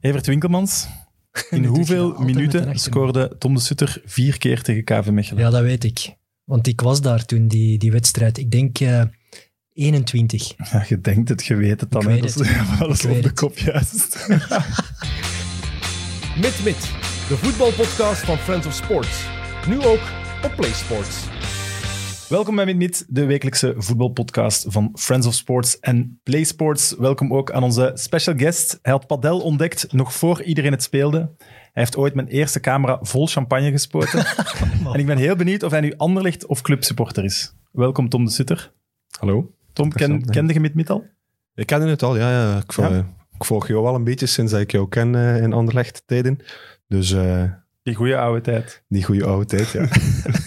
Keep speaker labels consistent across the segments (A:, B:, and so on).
A: Evert Winkelmans, in hoeveel
B: altijd met een
A: minuten
B: achter.
A: scoorde Tom de Sutter vier keer tegen KV Mechelen?
B: Ja, dat weet ik. Want ik was daar toen, die, die wedstrijd. Ik denk eh 21.
A: Ja, je denkt het, je weet het dan.
B: Ik
A: hè.
B: weet
A: Dat is
B: het.
A: van alles
B: Ik weet
A: op de
B: het.
A: kop juist.
C: Mit Mit, de voetbalpodcast van Friends of Sports. Nu ook op PlaySports.
A: Welkom bij Minmit, de wekelijkse voetbalpodcast van Friends of Sports en Play Sports. Welkom ook aan onze special guest. Hij had padel ontdekt nog voor iedereen het speelde. Hij heeft ooit mijn eerste camera vol champagne gespoten. en ik ben heel benieuwd of hij nu Anderlicht of clubsupporter is. Welkom Tom de Sutter.
D: Hallo.
A: Tom, ken,
D: Interessant,
A: kende je Minmit al?
D: Ik ken het al, ja. ja. Ik, vo-
A: Ja.
D: eh, ik volg jou al een beetje sinds dat ik jou ken eh, in Anderlecht tijden. Dus eh,
A: Die goede oude tijd.
D: die goede oude tijd, ja. Ah,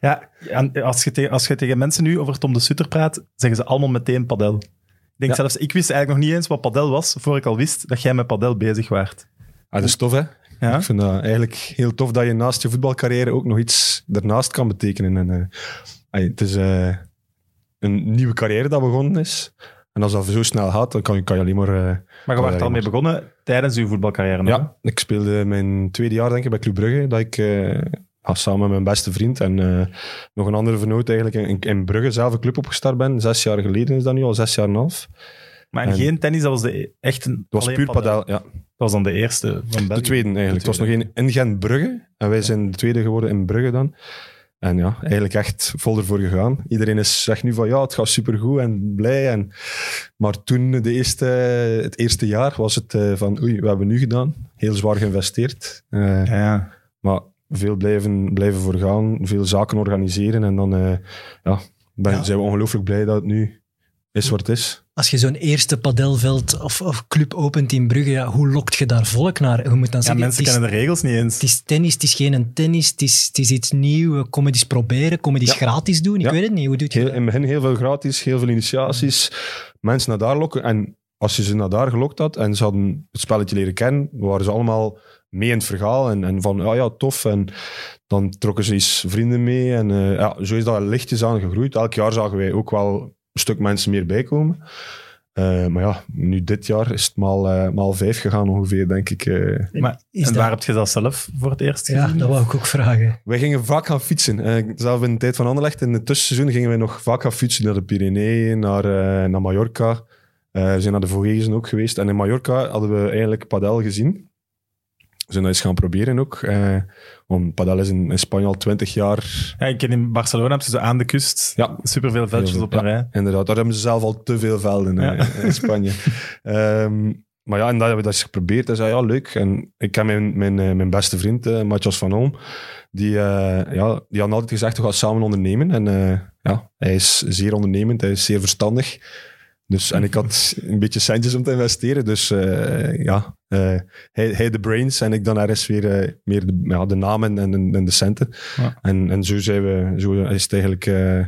A: Ja, en als je, te- als je tegen mensen nu over Tom de Sutter praat, zeggen ze allemaal meteen padel. Ik denk
D: Ja.
A: zelfs, ik wist eigenlijk nog niet eens wat padel was, voor ik al wist dat jij met padel bezig waart.
D: Ah, dat is tof, hè?
A: Ja?
D: Ik vind dat eigenlijk heel tof dat je naast je voetbalcarrière ook nog iets daarnaast kan betekenen. En, eh, ai, het is eh, een nieuwe carrière dat begonnen is. En als dat zo snel gaat, dan kan je, kan je alleen maar... eh,
A: Maar je
D: Ja,
A: was al
D: ja,
A: mee
D: maar-
A: begonnen tijdens uw voetbalcarrière. nog, hè?
D: Ja, ik speelde mijn tweede jaar denk ik bij Club Brugge, dat ik eh, ah, samen met mijn beste vriend en eh, nog een andere vernoot eigenlijk in, in Brugge zelf een club opgestart ben. Zes jaar geleden is dat nu, al zes jaar en een half. Het
A: Maar en
D: En-
A: geen tennis, dat was de e- echt een.
D: was
A: alleen
D: puur padel, ja.
A: Dat was dan de eerste van België.
D: De tweede eigenlijk. Het was nog één in Gent Brugge en wij zijn de tweede geworden in Brugge dan. En ja, eigenlijk echt vol ervoor gegaan. Iedereen is, zegt nu van ja, het gaat supergoed en blij. En... Maar toen, de eerste, het eerste jaar, was het eh, van oei, wat hebben we nu gedaan? Heel zwaar geïnvesteerd. Eh,
A: Ja, ja.
D: Maar veel blijven, blijven voor gaan, veel zaken organiseren. En dan eh, ja, ben, zijn we ongelooflijk blij dat het nu is wat het is.
B: Als je zo'n eerste padelveld of, of club opent in Brugge, ja, hoe lokt je daar volk naar? Je moet dan
A: ja
B: zeggen,
A: mensen
B: het, is,
A: kennen de regels niet eens.
B: het is tennis, het is geen tennis, het is, het is iets nieuws. Comedies proberen, comedies
D: Ja.
B: gratis doen. Ik
D: Ja.
B: weet het niet, hoe doe je
D: Heel,
B: dat?
D: in het begin heel veel gratis, heel veel initiaties. Mensen naar daar lokken. En als je ze naar daar gelokt had en ze hadden het spelletje leren kennen, waren ze allemaal mee in het verhaal. En, en van, "Ah ja, ja, tof. En dan trokken ze eens vrienden mee. En eh, ja, zo is dat lichtjes aan gegroeid. Elk jaar zagen wij ook wel een stuk mensen meer bijkomen. Eh, maar ja, nu dit jaar is het maal, eh, maal vijf gegaan ongeveer, denk ik. eh.
A: Maar,
B: Is
A: en
B: dat-
A: waar heb je dat zelf voor het eerst
B: Ja,
A: gezien?
B: dat wou ik ook vragen.
D: Wij gingen vaak gaan fietsen. Eh, zelf in de tijd van Anderlecht, in het tussenseizoen, gingen wij nog vaak gaan fietsen naar de Pyreneeën, naar, eh, naar Mallorca. Eh, we zijn naar de Vogezen ook geweest. En in Mallorca hadden we eigenlijk padel gezien. We zijn dat eens gaan proberen ook. eh, want padel is in, in Spanje al twintig jaar...
A: Ja, ik ken in Barcelona, hebben ze zo aan de kust.
D: Ja.
A: Superveel veldjes
D: Heel
A: op
D: veel,
A: een rij.
D: Inderdaad, daar hebben ze zelf al te veel velden eh,
A: Ja.
D: in Spanje. Ehm, maar ja, en dat hebben we dat eens geprobeerd. Hij zei, ja, leuk. En ik ken mijn, mijn, eh, mijn beste vriend, eh Matthias van Oom, die, eh, ja, die had altijd gezegd, we gaan samen ondernemen. En eh, ja, hij is zeer ondernemend, hij is zeer verstandig. Dus, en ik had een beetje centjes om te investeren. Dus eh, ja, eh, hij, hij de brains en ik dan ergens weer eh, meer de, ja, de namen en, en, en de centen.
A: Ja.
D: En, en zo, zijn we, zo is het eigenlijk... eh,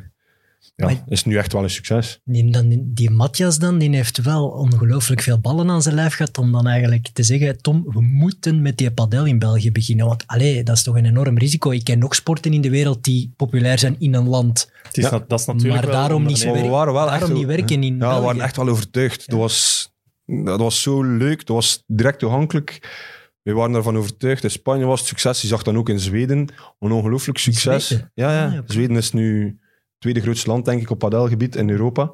D: ja,
B: Maar-
D: is nu echt wel een succes.
B: Die, dan, die Matthias dan, die heeft wel ongelooflijk veel ballen aan zijn lijf gehad om dan eigenlijk te zeggen, Tom, we moeten met die padel in België beginnen. Want allee, dat is toch een enorm risico. Ik ken nog sporten in de wereld die populair zijn in een land.
A: Het is
D: Ja.
A: na- dat is natuurlijk
B: Maar
A: wel
B: daarom niet zo
A: ondernemen.
D: Maar we
B: werk-
D: waren wel echt
B: Waarom
D: zo-
B: niet werken in
D: Ja,
B: België?
D: we waren echt wel overtuigd. Dat, was, dat was zo leuk. Dat was direct toegankelijk. We waren daarvan overtuigd. In Spanje was het succes. Je zag dan ook in Zweden een ongelooflijk succes.
B: Zweden?
D: Ja, ja.
B: Ah, ja, oké.
D: Zweden is nu het tweede grootste land, denk ik, op padelgebied in Europa.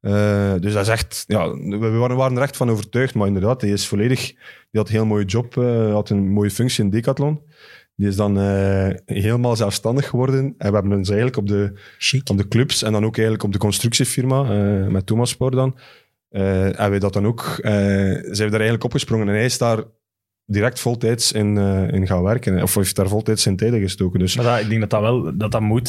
D: Eh, dus dat is echt... Ja, we we waren, waren er echt van overtuigd. Maar inderdaad, hij is volledig... Die had een heel mooie job. eh had een mooie functie in Decathlon. Die is dan eh, helemaal zelfstandig geworden. En we hebben ons eigenlijk op de
B: Chic.
D: op de clubs en dan ook eigenlijk op de constructiefirma eh, met Thomas Spoor dan. Eh, hebben we dat dan ook, eh, zijn we daar eigenlijk opgesprongen en hij is daar direct voltijds in, eh, in gaan werken. Of heeft daar voltijds in tijden gestoken. Dus
A: Maar dat, ik denk dat dat wel dat dat moet.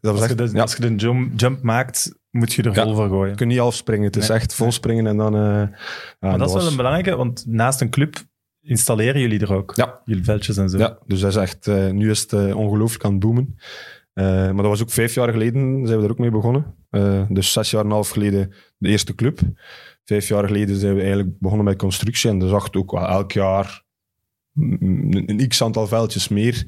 D: dat was
A: Als je dus-
D: echt,
A: de,
D: ja,
A: als je de jump, jump maakt, moet je er
D: Ja.
A: vol voor gooien.
D: je kunt niet afspringen. Het is
A: Nee.
D: echt vol springen en dan... eh, ja,
A: maar dat,
D: dat
A: is wel
D: was-
A: een belangrijke, want naast een club installeren jullie er ook.
D: Ja.
A: Jullie veldjes en zo.
D: Ja, dus dat is echt, eh, nu is het eh, ongelooflijk aan het boomen. Eh, maar dat was ook vijf jaar geleden, zijn we er ook mee begonnen. Eh, dus zes jaar en een half geleden de eerste club. Vijf jaar geleden zijn we eigenlijk begonnen met constructie. En dat zag het ook wel elk jaar mm, een, een x aantal veldjes meer.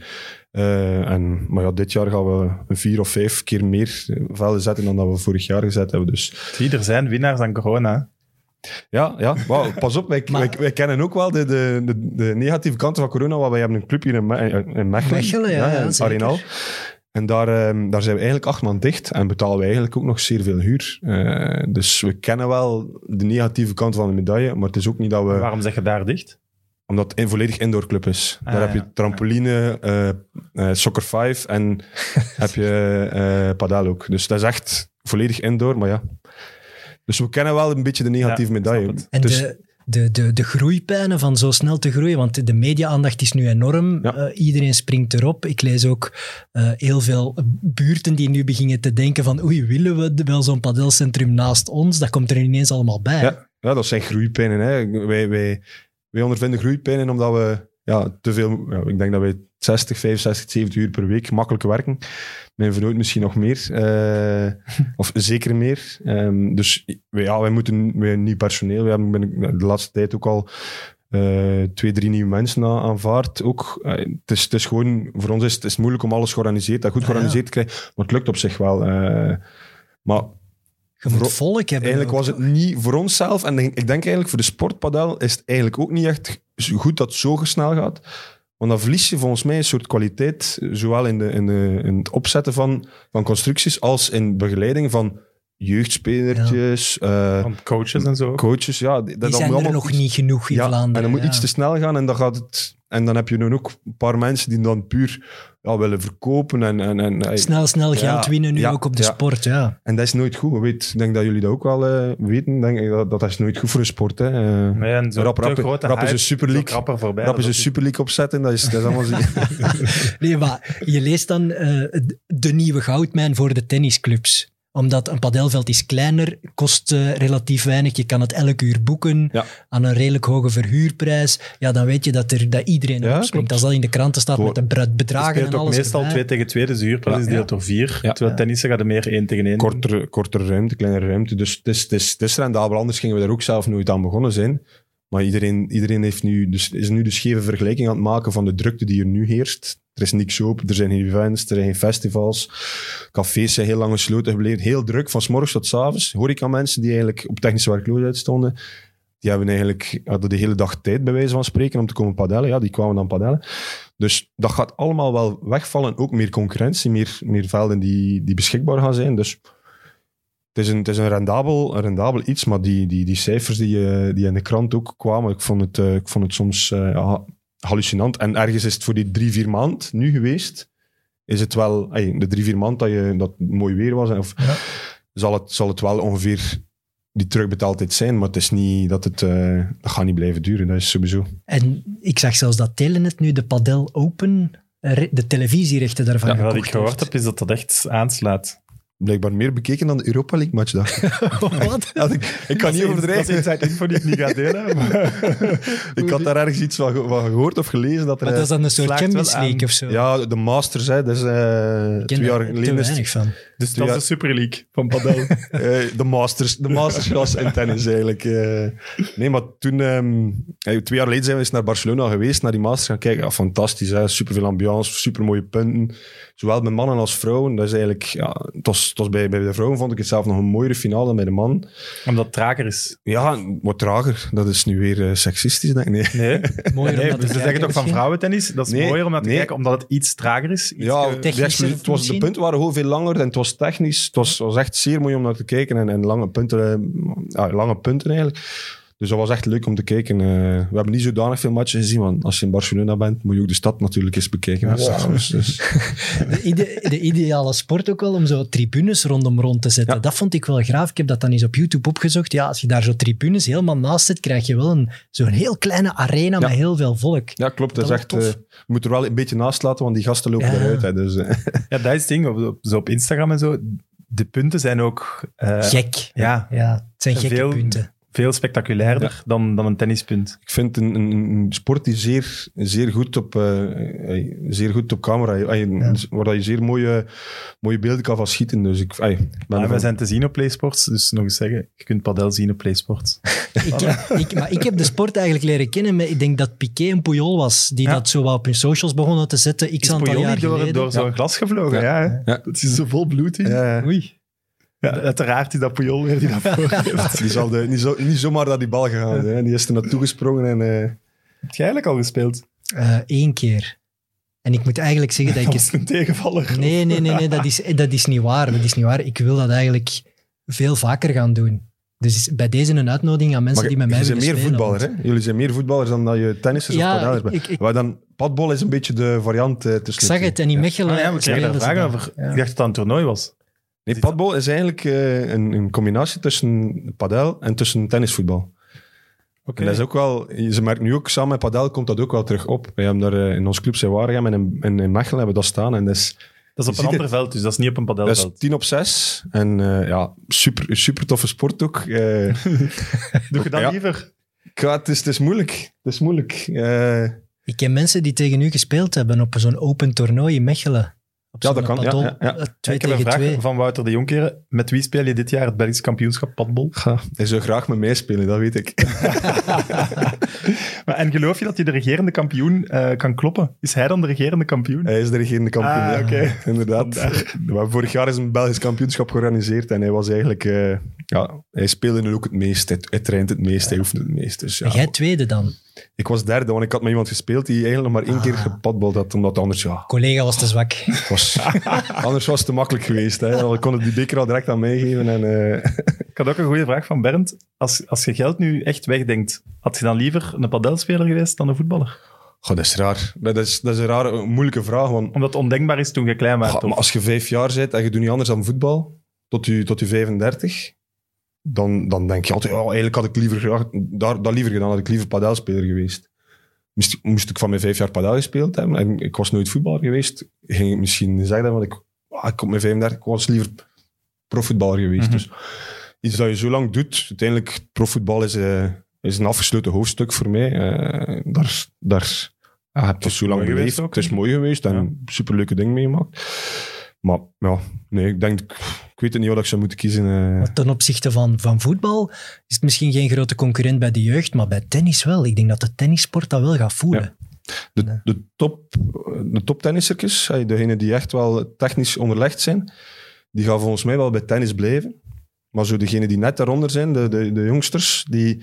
D: Eh, en, maar ja, dit jaar gaan we een vier of vijf eh, keer meer velden zetten dan dat we vorig jaar gezet hebben. Dus
A: Zie, er zijn winnaars aan corona.
D: Ja, ja. Wauw, pas op. Wij,
B: Maar-
D: wij, wij kennen ook wel de, de, de, de negatieve kanten van corona. Want wij hebben een club hier in, Me in Mechelen.
B: Mechelen, ja, ja,
D: in
B: zeker.
D: Arenal. En daar, ehm, daar zijn we eigenlijk acht man dicht. En betalen we eigenlijk ook nog zeer veel huur. Eh, dus we kennen wel de negatieve kant van de medaille. Maar het is ook niet dat we...
A: Waarom zeg je daar dicht?
D: Omdat het een volledig indoorclub is.
A: Ah,
D: Daar
A: ja.
D: heb je trampoline, eh eh, soccer 5 en heb je eh padel ook. Dus dat is echt volledig indoor, maar ja. Dus we kennen wel een beetje de negatieve
A: Ja,
D: medaille.
A: snap het.
B: En
D: Dus-
B: de, de, de, de groeipijnen van zo snel te groeien, want de media-aandacht is nu enorm.
D: Ja.
B: Eh, iedereen springt erop. Ik lees ook eh, heel veel buurten die nu beginnen te denken van oei, willen we de- wel zo'n padelcentrum naast ons? Dat komt er ineens allemaal bij.
D: Ja, ja, dat zijn groeipijnen. Hè. Wij, wij, wij ondervinden groeipijnen omdat we ja, te veel... Ja, ik denk dat wij 60, 65, 70 uur per week makkelijk werken. Mijn vernoot misschien nog meer. eh, of zeker meer. Ehm, dus wij- ja, wij moeten wij hebben nieuw personeel. We hebben binnen- de laatste tijd ook al eh, twee, drie nieuwe mensen aan- aanvaard. Ook, eh, het, is, het is gewoon... Voor ons is het is moeilijk om alles georganiseerd, dat goed
B: Ja, ja.
D: georganiseerd te krijgen. Maar het lukt op zich wel. eh. maar
B: Je moet
D: Vro-
B: volk hebben.
D: Eigenlijk
B: ook,
D: was het niet voor onszelf. En denk- ik denk eigenlijk voor de sportpadel is het eigenlijk ook niet echt zo goed dat het zo snel gaat. Want dan verlies je volgens mij een soort kwaliteit, zowel in, de, in, de, in het opzetten van, van constructies als in begeleiding van jeugdspelertjes, eh,
A: Van coaches en zo.
D: coaches. Ja, die- dat
B: Die
D: moet
B: zijn
D: allemaal
B: er nog
D: iets-
B: niet genoeg in
D: ja,
B: Vlaanderen.
D: En dan moet
B: ja.
D: iets te snel gaan en dan gaat het... En dan heb je dan ook een paar mensen die dan puur ja, willen verkopen. En, en, en,
B: Snel, snel geld
D: Ja,
B: winnen nu
D: ja,
B: ook op de
D: ja.
B: sport, ja.
D: en dat is nooit goed. Ik weet- ik denk dat jullie dat ook wel eh, weten. Ik Denk ik dat, dat is nooit goed voor de sport. Hè. Eh,
A: Nee, en zo
D: Rap,
A: te
D: rap,
A: grote
D: rap is
A: hype,
D: een Super League.
A: zo Rapper voorbij.
D: Rap is
A: Dat
D: een
A: is-
D: Super League opzetten. Dat is, dat is allemaal zo-
B: Nee, maar je leest dan eh, de nieuwe goudmijn voor de tennisclubs. Omdat een padelveld is kleiner, kost eh, relatief weinig. Je kan het elk uur boeken
D: Ja.
B: aan een redelijk hoge verhuurprijs. Ja, dan weet je dat, er, dat iedereen
D: Ja,
B: erop springt.
D: klopt.
B: Als dat in de kranten staat
D: Voor-
B: met de bra- bedragen
A: speelt
B: en
A: ook
B: alles.
A: meestal
B: erbij.
A: 2 tegen 2, dus de huurprijs is
B: Ja.
A: deelt door 4.
D: Ja.
A: Terwijl tennissen gaat er meer 1 tegen 1.
D: kortere, kortere ruimte, kleinere ruimte. Dus het is, het, is, het is rendabel. Anders gingen we daar ook zelf nooit aan begonnen zijn. Maar iedereen, iedereen heeft nu, dus, is nu de scheve vergelijking aan het maken van de drukte die er nu heerst. Er is niks open, er zijn geen events, er zijn geen festivals. Cafés zijn heel lang gesloten gebleven. Heel druk, van 's morgens tot 's avonds. Horeca mensen die eigenlijk op technische werkloosheid stonden, die hebben eigenlijk, hadden de hele dag tijd bij wijze van spreken om te komen padellen. Ja, die kwamen dan padellen. Dus dat gaat allemaal wel wegvallen. Ook meer concurrentie, meer, meer velden die, die beschikbaar gaan zijn. Dus het is een, het is een, rendabel, een rendabel iets, maar die, die, die cijfers die, eh, die in de krant ook kwamen, ik vond het, eh, ik vond het soms eh, ja, hallucinant. En ergens is het voor die drie, vier maand nu geweest, is het wel, ey, de drie, vier maand dat, je, dat het mooi weer was, en of,
B: Ja.
D: zal, het, zal het wel ongeveer die terugbetaaldheid zijn, maar het is niet dat het, eh, dat gaat niet blijven duren, dat is sowieso.
B: En ik zag zelfs dat Telenet nu de Padel Open, eh, re- de televisierechten daarvan
A: Ja, wat
B: gekocht
A: ik gehoord
B: heeft.
A: heb, is dat dat echt aanslaat.
D: Blijkbaar meer bekeken dan de Europa League match. Dat.
B: Wat?
D: Had ik, ik kan niet
A: Dat is
D: overdrijven.
A: inside info die ik niet ga delen. maar-
D: Ik had daar ergens iets van, ge- van gehoord of gelezen. Dat er,
B: Maar dat is dan een soort
A: slaagt wel
B: Champions
A: aan.
B: League of zo.
D: Ja, de Masters, hè, dat is eh,
B: Ik ken
D: twee
B: daar
D: jaar
B: te
D: geleden. is het,
B: weinig van.
A: Dus
D: Ja.
A: dat is de Super League van Padel.
D: eh, de Masters, de Masters was in tennis eigenlijk. eh. nee, maar toen, ehm, hey, twee jaar geleden zijn we eens naar Barcelona geweest, naar die Masters gaan kijken. Ja, fantastisch, hè, superveel ambiance, supermooie punten. Zowel bij mannen als vrouwen. Dat is eigenlijk, ja, het was, het was bij, bij de vrouwen vond ik het zelf nog een mooiere finale dan bij de man.
A: Omdat het trager is.
D: Ja, wat trager. Dat is nu weer eh, seksistisch, denk ik. Nee.
A: Nee,
B: Mooier
A: nee
B: om dat te
A: dus ze zeggen
B: kijken
A: toch van
B: misschien?
A: vrouwentennis? Dat is
D: Nee,
A: mooier om naar te
D: nee.
A: kijken, omdat het iets trager is. Iets
D: Ja,
A: ge-
D: de
B: technischer
D: explosie- het was, de
B: misschien?
D: punten waren gewoon veel langer en het was technisch. Het was, was echt zeer mooi om naar te kijken en, en lange, punten, eh, ah, lange punten eigenlijk. Dus dat was echt leuk om te kijken. eh. we hebben niet zodanig veel matchen gezien, want als je in Barcelona bent, moet je ook de stad natuurlijk eens bekijken. hè, s'avonds. Dus,
B: De, ide- de ideale sport ook wel om zo tribunes rondom rond te zetten.
D: Ja.
B: Dat vond ik wel graaf. Ik heb dat dan eens op YouTube opgezocht. Ja, als je daar zo tribunes helemaal naast zit, krijg je wel een, zo'n heel kleine arena met heel veel volk.
D: ja, klopt. Dat,
B: Dat
D: is echt,
B: wordt
D: eh, je moet er wel een beetje naast laten, want die gasten lopen
B: Ja.
D: eruit. Hè, dus, eh.
A: Ja, dat is het ding. Op- op- Zo op Instagram en zo. De punten zijn ook eh,
B: Gek.
A: ja,
B: Ja, het zijn gekke
A: Veel-
B: punten.
A: veel spectaculairder dan, dan een tennispunt.
D: Ik vind een, een, een sport die zeer, zeer, goed, op, eh, eh, zeer goed op camera, eh, waar dat je zeer mooie, mooie beelden kan van schieten. Dus ik, eh, ik ben
A: Maar
D: ervan-
A: Ah, we zijn te zien op PlaySports, dus nog eens zeggen, je kunt padel zien op PlaySports.
B: Ik, ik, maar ik heb de sport eigenlijk leren kennen. Met, ik denk dat Piqué en Puyol was, die
A: Ja.
B: dat zo wat op hun socials begonnen te zetten. Ik
A: Is
B: aantal
A: Puyol
B: jaar
A: niet door,
B: geleden.
A: door zo'n glas gevlogen?
D: Ja.
A: Ja, hè?
D: Ja.
A: Dat is er vol bloed in.
D: Ja, ja.
A: Oei. Uiteraard is dat Puyol weer die dat voor heeft.
D: Die zal de, niet, zo, niet zomaar naar die bal gegaan zijn. Die is er naartoe gesprongen en... eh,
A: Heb jij eigenlijk al gespeeld?
B: Eh, Eén keer. En ik moet eigenlijk zeggen dat ik
A: Dat
B: het...
A: was een tegenvaller.
B: Nee, nee, nee, nee dat, is, dat is niet waar. Dat is niet waar. Ik wil dat eigenlijk veel vaker gaan doen. Dus is bij deze een uitnodiging aan mensen
D: Maar
B: die met
D: je-
B: mij
D: jullie
B: willen
D: zijn meer
B: spelen,
D: voetballer, hè? Jullie zijn meer voetballers dan dat je tennissers
B: Ja,
D: of padellers bent.
B: ik- ik-
D: Wij dan, padbol is een beetje de variant eh
B: Ik
D: tussen.
B: zag
D: de
B: het,
D: twee.
B: en in Mechelen...
A: Ah, ja, we kregen
B: spelen
A: daar
B: ze
A: vragen
B: dat.
A: over.
B: Ja.
A: Ik dacht dat het een toernooi was.
D: Nee, padbol is eigenlijk eh, een, een combinatie tussen padel en tussen tennisvoetbal. En dat is ook wel, ze merken nu ook samen met padel komt dat ook wel terug op. We hebben daar eh, in ons club zijn Waregem en in, en in Mechelen hebben we dat staan. En dat is,
A: Dat
D: Je
A: is op
D: ziet
A: een ander veld, dus dat is niet op een
D: dat is
A: padelveld.
D: 10 op 6. En eh, ja, super, super toffe sport ook. Eh,
A: Doe je dat
D: Ja.
A: liever?
D: ik ga- het, is, het is moeilijk. Het is moeilijk. Eh,
B: Ik ken mensen die tegen u gespeeld hebben op zo'n open toernooi in Mechelen. Op
D: Ja,
B: zo'n
D: dat kan, ja,
B: padel,
D: ja, ja.
B: eh, Twee
A: ik heb een
B: tegen
A: vraag
B: twee.
A: van Wouter de Jonkeren. Met wie speel je dit jaar het Belgisch kampioenschap padbol?
D: ga, hij zou graag met mij spelen, dat weet ik.
A: Maar, en geloof je dat je de regerende kampioen eh, kan kloppen? Is hij dan de regerende kampioen?
D: Hij is de regerende kampioen.
A: Ah,
D: ja.
A: oké.
D: Inderdaad. We hebben vorig jaar is een Belgisch kampioenschap georganiseerd en hij was eigenlijk... eh, ja, hij speelde nu ook het meest. Hij, hij traint het meest, hij oefent het meest. Dus ja.
B: En jij tweede dan.
D: Ik was derde, want ik had met iemand gespeeld die eigenlijk nog maar één keer
B: Ah.
D: gepadbald had, omdat anders, ja,
B: Collega was te zwak.
D: het was, anders was het te makkelijk geweest. Hè. Dan kon het die beker al direct aan meegeven. En, eh,
A: Ik had ook een goede vraag van Bernd. Als, als je geld nu echt wegdenkt, had je dan liever een padelspeler geweest dan een voetballer?
D: Goh, dat is raar. Dat is, dat is een rare, een moeilijke vraag, want
A: Omdat het ondenkbaar is toen je klein was.
D: Goh, maar als je vijf jaar bent en je doet niet anders dan voetbal, tot je, tot je 35, dan, dan denk je altijd, ja, eigenlijk had ik liever graag, daar, dat liever gedaan, had ik liever padelspeler geweest. Moest, moest ik van mijn vijf jaar padel gespeeld hebben en ik was nooit voetballer geweest, ging ik misschien zeggen, want ik, ah, ik op mijn 35 ik was liever profvoetballer geweest.
A: Mhm.
D: Dus iets dat je zo lang doet, uiteindelijk profvoetbal is, eh, is een afgesloten hoofdstuk voor mij. Eh, daar, daar ja, heb je zo lang
A: mooi geweest
D: beleefd.
A: ook,
D: Het is mooi geweest en
A: Ja.
D: superleuke dingen meegemaakt. Maar ja, nee, ik denk, ik weet het niet wat ik zou moeten kiezen. eh.
B: Maar ten opzichte van, van voetbal is het misschien geen grote concurrent bij de jeugd, maar bij tennis wel. Ik denk dat de tennissport dat wel gaat voelen.
D: De, de, top, eh, de toptennissertjes, eh, degenen die echt wel technisch onderlegd zijn, die gaan volgens mij wel bij tennis blijven. Maar zo degenen die net daaronder zijn, de, de, de jongsters, die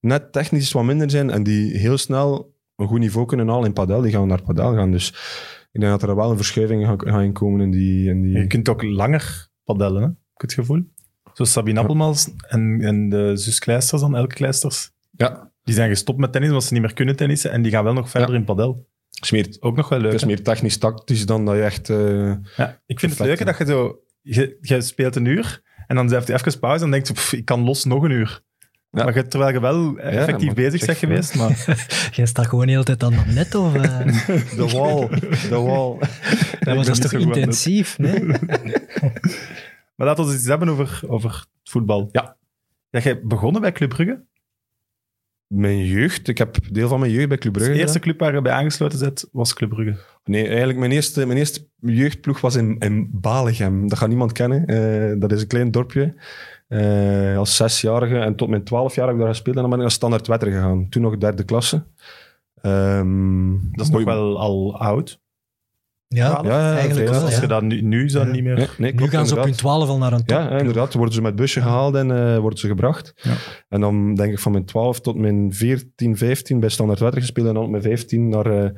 D: net technisch wat minder zijn en die heel snel een goed niveau kunnen halen in padel, die gaan naar padel gaan. Dus ik denk dat er wel een verschuiving gaat ga in komen in die... In die...
A: Je kunt ook langer padellen, hè? heb ik het gevoel. Zo Sabine Appelmans en, en de zus Kleisters dan, Elke Kleisters.
D: Ja,
A: Die zijn gestopt met tennis, omdat ze niet meer kunnen tennissen. En die gaan wel nog verder in padel.
D: smeert.
A: Ook nog wel leuk.
D: Het
B: Dus
D: is
A: hè?
D: meer technisch-tactisch dan dat je echt... eh,
A: Ja, ik vind het
D: Perfect,
A: leuke dat je zo... Je, je speelt een uur en dan heeft je even pauze en dan denkt je, "Pff, ik kan los nog een uur.
D: Ja.
A: Maar je, terwijl je wel eh, effectief
D: maar
A: bezig
D: zeg,
A: bent
D: ja.
A: geweest. Maar
B: Jij staat gewoon de hele tijd aan dat net, of... eh,
D: De wall, de wall.
B: dat was
A: ben niet
B: toch
A: zo goed aan
B: intensief, nee?
A: maar laten we eens iets hebben over, over voetbal.
D: Ja.
A: Ja, jij begonnen bij Club Brugge.
D: Mijn jeugd, ik heb deel van mijn jeugd bij Club
A: De
D: Brugge.
A: eerste
D: gedaan.
A: club waar je bij aangesloten zit, was Club Brugge.
D: Nee, eigenlijk mijn eerste, mijn eerste jeugdploeg was in, in Baligem. Dat gaat niemand kennen. Eh, dat is een klein dorpje. Eh, als zesjarige en tot mijn twaalf jaar heb ik daar gespeeld. En dan ben ik naar Standard Wetter gegaan. Toen nog derde klasse. Ehm,
A: Dat is
D: mooi-
A: nog wel al oud.
B: Ja,
D: Ja, ja,
B: eigenlijk
D: ja.
B: wel,
A: Als
B: ja.
A: je dat nu, nu zou
B: Ja.
A: niet meer...
D: Ja, nee,
B: Nu
D: klopt,
B: gaan ze op hun
D: inderdaad.
B: twaalf al naar een top.
D: Ja, ja, inderdaad. Worden ze met busje gehaald en eh, worden ze gebracht.
A: Ja.
D: En dan denk ik van mijn 12 tot mijn 14, 15 bij Standard Wetter gespeeld. En dan op mijn 15 naar, eh,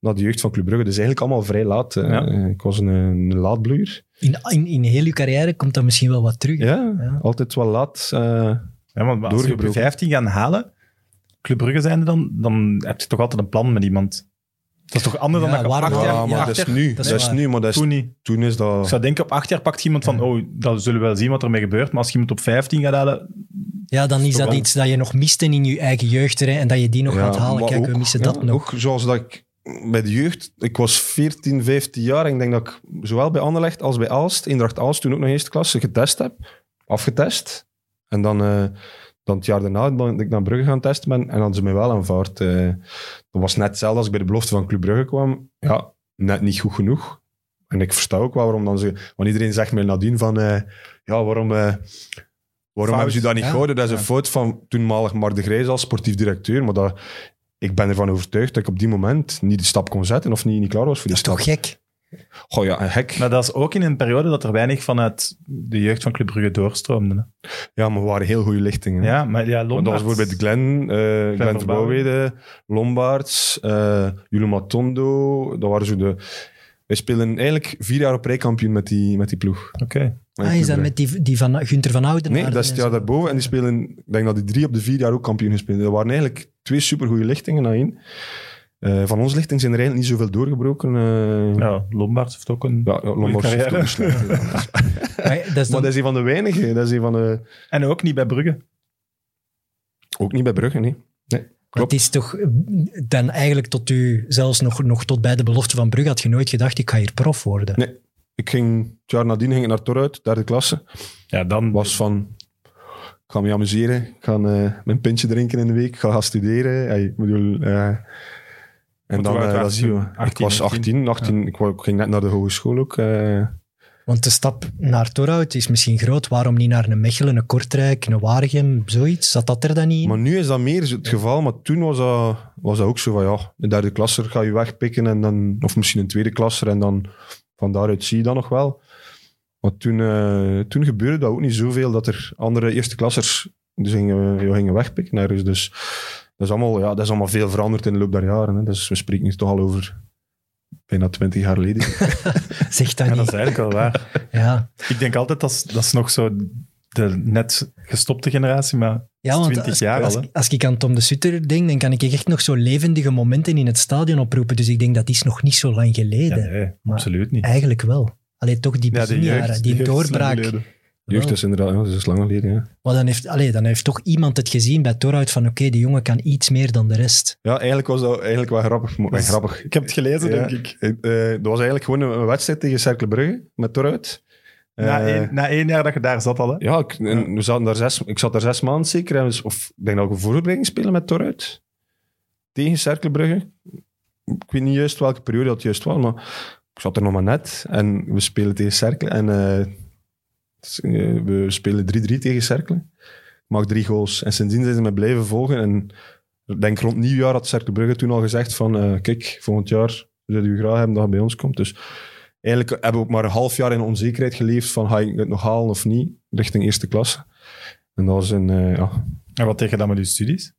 D: naar de jeugd van Club Brugge. Dus eigenlijk allemaal vrij laat. eh.
A: Ja.
D: Eh, Ik was een, een laadbloeier.
B: In, in, in heel je carrière komt dat misschien wel wat terug. hè.
D: Ja,
B: Ja.
D: altijd wel laat. eh.
A: Ja, want als je op je
D: Doorgebroken.
A: 15 gaan halen, Club Brugge zijnde dan, dan heb je toch altijd een plan met iemand. Dat is toch anders
B: Ja,
A: dan dat je op
B: waarom-
A: acht jaar...
B: Ja,
D: maar
B: ja,
D: dat is
A: achter-
D: nu.
B: dat
D: Dat
B: is
D: is,
B: waar.
D: nu, maar dat is,
A: Toen
D: toen,
A: niet.
D: is dat...
A: Ik zou denken, op acht jaar pakt iemand van,
B: Ja.
A: oh, dan zullen we wel zien wat ermee gebeurt. Maar als je iemand op 15 gaat halen,
B: Ja, dan is dat
A: Verwant.
B: iets dat je nog miste in je eigen jeugd hè, en dat je die nog gaat halen.
D: maar
B: Kijk, we
D: ook-
B: missen
D: ja,
B: dat nog.
D: Ook zoals dat ik bij de jeugd... Ik was 14, 15 jaar en ik denk dat ik zowel bij Anderlecht als bij Aalst, Eendracht Aalst, toen ook nog eerste klasse, getest heb. Afgetest. En dan, eh, dan het jaar daarna ben ik naar Brugge gaan testen ben, en hadden ze mij wel aanvaard. eh. dat was net hetzelfde als ik bij de belofte van Club Brugge kwam. Ja, net niet goed genoeg. En ik versta ook wel waarom dan ze... Want iedereen zegt mij nadien van... eh, ja, waarom... eh, Waarom
A: Fout.
D: hebben ze dat niet
B: Ja.
D: gehouden? Dat is een
A: Ja.
D: fout van toenmalig Mark de Grijs als sportief directeur. Maar dat, ik ben ervan overtuigd dat ik op die moment niet de stap kon zetten of niet, niet klaar was voor die
B: Dat is
D: stap.
B: toch gek?
D: Goh ja, een hek.
A: Maar dat is ook in een periode dat er weinig vanuit de jeugd van Club Brugge doorstroomde. hè.
D: Ja, maar we waren heel goede lichtingen. hè.
A: Ja, maar ja,
D: Want
A: Lombard...
D: dat was bijvoorbeeld Glenn, eh
A: Verbouwen.
D: Glenn Verbouwede, Lombaards, eh Julio Matondo. Dat waren zo de... Wij spelen eigenlijk vier jaar op rij kampioen met die, met die ploeg.
A: Oké.
D: Met
B: Ah,
D: die
B: is dat
D: ploeg.
B: met die, die van Gunther van Houden?
D: Nee, dat is het jaar daarboven. En die spelen, ik denk dat die drie op de vier jaar ook kampioen gespeeld hebben. Dat waren eigenlijk twee supergoeie lichtingen na één. Eh, van ons lichting zijn er eigenlijk niet zoveel doorgebroken. eh. ja.
A: Ja, Lombard heeft ook een...
D: Ja, Lombard heeft
A: carrière.
D: ook slecht gedaan.
B: Maar Ah, dat is
D: Maar
B: dan-
D: dat is een van de weinigen. Dat is een van de...
A: En ook niet bij Brugge.
D: Ook niet bij Brugge, nee. nee.
B: Het
D: Klopt.
B: is toch eh, dan eigenlijk tot u, zelfs nog, nog tot bij de belofte van Brugge, had je nooit gedacht, ik ga hier prof worden.
D: Nee. Ik ging, het jaar nadien ging ik naar Toruit, derde klasse.
A: Ja, dan...
D: was van, ik ga me amuseren, ik ga eh, mijn pintje drinken in de week, ik ga gaan studeren. Hey, ik bedoel, eh, en
A: hoe
D: dan,
A: oud
D: eh, dat
A: was je
D: zien we.
A: toen? 18,
D: ik was 18, 18 ik, wou- ik ging net naar de hogeschool ook. eh.
B: Want de stap naar Torhout is misschien groot. Waarom niet naar een Mechelen, een Kortrijk, een Waregem, zoiets? Zat dat er dan niet in?
D: Maar nu is dat meer het geval, maar toen was dat, was dat ook zo van, ja, de derde klasser ga je wegpikken, en dan, of misschien een tweede klasser, en dan van daaruit zie je dat nog wel. Maar toen, eh, toen gebeurde dat ook niet zoveel, dat er andere eerste klassers dus gingen, ja, gingen wegpikken. ergens. Dus dat is, allemaal, ja, dat is allemaal veel veranderd in de loop der jaren. Hè. Dus we spreken nu toch al over bijna twintig jaar geleden.
B: Zeg dat
A: Ja,
B: niet.
A: dat is eigenlijk wel waar.
B: Ja,
A: Ik denk altijd, dat is, dat is nog zo de net gestopte generatie, maar
B: ja want
A: 20
B: als,
A: jaar
B: als,
A: al, hè.
B: als ik aan Tom de Sutter denk, dan kan ik echt nog zo levendige momenten in het stadion oproepen. Dus ik denk, dat is nog niet zo lang
A: ja,
B: geleden.
A: nee,
B: Maar-
A: absoluut niet.
B: Eigenlijk wel. Alleen toch die
A: Ja, de
B: beginjaren,
A: jeugd-
B: die
A: de jeugd is lang
B: doorbraak.
A: geleden.
D: Jeugd is inderdaad, ja, dat is lang geleden. Ja.
B: Maar dan heeft, allee, dan heeft toch iemand het gezien bij Torhout van oké, die jongen kan iets meer dan de rest.
D: Ja, eigenlijk was dat eigenlijk wel grappig. maar-
A: Dat is-
D: grappig.
A: Ik heb het gelezen,
D: Ja.
A: denk ik.
D: Eh, eh, dat was eigenlijk gewoon een, een wedstrijd tegen Cercle Brugge met Toruit. Eh,
A: Na, één, na één jaar dat je daar zat al, hè?
D: Ja, ik, en we zaten daar zes, ik zat daar zes maanden zeker. En we- of ik denk dat ik een voorbereiding spelen met Toruit. Tegen Cercle Brugge. Ik weet niet juist welke periode dat juist was, maar ik zat er nog maar net. En we spelen tegen Cercle. En eh, s- eh, we spelen 3-3 tegen Cercle. Ik maak drie goals. En sindsdien zijn ze me blijven volgen. En ik denk rond nieuwjaar had Cercle Brugge toen al gezegd van... eh, kijk, volgend jaar zullen we u graag hebben dat je bij ons komt. Dus eigenlijk hebben we ook maar een half jaar in onzekerheid geleefd van... Ga ik het nog halen of niet? Richting eerste klasse. En dat was een... eh, ja.
A: En wat tegen dan met je studies?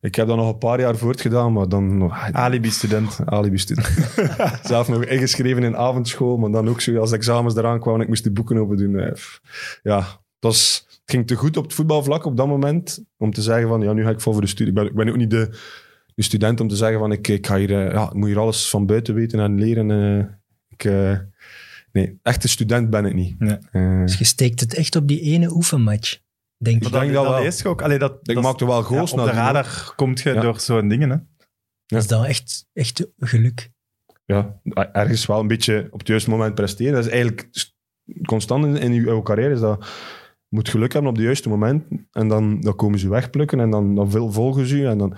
D: Ik heb dat nog een paar jaar voortgedaan, maar dan...
A: Ah, Alibi-student.
D: alibi student. Zelf nog ingeschreven in avondschool, maar dan ook zo als de examens eraan kwamen, ik moest de boeken open doen. Eh, pff. Ja, het, was, het ging te goed op het voetbalvlak op dat moment om te zeggen van ja, nu ga ik vol voor de studie. Ik ben, ik ben ook niet de, de student om te zeggen van ik, ik ga hier, eh, ja, ik moet hier alles van buiten weten en leren. eh. ik, eh, nee, echte student ben ik niet.
A: Nee.
D: Eh,
B: Dus je steekt het echt op die ene oefenmatch, denk
A: Maar
B: ik.
D: denk dat wel.
A: lees je ook. Allee, dat,
D: ik
A: dat is-
D: maakte wel
A: ja,
D: goals
A: Op de
D: nadien, hoor.
A: radar komt je
D: Ja.
A: door zo'n dingen, hè?
B: Dat is dan echt, echt geluk.
D: ja, ergens wel een beetje op het juiste moment presteren. Dat is eigenlijk st- constant in, in uw, uw carrière. Is dat, je moet geluk hebben op het juiste moment. En dan, dan komen ze wegplukken en dan, dan veel volgen ze je. En dan,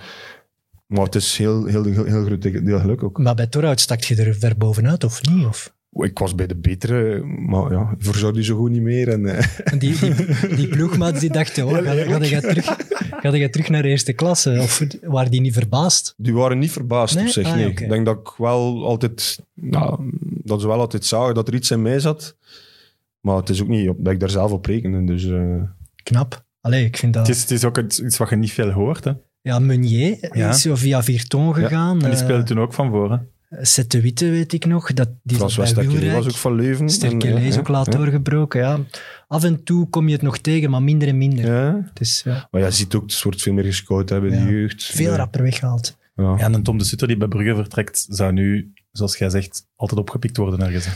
D: maar het is heel, heel, heel, heel groot deel deel geluk ook.
B: Maar bij Torhout stak je er ver bovenuit, of niet? Of?
D: Ik was bij de betere, maar ja, verzorgde zo goed niet meer. En, eh,
B: Die, die, die ploegmaats die dachten, oh, ga, ga, je terug, ga je terug naar eerste klasse? Of waren die niet verbaasd?
D: die waren niet verbaasd
B: Nee?
D: op zich.
B: Ah,
D: nee.
B: oké.
D: Ik denk dat ik wel altijd, nou, dat ze wel altijd zagen dat er iets in mij zat. Maar het is ook niet op, dat ik daar zelf op rekende. Dus, eh,
B: Knap. Allee, ik vind
A: Het,
B: dat...
A: is, het is ook iets iets wat je niet veel hoort, hè?
B: Ja, Meunier
A: Ja.
B: is zo via Virton gegaan.
A: En die
B: eh,
A: speelde toen ook van voren.
B: Sette Witte weet ik nog. Dat, die
D: Frans
B: zat bij
D: Westerkele was
B: Wielrijk.
D: ook van Leuven.
B: Sterke
D: En, ja,
B: lees
D: ja,
B: ook laat
D: ja.
B: doorgebroken, ja. Af en toe kom je het nog tegen, maar minder en minder.
D: Ja.
B: Het is ja,
D: Maar ja, je ziet ook, het wordt veel meer gescout hebben,
B: Ja.
D: de jeugd.
B: veel
D: Ja.
B: rapper weggehaald.
D: Ja.
A: Ja, en een Tom de Sutter die bij Brugge vertrekt, zou nu, zoals jij zegt, altijd opgepikt worden ergens. hè.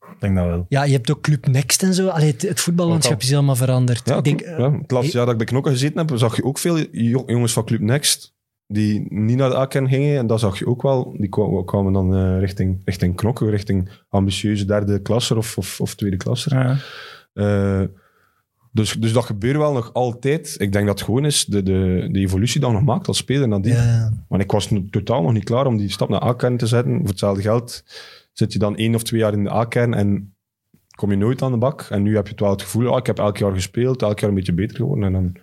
A: Ik denk dat wel.
B: Ja, je hebt ook Club Next en zo. Allee, het, het voetballandschap
D: Ook al.
B: is helemaal veranderd.
D: Ja,
B: ik denk, eh,
D: klopt. Ja, het laatste jaar dat ik bij Knokken gezeten heb, zag je ook veel jo- jongens van Club Next die niet naar de AKN gingen. En dat zag je ook wel. Die kwa- kwamen dan eh, richting, richting Knokken, richting ambitieuze derde klasser of, of, of tweede klasser. Eh, dus, dus dat gebeurt wel nog altijd. Ik denk dat het gewoon is de, de, de evolutie dat je nog maakt als speler. Nadien.
B: eh, ja,
D: Want ik was nu totaal nog niet klaar om die stap naar A-kern te zetten. Voor hetzelfde geld zit je dan één of twee jaar in de A-kern en kom je nooit aan de bak. En nu heb je het wel het gevoel, ah, ik heb elk jaar gespeeld, elk jaar een beetje beter geworden. En dan,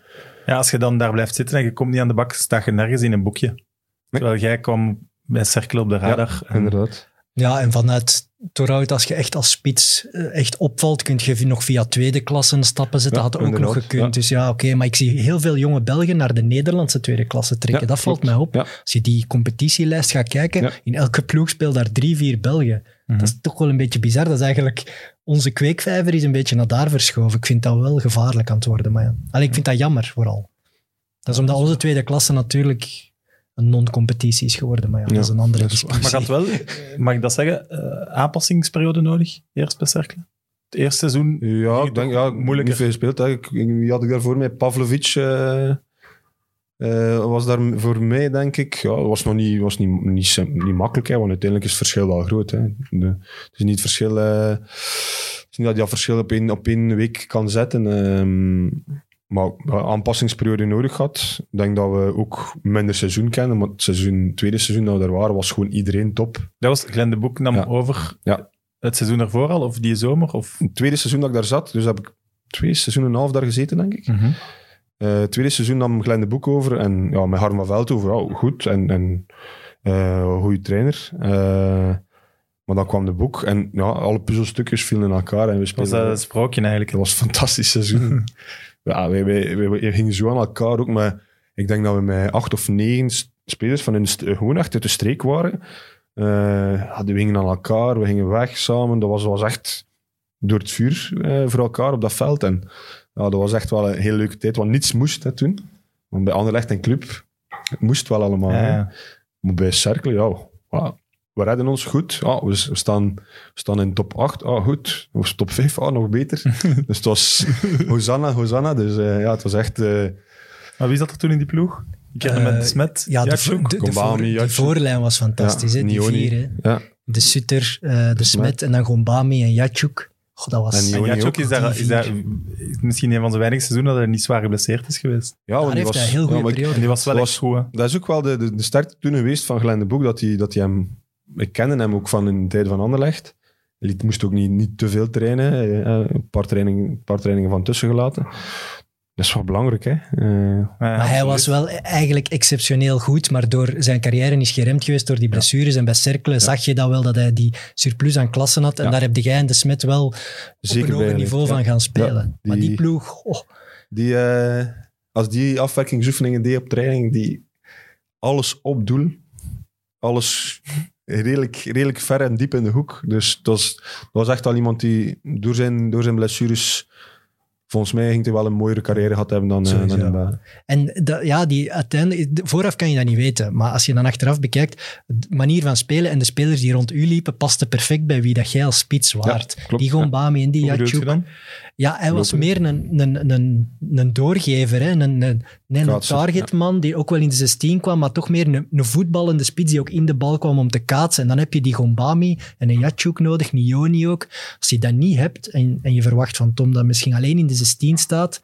A: Ja, als je dan daar blijft zitten en je komt niet aan de bak, sta je nergens in een boekje. Terwijl jij kwam bij Cerkel op de radar. en
D: inderdaad.
B: ja, en vanuit Torhout, als je echt als spits eh, echt opvalt, kun je nog via tweede klassen stappen zetten.
D: Ja,
B: had ook nog
D: inderdaad,
B: gekund.
D: ja.
B: Dus ja, oké. maar ik zie heel veel jonge Belgen naar de Nederlandse tweede klasse trekken.
D: Ja,
B: dat valt
D: klopt.
B: mij op.
D: Ja.
B: Als je die competitielijst gaat kijken,
D: Ja. Mhm.
B: in elke ploeg speelt daar drie, vier Belgen. Dat is toch wel een beetje bizar. Dat is eigenlijk... Onze kweekvijver is een beetje naar daar verschoven. Ik vind dat wel gevaarlijk aan het worden. Maar ja. Allee, ik vind dat jammer, vooral. Dat is omdat onze tweede klasse natuurlijk een non-competitie is geworden. Maar ja,
D: Ja,
B: dat is een andere
D: dat is waar.
B: discussie.
A: Maar gaat wel, eh, mag ik dat zeggen, eh, aanpassingsperiode nodig, eerst bij Cercle? Het eerste seizoen
D: Ja, ik denk, ja,
A: Moeilijker.
D: niet veel gespeeld. Hè. Ik, ik- wie had ik daar voor mij? Pavlovic eh, eh, was daar m- voor mij, denk ik. Ja, het was nog niet, was niet, niet, sim- niet makkelijk, hè, want uiteindelijk is het verschil wel groot. Hè. De- het is niet het verschil... eh, het is niet dat je dat verschil op één, op één week kan zetten. ehm, maar ja, aanpassingsperiode nodig had. Ik denk dat we ook minder seizoen kennen. Maar het seizoen, het tweede seizoen dat we daar waren, was gewoon iedereen top.
A: Dat was Glenn de Boek nam
D: Ja.
A: over
D: Ja.
A: het seizoen ervoor al, of die zomer? Of...
D: Het tweede seizoen dat ik daar zat, dus heb ik twee seizoenen en een half daar gezeten, denk ik.
A: Mhm.
D: Eh, het tweede seizoen nam Glenn de Boek over en ja, met Harm van Veld over. ja, goed en, en eh goede trainer. Eh, maar dan kwam de Boek en ja, alle puzzelstukjes vielen in elkaar en we
A: Was eh,
D: speelden...
A: dat een sprookje eigenlijk?
D: Dat was een fantastisch seizoen. ja, wij, wij, wij- wij gingen zo aan elkaar ook. Maar ik denk dat we met acht of negen s- spelers van hun st- eh, gewoon echt uit de streek waren. Eh, ja, die gingen aan elkaar, we gingen weg samen. Dat was, was echt door het vuur eh, voor elkaar op dat veld. En ja, dat was echt wel een heel leuke tijd, want niets moest hè, toen. Want bij Anderlecht en Club het moest wel allemaal.
A: Ja,
D: hè.
A: ja.
D: Maar bij Cercle, ja,
B: Ah.
D: wa- we redden ons goed. Ah, we, s- we staan, we staan in top 8, ah, goed. Of top 5, ah, nog beter. dus het was Hosanna, Hosanna. Dus eh, ja, het was echt... eh,
A: Maar wie zat er toen in die ploeg? Ik herinner me
B: Eh,
A: de Smet,
B: Ja, de,
A: Jakshoek.
B: vo- de, de
D: Kombami,
B: voor- de
D: Jakshoek.
B: voorlijn was fantastisch.
D: Ja,
B: hè? Die
D: Nioni.
B: vier, hè?
D: ja,
B: De Sutter, eh, de Smet en dan Gombami en Jatjoek. Goh, dat was...
D: En
A: En
D: Nioni.
A: Jakshoek is, daar,
B: Die
A: is, daar,
B: vier.
A: is misschien een van zijn weinige seizoenen dat hij niet zwaar geblesseerd is geweest.
D: ja, want
B: Daar
D: die
B: heeft
D: was,
B: hij een heel
D: ja,
B: goede
D: maar ik-
A: En
B: periode.
A: die was wel
D: Was-
A: echt goed, hè?
D: Dat is ook wel de, de, de start toen geweest van Glenn de Boek, dat hij, dat hij hem... Ik kende hem ook van in de tijd van Anderlecht. Hij liet- moest ook niet, niet te veel trainen. eh, eh, Een paar, training, een paar trainingen van tussen gelaten. Dat is wel belangrijk, hè. Eh,
A: Ja,
B: Maar hij
A: absoluut.
B: was wel eigenlijk exceptioneel goed, maar door zijn carrière is geremd geweest door die blessures. En bij Cercle zag je dat wel, dat hij die surplus aan klassen had. En
D: Ja.
B: daar heb jij en de Smet wel
D: Zeker
B: op een
D: bij
B: hoger
D: geleefd,
B: niveau
D: ja.
B: van gaan spelen.
D: Ja,
B: Maar die
D: die-
B: ploeg, oh, goh,
D: Die, eh, als die afwerkingsoefeningen deed op training, die alles opdoen, alles redelijk, redelijk ver en diep in de hoek. Dus dat was, dat was echt wel iemand die door zijn, door zijn blessures, volgens mij, ging hij wel een mooiere carrière gehad hebben dan, eh,
B: Sowieso.
D: dan hem wel.
B: En dat, ja, die uiteindelijk, de- vooraf kan je dat niet weten, maar als je dan achteraf bekijkt, de manier van spelen en de spelers die rond u liepen, paste perfect bij wie dat jij als spits waart.
D: klopt,
B: die Gombami en die
A: Hoe bedoel je
B: Jatjoek.
A: dan?
B: Ja, hij was
D: Lopen.
B: meer een, een, een, een doorgever, hè? een, een, een, een
D: Kaatser,
B: targetman die ook wel in de 16 kwam, maar toch meer een, een voetballende spits die ook in de bal kwam om te kaatsen. En dan heb je die Gombami en een Jatjoek nodig, Nioni ook. Als je dat niet hebt en, en je verwacht van Tom dat misschien alleen in de 16 staat,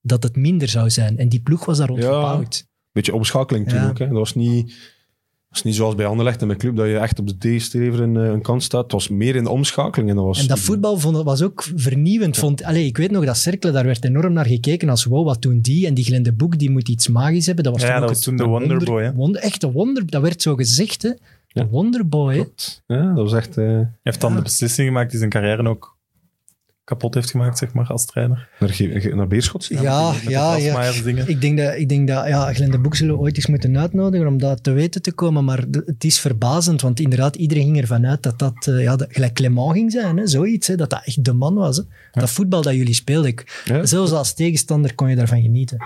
B: dat het minder zou zijn. En die ploeg was daar rond
D: Ja.
B: gebouwd.
D: beetje omschakeling toen
B: Ja.
D: ook. Hè. Dat was niet, dat was niet zoals bij Anderlecht en mijn club, dat je echt op de tegenstrever een, eh, een kans staat. Het was meer in de omschakeling. En dat was,
B: En dat voetbal vond, was ook vernieuwend. Vond, allee, ik weet nog dat Cercle, daar werd enorm naar gekeken als wow, wat doen die? En die Glenn de Boek, die moet iets magisch hebben. Dat was
A: Ja,
B: toen, ook
A: dat was
B: het-
A: toen de Wonderboy, hè.
B: wonder- echt de wonder, dat werd zo gezegd, hè. De Wonderboy, hè.
D: Ja, dat was echt eh
A: Hij heeft dan de beslissing gemaakt die zijn carrière ook kapot heeft gemaakt, zeg maar, als trainer.
D: naar, Ge- naar Beerschot.
B: Ja, ja,
A: Met de
B: ja.
A: Brasmeijer dingen.
B: Ik denk dat, ik denk dat ja, Glenn de Boek zullen we ooit eens moeten uitnodigen om dat te weten te komen. Maar de- het is verbazend, want inderdaad, iedereen ging ervan uit dat dat eh, ja, dat- gelijk Clement ging zijn. Hè, zoiets, hè, dat dat echt de man was. Hè. Dat voetbal dat jullie speelden, ik,
D: Ja.
B: zelfs als tegenstander kon je daarvan genieten.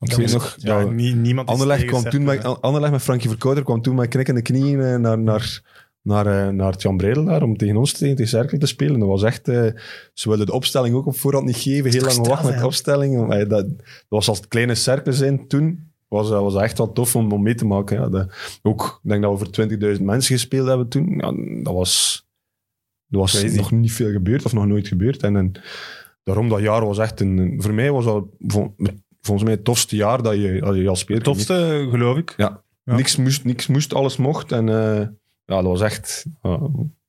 D: Ik weet nog,
A: Ja,
D: dat-
A: nie- niemand is
D: Anderlecht
A: tegen eh,
D: kwam toen
A: Cercle,
D: met,
A: hè.
D: Anderlecht met Frankie Verkouter kwam toen met knikkende knieën eh, naar, naar, naar, eh, naar het Jan Breidel daar om tegen ons tegen, tegen Cercle te spelen. Dat was echt... eh, ze wilden de opstelling ook op voorhand niet geven.
B: toch
D: Heel lang gewacht
B: straf,
D: met de
B: hè?
D: opstelling. Maar, eh, dat, dat was als het kleine Cercle zijn toen. Was, dat was echt wel tof om, om mee te maken. Ja. Dat- ook, ik denk dat we voor 20.000 mensen gespeeld hebben toen. Ja, dat was... Er was
A: Crazy.
D: nog niet veel gebeurd of nog nooit gebeurd. En, en daarom dat jaar was echt een... een- Voor mij was dat vol- volgens mij het tofste jaar dat je, dat je als speler...
A: Het tofste, geloof ik.
D: Ja.
A: Ja.
D: Niks, moest, niks moest, alles mocht. En eh, ja, dat was echt... ja,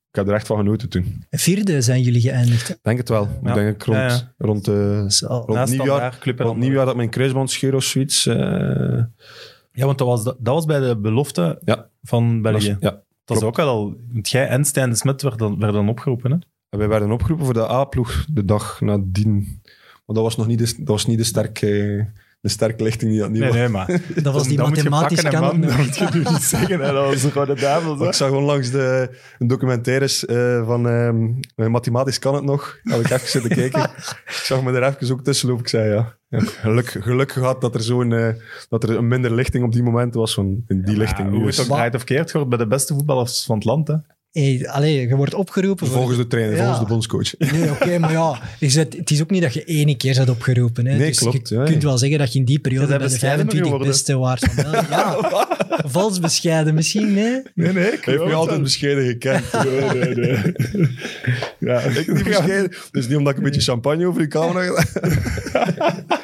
D: ik heb er echt van genoten toen. Ik
B: Vierde zijn jullie geëindigd. Dus, oh, hè.
D: denk het wel.
A: Ja.
D: Ik denk ik rond,
A: Ja, ja.
D: rond, eh,
B: Dat is al-
D: rond
A: Naast
D: nieuwjaar...
A: Standaard, Club en
D: Rond
A: Anderlecht.
D: nieuwjaar dat mijn kruisband scheurde of zoiets. eh,
A: Ja, want dat was, dat, dat was bij de belofte
D: Ja.
A: van België.
D: ja.
A: Dat is ook al... Want jij en Stijn de Smet werden, werden opgeroepen, hè?
D: En wij werden opgeroepen voor de A-ploeg de dag nadien. Maar dat was nog niet de, dat was niet de sterke, de sterke lichting die dat niet
A: Nee,
D: was.
A: nee, maar...
B: Dat was die mathematisch
A: kan.
B: kan.
A: Dat moet je nu niet zeggen, hè. Dat was gewoon de duivel,
D: Maar Ik zag onlangs de een documentaires eh, van ehm, Mathematisch kan het nog. Had ik even zitten kijken. ik zag me er even ook tussen lopen. Ik zei ja. ja geluk, geluk gehad dat er, zo'n, eh, dat er een minder lichting op die moment was. Van, in die lichting. dus nu
A: Hoe het
D: is.
A: ook draait of keert, wordt bij de beste voetballers van het land, hè.
B: Hey, allee, je wordt opgeroepen voor...
D: Volgens de trainer,
B: Ja.
D: volgens de bondscoach.
B: Nee, oké, maar ja, je zet- het is ook niet dat je één keer zat opgeroepen. Hè.
D: Nee,
B: dus
D: klopt,
B: je
D: ja,
B: kunt
D: ja.
B: wel zeggen dat je in die
A: Ja,
B: periode
A: ze
B: bij de
A: hebben bescheidener
B: 25
A: geworden.
B: beste waard van België. Ja, vals bescheiden misschien, nee.
A: Nee, nee,
D: Hij heeft mij altijd bescheiden gekend. Nee, nee, nee. Ja, ik niet bescheiden. Dus niet omdat ik een beetje champagne over je camera...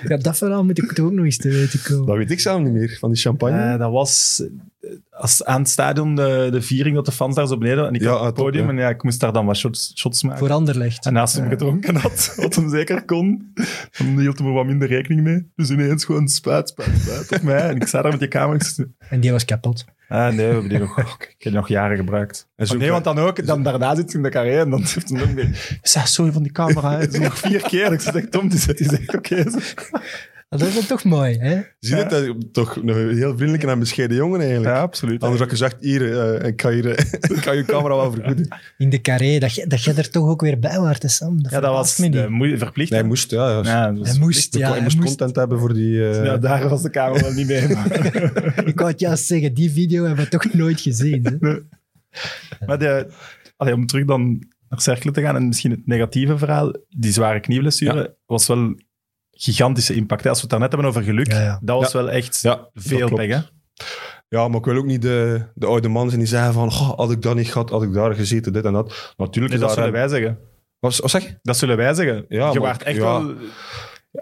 B: Ja, dat verhaal moet ik toch ook nog eens te weten komen.
D: Dat weet ik zelf niet meer, van die champagne.
A: Eh, dat was eh, als, aan het stadion de, de viering dat de fans daar zo beneden waren. En ik
D: Ja,
A: had op
D: ah,
A: het
D: top,
A: podium
D: ja.
A: en ja, ik moest daar dan wat shots, shots maken.
B: Voor Anderlecht.
A: en naast hem gedronken had, wat hem zeker kon, dan hield hem er wat minder rekening mee. Dus ineens gewoon spuit, spuit, spuit op mij. En ik sta daar met die camera. ik zit-
B: En die was kapot.
A: Ah nee, we hebben die nog, ik heb die nog jaren gebruikt.
D: En zo
A: Oh, nee,
D: klein-
A: want dan ook, dan daarna zit hij in de carré en dan heeft hij nog meer... Zeg, sorry van die camera, hè. het is nog vier keer. Ik zeg, Tom, die zegt, die zegt oké.
B: Maar Dat is dan toch mooi, hè?
D: Zie je dat? hij Toch een heel vriendelijke en bescheiden jongen eigenlijk.
A: Ja, absoluut.
D: Anders had ik gezegd, hier, eh, ik, ga hier eh, ik ga je camera wel vergoeden.
B: In de carré, dat, jij- dat jij er toch ook weer bij waart, hè, Sam. Dat
A: Ja, dat
B: verbaast
A: was
B: me niet.
A: eh, moe- verplicht. hè.
D: Nee, hij moest, ja. ja.
A: Ja, dat was
B: Hij moest,
D: Hij
B: ja,
D: kon-
B: hij
D: hij moest
B: moest.
D: content hebben voor die... eh,
A: Ja, daar was de camera wel niet mee. Maar,
B: Ik wou het juist zeggen, die video hebben we toch nooit gezien. Hè?
A: maar de, allee, om terug dan naar Cerkelen te gaan en misschien het negatieve verhaal, die zware knieblessure was wel gigantische impact. hè. Als we het daarnet hebben over geluk,
B: Ja, ja.
A: dat was
D: Ja.
A: wel echt
D: ja,
A: veel
D: dat klopt.
A: pech. Hè? Dus
D: Ja, maar ik wil ook niet de, de oude man zijn die zeggen van, "Goh, had ik dat niet gehad, had ik daar gezeten, dit en dat. Natuurlijk
A: Nee,
D: is
A: dat
D: daar...
A: zullen wij zeggen.
D: Wat, wat zeg je?
A: Dat zullen wij zeggen.
D: Ja,
A: je
D: maar-
A: waart echt
D: ja.
A: wel...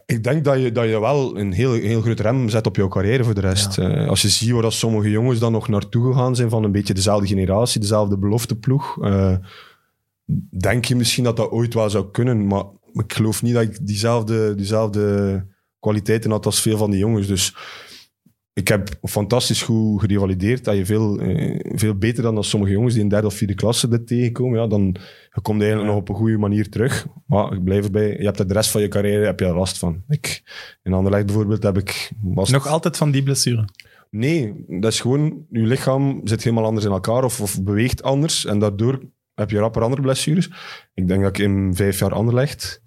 D: Ik denk dat je, dat je wel een heel, heel groot rem zet op jouw carrière voor de rest. Eh, als je ziet waar dat sommige jongens dan nog naartoe gegaan zijn van een beetje dezelfde generatie, dezelfde belofteploeg, eh, denk je misschien dat dat ooit wel zou kunnen. Maar ik geloof niet dat ik diezelfde, diezelfde kwaliteiten had als veel van die jongens. Dus ik heb fantastisch goed gerevalideerd. Dat je veel, eh, veel beter dan als sommige jongens die in derde of vierde klasse dit tegenkomen. Ja, dan je komt eigenlijk nog op een goede manier terug. Maar ik blijf erbij. Je hebt er de rest van je carrière heb je er last van. Ik, in Anderlecht bijvoorbeeld heb ik... Was
A: Nog altijd van die blessure.
D: Nee, dat is gewoon... Je lichaam zit helemaal anders in elkaar of, of beweegt anders. En daardoor heb je rapper andere blessures. Ik denk dat ik in vijf jaar Anderlecht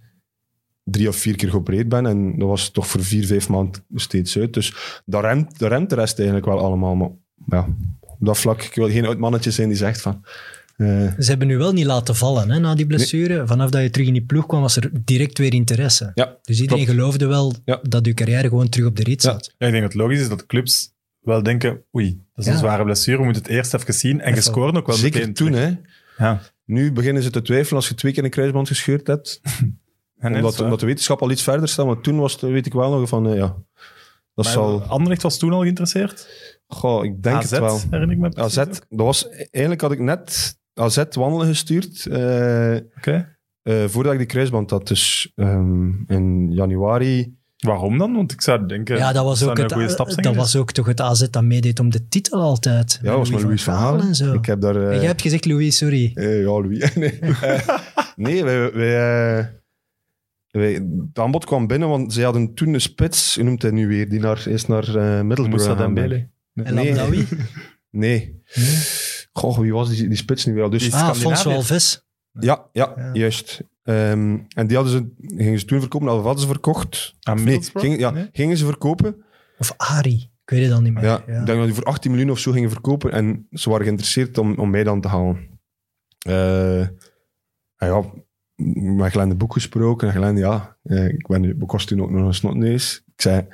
D: drie of vier keer geopereerd ben. En dat was toch voor vier, vijf maanden steeds uit. Dus dat remt, dat remt de rest eigenlijk wel allemaal. Maar ja, op dat vlak, ik wil geen oud mannetje zijn die zegt van... eh,
B: Ze hebben nu wel niet laten vallen hè, na die blessure. Vanaf dat je terug in die ploeg kwam, was er direct weer interesse.
D: ja,
B: Dus iedereen
D: Klopt.
B: geloofde wel
D: Ja.
B: dat je carrière gewoon terug op de rit
D: Ja.
B: zat.
A: Ja, ik denk dat het logisch is dat clubs wel denken, oei, dat is een
B: Ja.
A: zware blessure, we moeten het eerst even zien. En je
B: Even.
A: scoort ook wel
D: zeker
A: meteen
D: toen,
A: terug.
D: hè.
A: Ja.
D: Nu beginnen ze te twijfelen als je twee keer een kruisband gescheurd hebt.
A: En dat is
D: omdat,
A: waar.
D: omdat de wetenschap al iets verder staat. Maar toen was het, weet ik wel nog van, eh, ja... Dat
A: Maar
D: zal...
A: Anderlecht was toen al geïnteresseerd.
D: Goh, ik denk
A: AZ,
D: het wel.
A: herinner ik me.
D: AZ,
A: precies ook.
D: dat was, eigenlijk had ik net AZ wandelen gestuurd eh, eh,
A: Oké.
D: voordat ik die kruisband had. Dus ehm, in januari.
A: Waarom dan? Want ik zou denken...
B: Ja, dat was,
A: zou
B: ook
A: een
B: het,
A: goede stap zijn
B: dat
A: geweest.
B: was ook toch het AZ dat meedeed om de titel altijd.
D: Ja, was met Louis van
B: Gaal
D: Halen.
B: En zo.
D: Ik heb daar... eh,
B: En jij hebt gezegd, Louis, sorry.
D: eh, ja, Louis. nee, Eh, nee wij, wij, eh, wij- het aanbod kwam binnen, want zij hadden toen een spits, hoe noemt hij nu weer, die naar, is naar eh Middelburg
A: Moussa
D: gegaan.
A: Dembele.
B: En
D: nee.
B: Lamdawi?
D: Nee.
B: Nee.
D: Goh, wie was die, die spits nu weer? al? Dus
A: Die
B: Ah,
A: Scandinavië.
B: François Alves.
D: Ja, ja,
B: Ja.
D: juist. Ehm, en die hadden ze, gingen ze toen verkopen, of hadden ze verkocht?
A: Aan
D: Nee,
A: Middlesbrough?
D: ging- ja,
A: Nee?
D: gingen ze verkopen.
B: Of Ari. Ik weet het dan niet meer.
D: ja,
B: Ja.
D: Ik denk dat die voor 18 miljoen of zo gingen verkopen. En ze waren geïnteresseerd om, om mij dan te halen. Eh, en ja, m- met Glenn de Boek gesproken. En Glenn, ja, eh, ik ben nu, ik was toen ook nog een snotneus. Ik zei,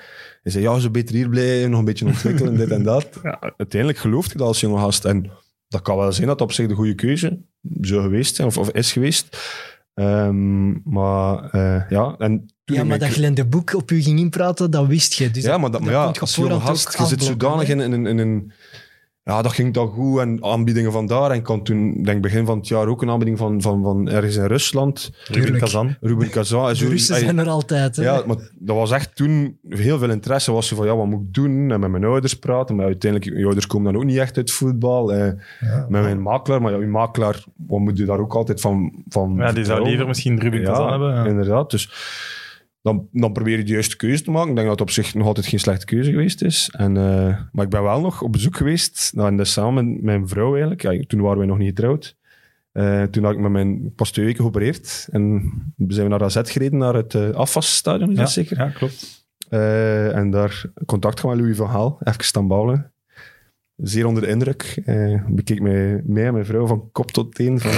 D: hij zei, ja, ze beter hier blijven, nog een beetje ontwikkelen, dit en dat. Uiteindelijk geloof je dat als jonge gast. En dat kan wel zijn dat dat op zich de goede keuze zou geweest zijn, of, of is geweest. Ehm, maar eh, ja, en toen
B: Ja,
D: ik
B: maar
D: mijn
B: dat Glenn de Boek op u ging inpraten, dat wist je. Dus
D: ja, maar, dat, maar ja,
B: kon je
D: als
B: op
D: jonge
B: voorhand
D: gast,
B: ook
D: je zit
B: afblokken,
D: zodanig
B: hè?
D: in, in, in, in een... ja, dat ging dan goed en aanbiedingen van daar. En ik had toen, denk ik, begin van het jaar ook een aanbieding van, van, van ergens in Rusland.
A: Ruben
B: Tuurlijk.
A: Kazan.
D: Ruben Kazan. en
B: De
D: zo-
B: Russen
D: ey,
B: zijn er altijd. Hè?
D: ja, maar dat was echt toen heel veel interesse. Was zo van ja, wat moet ik doen? En met mijn ouders praten. Maar uiteindelijk, je ouders komen dan ook niet echt uit voetbal. Eh, met mijn makelaar. Maar ja, je makelaar, wat moet je daar ook altijd van. van
A: Ja, die zou
D: vertrouwen?
A: liever misschien Ruben
D: Ja,
A: Kazan hebben. ja.
D: Inderdaad. Dus dan, dan probeer je de juiste keuze te maken. Ik denk dat het op zich nog altijd geen slechte keuze geweest is. En, eh, maar ik ben wel nog op bezoek geweest. Nou, en dat is samen met mijn vrouw eigenlijk. Ja, toen waren we nog niet getrouwd. Eh, toen had ik met mijn pas twee weken geopereerd. En zijn we naar AZ gereden, naar het eh afwasstadion, is
A: Ja,
D: dat zeker?
A: Ja, klopt.
D: Eh, en daar contact gehad met Louis van Gaal, even staan bouwen. Zeer onder de indruk. Eh, bekeek mij, mij en mijn vrouw van kop tot teen. Van,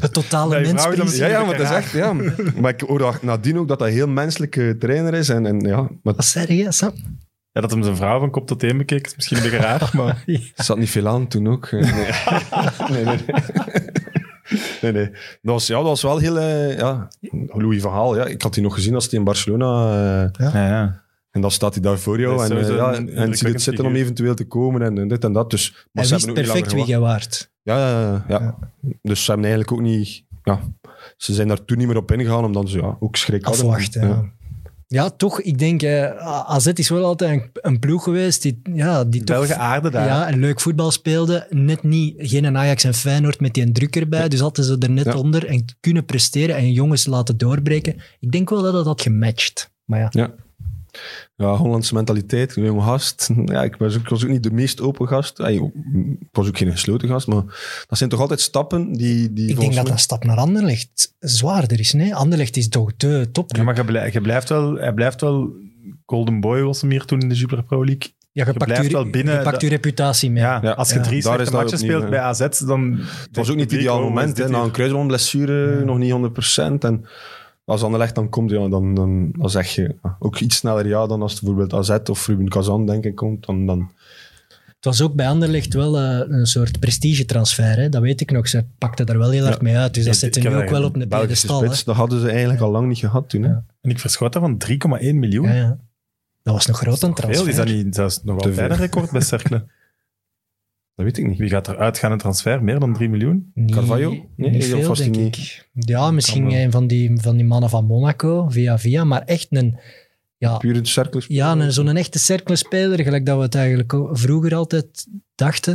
B: Het totale
A: Nee, vrouw,
B: mensprincipe.
D: ja, ja,
A: een
D: maar dat is
A: raar.
D: echt, ja. Maar ik hoor dat nadien ook dat hij een heel menselijke trainer is. En, en ja, maar
B: Wat zei je, Sam?
A: Ja, dat hem zijn vrouw van kop tot teen bekeek, is misschien een beetje raar, maar...
D: het zat niet veel aan toen ook. Eh, Nee, nee, nee. nee. Nee, nee. Dat was, ja, dat was wel heel... eh, ja, Louis van Gaal, ja. Ik had die nog gezien als hij in Barcelona... eh,
A: Ja, ja.
D: en dan staat hij daar voor jou.
A: Dat is
D: En, eh,
A: sowieso
D: ja,
A: een
D: en
A: indrukwekkend
D: ziet het zitten om
A: figuur.
D: eventueel te komen en, en dit en dat. Dus, maar
B: Hij
D: ze
B: wist
D: hebben ook niet
B: perfect
D: langer
B: wie jij waart.
D: Ja, ja, ja, ja. Dus ze hebben eigenlijk ook niet... Ja, ze zijn daar toen niet meer op ingegaan, omdat ze ja, ook schrik hadden.
B: Afwachten. Ja. ja, toch. Ik denk, eh, AZ is wel altijd een, een ploeg geweest die, ja, die toch
A: Wel geaarde daar.
B: ja, een leuk voetbal speelde. Net niet, geen Ajax en Feyenoord met die een druk erbij. Dus hadden ze er net
D: Ja.
B: onder en kunnen presteren en jongens laten doorbreken. Ik denk wel dat dat had gematcht. Maar ja,
D: Ja, Hollandse mentaliteit, een jonge gast. Ja, ik, was ook, ik was ook niet de meest open gast. Ey, ik was ook geen gesloten gast, maar dat zijn toch altijd stappen die... die
B: ik denk
D: volgens
B: dat
D: mij-
B: een stap naar Anderlecht zwaarder is. Nee, Anderlecht is toch de top.
A: Ja,
B: Ja,
A: maar je blij- je blijft wel... Hij blijft wel... Golden Boy was hem hier toen in de Jupiler Pro League. je
B: je, pakt
A: blijft
B: je,
A: wel binnen
B: je pakt
A: dat-
B: je reputatie mee.
A: Ja,
D: Ja,
A: als je
B: ja.
A: drie
D: Daar
A: slechte
D: is dat
A: matchen
D: opnieuw,
A: speelt
D: hè.
A: bij AZ, dan...
D: Het was ook niet het ideale moment, hè, na een kruisbandblessure, nog niet 100%. En als Anderlecht dan komt, ja, dan, dan, dan zeg je ja, ook iets sneller ja dan als het bijvoorbeeld AZ of Ruben Kazan, denk ik, komt. Dan, dan,
B: Het was ook bij Anderlecht wel eh, een soort prestigetransfer. Hè? Dat weet ik nog. Ze pakten daar wel heel hard mee uit. Dus dat
A: Ja,
B: zit er
A: ik
B: nu
A: heb
B: ook wel
A: dat
B: op de
D: Belgische
B: pedestal. hè.
D: spits, dat hadden ze eigenlijk al lang niet gehad toen. Hè.
B: Ja.
A: En ik verschoot dat van 3,1 miljoen.
B: Ja, ja. Dat was nog groot een transfer.
A: Heel, is dat niet zelfs nog
D: Te
A: altijd
D: veel.
A: een record bij Cercle?
D: Dat weet ik niet.
A: Wie gaat er uitgaan in transfer? Meer dan 3 miljoen?
B: Niet-
D: Carvalho? Nee,
B: niet
D: of
B: veel,
D: was die
B: denk
D: niet?
B: ik. Ja, misschien
A: Kan wel.
B: een van die, van die mannen van Monaco, via via. Maar echt een... Ja,
D: Puur een cirkel.
B: ja een, zo'n echte cirkelspeler, gelijk dat we het eigenlijk o- vroeger altijd dachten.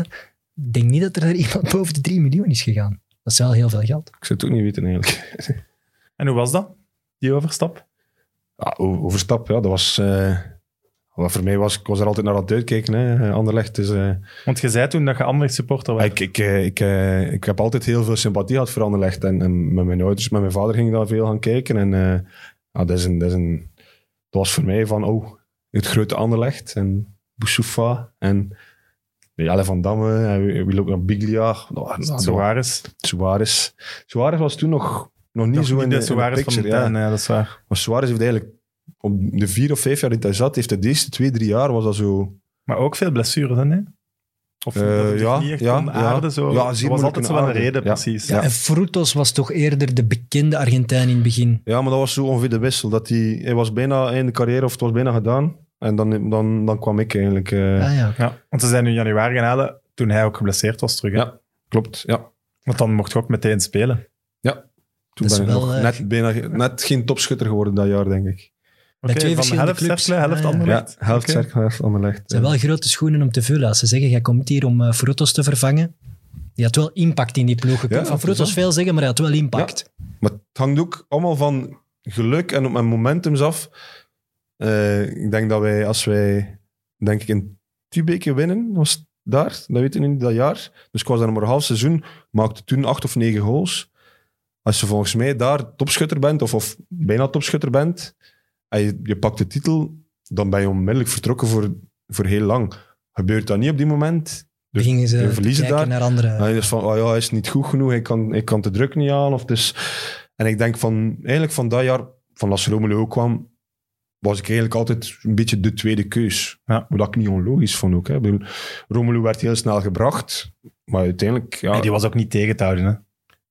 B: Ik denk niet dat er daar iemand boven de 3 miljoen is gegaan. Dat is wel heel veel geld.
D: Ik zou het ook niet weten eigenlijk.
A: En hoe was dat, die overstap?
D: Ja, o- overstap, ja, dat was... eh, wat voor mij was, ik was er altijd naar aan het uitkijken. Hè. Anderlecht is... eh,
A: Want je zei toen dat je Anderlecht supporter was.
D: ik, ik, eh, ik, eh, ik heb altijd heel veel sympathie gehad voor Anderlecht. En, en met mijn ouders, met mijn vader ging ik daar veel gaan kijken. En eh, ja, dat, is een, dat, is een, dat was voor mij van, oh, het grote Anderlecht. En Boussoufa en Jelle van Damme. En wie, wie loopt naar Biglia? Dat waren- dat waren-
A: Suarez.
D: Suarez. Suarez was toen nog, nog niet
A: Nog
D: zo in de,
A: de
D: in de
A: Suarez van
D: picture.
A: de
D: ja.
A: tuin, ja, dat is waar.
D: Maar Suarez heeft eigenlijk op de vier of vijf jaar dat hij zat, heeft hij de eerste twee, drie jaar was dat zo...
A: Maar ook veel blessures, hè? nee? Of
D: Eh,
A: dat het
D: ja,
A: niet echt
D: ja,
A: kon aarden,
D: ja.
A: zo.
D: Ja,
A: Dat
D: zeer
A: was
D: moeilijk
A: altijd
D: kunnen
A: zo wel een
D: aarden.
A: reden,
D: Ja,
A: precies.
D: ja.
A: Ja.
B: En Frutos was toch eerder de bekende Argentijn in het begin.
D: Ja, maar dat was zo ongeveer de wissel. Dat hij, hij was bijna in de carrière of het was bijna gedaan. En dan, dan, dan kwam ik eigenlijk... eh,
B: Ah, ja.
A: Ja, want ze zijn nu in januari gaan halen, toen hij ook geblesseerd was terug. Hè?
D: Ja. Klopt, ja.
A: Want dan mocht je ook meteen spelen.
D: Toen
B: Dat is
D: ben ik
B: wel,
D: nog
B: eh,
D: net, bijna, ge- net geen topschutter geworden dat jaar, denk ik.
B: Met
A: Oké,
B: twee
A: van
B: verschillende
A: helft
B: clubs.
A: Cercle,
B: Ah,
A: helft
B: Ja, ja.
D: Ja,
A: Anderlecht.
D: helft
A: Oké.
D: okay. helft Anderlecht.
B: Het zijn wel grote schoenen om te vullen. Als ze zeggen, jij komt hier om eh Frutos te vervangen. Die had wel impact in die ploeg. Je kunt
D: Ja,
B: van
D: dat is
B: Frutos
D: waar.
B: veel zeggen, maar hij had wel impact.
D: Maar het hangt ook allemaal van geluk en op mijn momentums af. Eh, ik denk dat wij, als wij, denk ik, in Tubeke winnen, was het daar, dat weet je niet, dat jaar. Dus ik was daar maar een half seizoen, maakte toen acht of negen goals. Als je volgens mij daar topschutter bent, of, of bijna topschutter bent, en je, je pakt de titel, dan ben je onmiddellijk vertrokken voor, voor heel lang. Gebeurt dat niet op die moment, Dus
B: Begingen ze
D: de
B: te
D: verliezen
B: kijken
D: daar.
B: naar andere.
D: hij is van, oh ja, hij is niet goed genoeg, ik kan, ik kan de druk niet aan. Of dus. En ik denk van, eigenlijk van dat jaar, van als Romelu ook kwam, was ik eigenlijk altijd een beetje de tweede keus.
A: Ja.
D: Wat ik niet onlogisch vond ook. Hè. Ik bedoel, Romelu werd heel snel gebracht, maar uiteindelijk... Ja,
A: Nee, die was ook niet tegen te houden. Hè?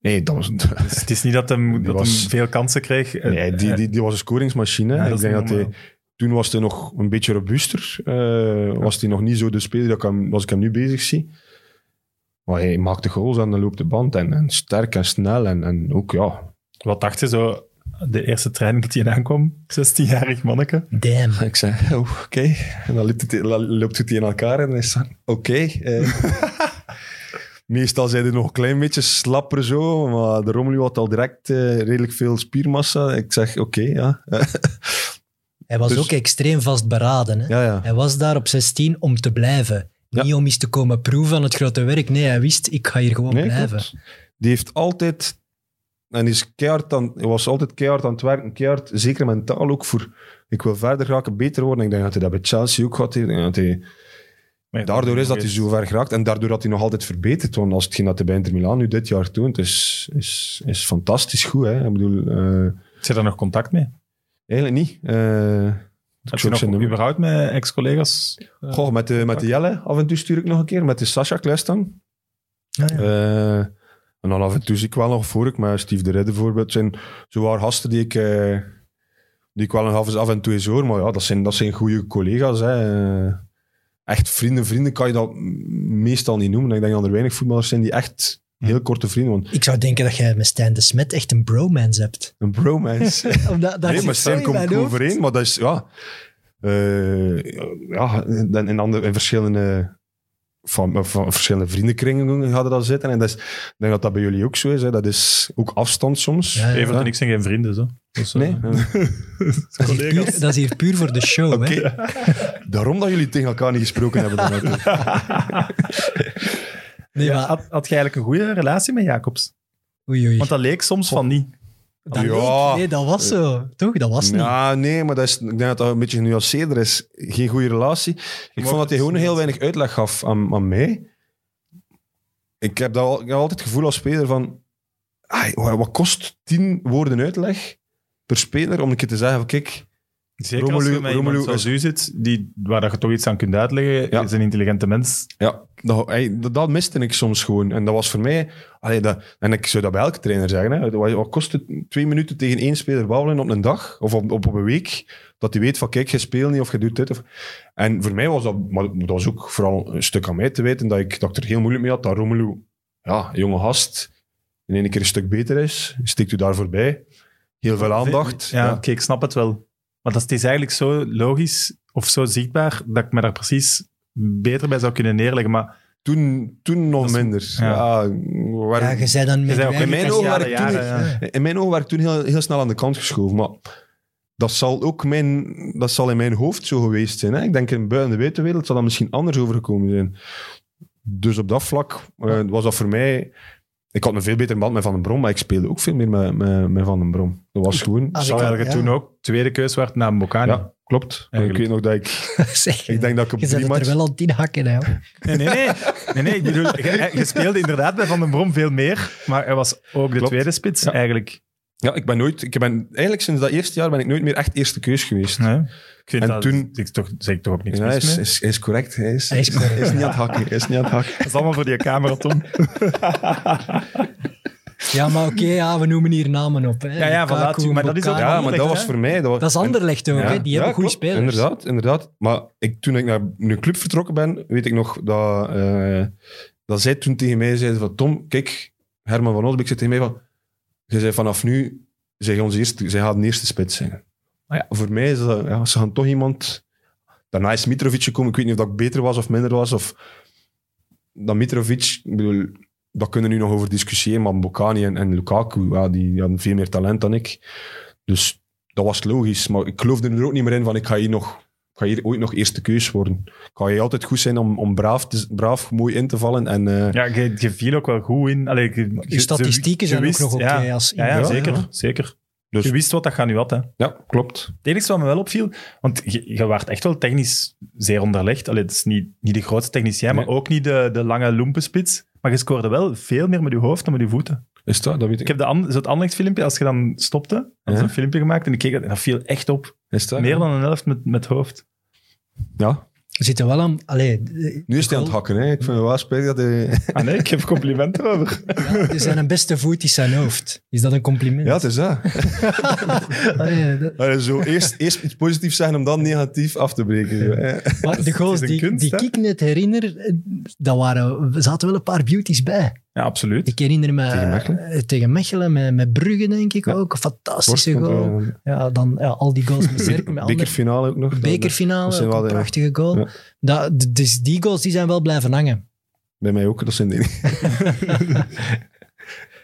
D: nee, dat was,
A: Dus het is niet dat hem,
D: Die
A: dat
D: was-
A: hem veel kansen kreeg. Eh,
D: nee die, die, die was een scoringsmachine.
A: Ja,
D: hè.
A: dat
D: ik
A: is
D: denk dat
A: normaal.
D: hij Toen was hij nog een beetje robuuster. eh, Was hij nog niet zo de speler dat ik hem, als ik hem nu bezig zie. Maar hij maakte goals en dan loopt de band. En, en sterk en snel. En, en ook, ja...
A: Wat dacht je zo de eerste training dat hij aankwam? 16-jarig manneke.
B: Damn.
D: Ik zei, oh, oké. En dan loopt het, dan loopt het in elkaar en dan is het van, oké. eh. meestal zijn er nog een klein beetje slapper zo. Maar de Romelu had al direct eh, redelijk veel spiermassa. Ik zeg, oké, ja.
B: Hij was
D: Dus-
B: ook extreem vastberaden. Hè?
D: ja, ja.
B: Hij was daar op 16 om te blijven.
D: Ja.
B: Niet om eens te komen proeven aan het grote werk. Nee, hij wist, ik ga hier gewoon blijven.
D: klopt. Die heeft altijd... En is keihard aan, hij was altijd keihard aan het werken. Keihard, zeker mentaal ook, voor... Ik wil verder raken, beter worden. Ik denk dat hij dat bij Chelsea ook had. Ik denk dat hij-
A: Maar ja,
D: Daardoor is dat hij
A: is-
D: zo ver geraakt. En daardoor dat hij nog altijd verbeterd. Want als hetgeen dat hij bij Inter Milan nu dit jaar toont, is, is, is fantastisch goed. Hè? Ik bedoel, eh,
A: Zit er nog contact mee?
D: eigenlijk niet. Eh, ik
A: Heb
D: zou
A: je
D: ook
A: nog
D: zijn nummer-
A: überhaupt met ex-collega's? eh,
D: Goh, met de, met de Jelle af en toe stuur ik nog een keer. Met de Sascha Klestan.
B: Ja, ja.
D: Eh, en dan af en toe zie ik wel nog voor ik, maar Steve de Ridder bijvoorbeeld, zijn zowaar gasten die ik, eh, die ik wel nog af en- af en toe eens hoor. Maar ja, dat zijn, dat zijn goede collega's. Hè. Eh, Echt vrienden, vrienden kan je dat m- meestal niet noemen. Ik denk dat er weinig voetballers zijn die echt heel korte vrienden Want
B: Ik zou denken dat jij met Stijn de Smet echt een bromance hebt.
D: een bromance.
B: Omdat, dat
D: nee,
B: zit
D: maar
B: zo
D: Stijn
B: in
D: komt
B: mijn
D: goed
B: hoofd.
D: overeen, maar dat is, ja... Eh, ja, dan in, andere, in verschillende, van, van verschillende vriendenkringen hadden dat zitten. En dat is, ik denk dat dat bij jullie ook zo is. Hè. Dat is ook afstand soms.
B: Ja, ja.
A: Evert en ik zijn geen vrienden, zo. Dus, eh,
D: Nee.
B: Dat is, hier
A: collega's.
B: puur, dat is hier puur voor de show.
D: Oké.
B: hè.
D: Daarom dat jullie tegen elkaar niet gesproken hebben. dan natuurlijk.
B: Nee,
A: Ja,
B: maar,
A: had, had je eigenlijk een goede relatie met Jacobs?
B: oei, oei.
A: Want dat leek soms van niet.
B: Dat
D: Ja.
B: leek- nee, dat was zo. Toch? Dat was niet.
D: Ja, nee, maar dat is, ik denk dat dat een beetje genuanceerder is. Geen goede relatie. Ik vond dat hij gewoon heel weinig uitleg gaf aan, aan mij. Ik heb, dat, al- ik heb altijd het gevoel als speler van... ai, wa- wat kost tien woorden uitleg per speler om een keer te zeggen van kijk...
A: Zeker als
D: Romelu-
A: je met
D: Romelu
A: iemand zoals u zit, die, waar dat je toch iets aan kunt uitleggen,
D: Ja.
A: is een intelligente mens.
D: Ja, dat, ey, dat, dat miste ik soms gewoon. En dat was voor mij... allee, dat, en ik zou dat bij elke trainer zeggen. Hè, wat, wat kost het twee minuten tegen één speler babbelen op een dag? Of op, op, op een week? Dat hij weet van, kijk, je speelt niet of je doet dit. Of, en voor mij was dat... Maar dat was ook vooral een stuk aan mij te weten dat ik, dat ik er heel moeilijk mee had. Dat Romelu, ja, jonge gast, in één keer een stuk beter is. Steekt u daar voorbij. Heel veel aandacht.
A: Ja, oké, ik snap het wel. Maar dat is, het is eigenlijk zo logisch of zo zichtbaar dat ik me daar precies beter bij zou kunnen neerleggen. Maar
D: Toen, toen nog
A: Dat is-
D: minder.
A: ja.
D: Ja, we waren-
B: Ja, je zei dan met
A: zei ook
B: je
A: in
B: eigen
D: mijn ogen
B: jaren,
D: waren toen-
B: jaren, ja.
D: In mijn ogen werd toen heel, heel snel aan de kant geschoven, maar dat zal ook mijn, dat zal in mijn hoofd zo geweest zijn. Hè? Ik denk in buiten de buitenwereld zal dat misschien anders overgekomen zijn. Dus op dat vlak eh, was dat voor mij... Ik had een veel beter band met Van den Brom, maar ik speelde ook veel meer met, met, met Van den Brom. Dat was gewoon...
B: Ah,
D: samen-
A: terwijl je
B: ja.
A: toen ook tweede keus werd na Mbokani.
D: ja, klopt. Ik
A: Eigenlijk.
D: weet nog dat ik...
B: Zeg,
D: Ik denk dat ik op
B: je zet
D: drie
B: het er
D: matchen...
B: wel al tien hakken. Hè. joh.
A: Nee, nee, nee. nee, nee ik bedoel, je, je speelde inderdaad bij Van den Brom veel meer, maar hij was ook de
D: Klopt.
A: tweede spits
D: Ja.
A: eigenlijk.
D: Ja, ik ben nooit... Ik ben, eigenlijk sinds dat eerste jaar ben ik nooit meer echt eerste keus geweest.
A: Nee. Ik vind
D: En
A: dat,
D: toen-
A: ik toch, zeg ik toch ook niks
D: Ja, hij
A: mis
D: is,
A: mee.
D: is, hij is correct. Hij is,
B: Hij is correct.
D: hij is niet aan het hakken. Hij is niet aan het hakken.
A: Dat is allemaal voor die camera, Tom.
B: Ja, maar oké, ja, we noemen hier namen op. Hè.
A: Ja, ja,
B: Lukaku,
A: voilà, tuurlijk, maar dat is ook-
B: Mbokani.
D: Ja, maar dat
A: Anderlecht,
D: was
A: hè?
D: voor mij... Dat was,
B: Dat is Anderlecht ook, hè. die hebben goede
D: klopt.
B: spelers.
D: Inderdaad, inderdaad. Maar ik, toen ik naar een club vertrokken ben, weet ik nog dat, eh, dat zij toen tegen mij zeiden van Tom, kijk, Herman van Osbeek zei tegen mij van, je zei vanaf nu, zij, onze eerste, zij gaat de eerste spits zijn. Maar ja, voor mij is dat, ja, ze gaan toch iemand... Daarna is Mitrovic gekomen, ik weet niet of dat beter was of minder was, of dan Mitrovic, ik bedoel, daar kunnen we nu nog over discussiëren, maar Bokani en, en Lukaku, ja, die hadden veel meer talent dan ik. Dus dat was logisch, maar ik geloofde er ook niet meer in van ik ga hier, nog, ik ga hier ooit nog eerste keus worden. Ik ga hier altijd goed zijn om, om braaf, te, braaf mooi in te vallen en... eh,
A: Ja, je, je viel ook wel goed in. Allee, je, je-
B: Je
A: je
B: statistieken zijn ook
A: wist-
B: nog oké.
A: ja.
B: als
A: Ja, ja,
B: inval,
A: zeker.
B: hè.
A: zeker.
D: Dus-
A: je wist wat dat gaan nu had. Hè. Het
D: ja, klopt.
A: enige wat me wel opviel, want je, je waart echt wel technisch zeer onderlegd. Allee, het is niet, niet de grootste technicien, maar
D: Nee.
A: ook niet de, de lange lumpenspits. Maar je scoorde wel veel meer met je hoofd dan met je voeten.
D: Is dat? Dat weet
A: Ik
D: ik.
A: heb de an, zo het Anderlecht filmpje, als je dan stopte, had ze
D: Ja.
A: een filmpje gemaakt en ik keek dat en dat viel echt op.
D: Is dat?
A: Meer dan een helft met, met hoofd.
D: Ja.
B: We zitten wel aan... Allee,
D: Nu is hij aan het hakken. Hè. Ik vind het wel spijtig dat hij...
A: Ah nee, ik geef complimenten over.
B: hakken. Zijn beste voet is zijn hoofd. Is dat een compliment?
D: Ja, het is dat.
B: Allee, dat-
D: Allee, zo eerst, eerst iets positiefs zeggen om dan negatief af te breken. zo, hè.
B: Maar de goals
A: een
B: die,
A: kunst,
B: die
A: hè?
B: ik net herinner, eh, daar waren, er zaten wel een paar beauties bij.
A: Ja, absoluut.
B: Ik herinner me
D: Tegen Mechelen?
B: eh, tegen Mechelen, met, met Brugge denk ik ook. Een fantastische
D: Worst
B: goal.
D: komt, eh,
B: Ja, dan ja, al die goals met Zerk, met andere
D: Bekerfinale ook nog. Eh, Dat
B: bekerfinale,
D: zijn
B: ook
D: wel
B: een
D: de-
B: prachtige goal.
D: Ja.
B: Dat, d- dus die goals die zijn wel blijven hangen.
D: Bij mij ook, dat zijn die.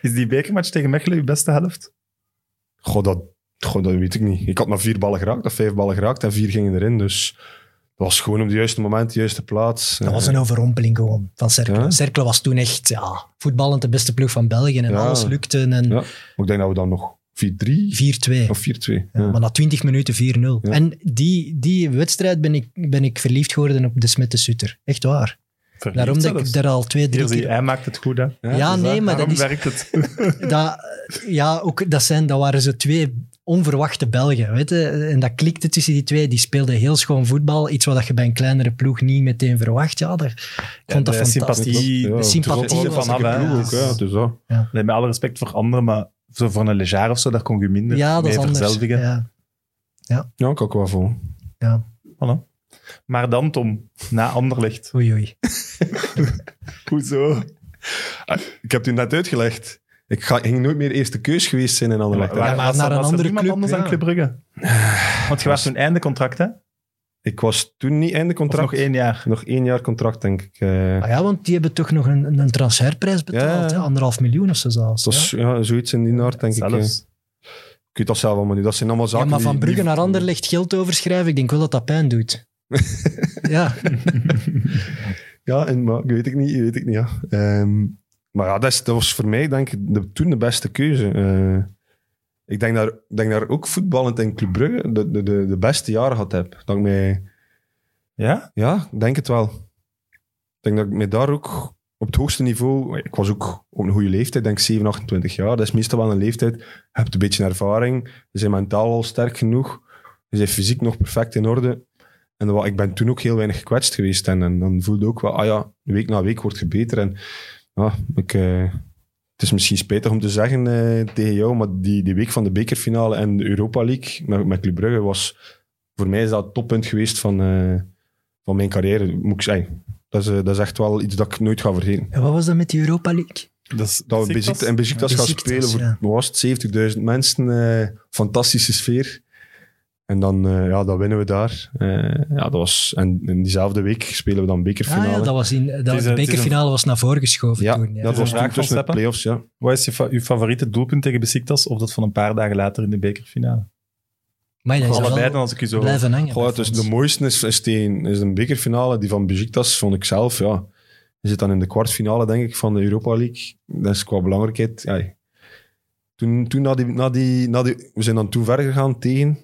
A: Is die bekermatch tegen Mechelen uw beste helft?
D: Goh dat, goh, dat weet ik niet. Ik had maar vier ballen geraakt, of vijf ballen geraakt en vier gingen erin. Dus dat was gewoon op het juiste moment, de juiste plaats. Eh,
B: Dat was een overrompeling gewoon van Cercle.
D: Ja.
B: Cercle was toen echt ja, voetballend de beste ploeg van België en
D: Ja.
B: alles lukte. En
D: Ja. Maar Ik denk dat we dan nog 4-3
B: 4-2.
D: of 4-2.
B: Ja,
D: ja.
B: Maar na 20 minuten 4-0. En die, die wedstrijd ben ik, ben ik verliefd geworden op de Smet de Sutter. Echt waar. Daarom dat ik daar al twee, drie
A: Hier zie je,
B: keer...
A: hij maakt het goed, hè.
D: Ja,
B: Ja, nee, maar dat,
A: Daarom
B: is,
A: werkt het.
B: dat, ja, ook, dat, zijn, dat waren zo twee onverwachte Belgen. Weet je? En dat klikte tussen die twee. Die speelden heel schoon voetbal. Iets wat je bij een kleinere ploeg niet meteen verwacht. Ja, daar, ik vond dat
A: de
B: fantastisch.
A: sympathie,
D: Ja,
B: sympathie dus-
D: het is
A: was
D: een
A: er
D: ploeg
A: wel.
D: ook, hè. Het is dat.
A: Nee, met alle respect voor anderen, maar zo voor een Lejar of zo, daar kon je minder
B: Ja, dat
A: mee
B: is anders.
A: verzelvigen.
B: Ja.
D: Ja, ik ook wel vol.
A: Maar dan, Tom, na Anderlecht.
B: Oei, oei.
A: Hoezo?
D: Ah, Ik heb het u net uitgelegd. Ik ga, ging nooit meer eerste keus geweest zijn in Anderlecht.
A: Waar- was
B: maar
A: er-
B: naar een
A: was er
B: andere
A: niemand
B: club,
A: anders dan
B: ja.
A: Club Brugge? Dus Want je was toen einde contract, hè? Of
D: Ik was toen niet einde contract.
A: nog één jaar.
D: Nog één jaar contract, denk ik. eh.
B: Ah ja, want die hebben toch nog een, een- een transferprijs betaald.
D: Ja.
B: hè? Anderhalf miljoen of zo zelfs.
D: Dus dat
B: ja.
D: is ja, zoiets in die aard, denk ik. eh.
A: Zelfs.
D: Ik weet dat zelf allemaal niet. Dat zijn allemaal
B: Ja,
D: zaken
B: maar
D: die-
B: van Brugge
D: die-
B: naar Anderlecht geld overschrijven, ik denk wel dat dat pijn doet. ja,
D: Ja, en, maar, ik weet ik niet, ik weet ik niet, ja. Ehm, maar ja, dat, is, dat was voor mij denk ik de, toen de beste keuze. Eh, ik denk daar, ik denk daar ook voetballend in Club Brugge de, de, de, de beste jaren gehad heb. Dat ik mij,
A: Ja?
D: ja, ik denk het wel. Ik denk dat ik mij daar ook op het hoogste niveau... Ik was ook op een goede leeftijd, denk ik 7, 28 jaar. Dat is meestal wel een leeftijd. Je hebt een beetje ervaring. Je bent mentaal al sterk genoeg. Je bent fysiek nog perfect in orde. En wat, ik ben toen ook heel weinig gekwetst geweest. En, en dan voelde ik ook wel, ah ja, week na week wordt je beter. En ja, ik, eh, het is misschien spijtig om te zeggen eh, tegen jou, maar die, die week van de bekerfinale en de Europa League met, met Club Brugge was... Voor mij is dat het toppunt geweest van, eh, van mijn carrière, moet ik zeggen. Dat is, eh, dat is echt wel iets dat ik nooit ga vergeten.
B: en wat was dat met die Europa League?
D: Dat we Beziktas, in Beziktas gaan
B: Beşiktaş,
D: spelen voor
B: ja.
D: wat was het, 70.000 mensen. eh, fantastische sfeer. En dan, eh, ja, dan winnen we daar. Eh, ja, dat was, en in diezelfde week spelen we dan
B: Ah
D: bekerfinale.
B: ja, dat was in, dat,
A: is
B: de
A: een-
B: bekerfinale was naar voren geschoven
D: Ja,
B: toen. Ja.
D: dat
A: is een
D: was
A: vraag
D: toen
A: van
D: tussen de
A: Steppen.
D: play-offs. Ja.
A: Wat is je, fa- uw favoriete doelpunt tegen Besiktas of dat van een paar dagen later in de bekerfinale?
B: maar dat is
A: Allebei
B: wel
A: dan, als ik u zo... hoor.
B: blijven hangen.
D: Goh,
B: bij
D: het is
B: ons.
D: de mooiste is, is, die, is een bekerfinale. Die van Beziktas vond ik zelf, ja. Je zit dan in de kwartfinale, denk ik, van de Europa League. Dat is qua belangrijkheid. Ja. Toen, toen na die, na die, na die, we zijn dan toen verder gegaan tegen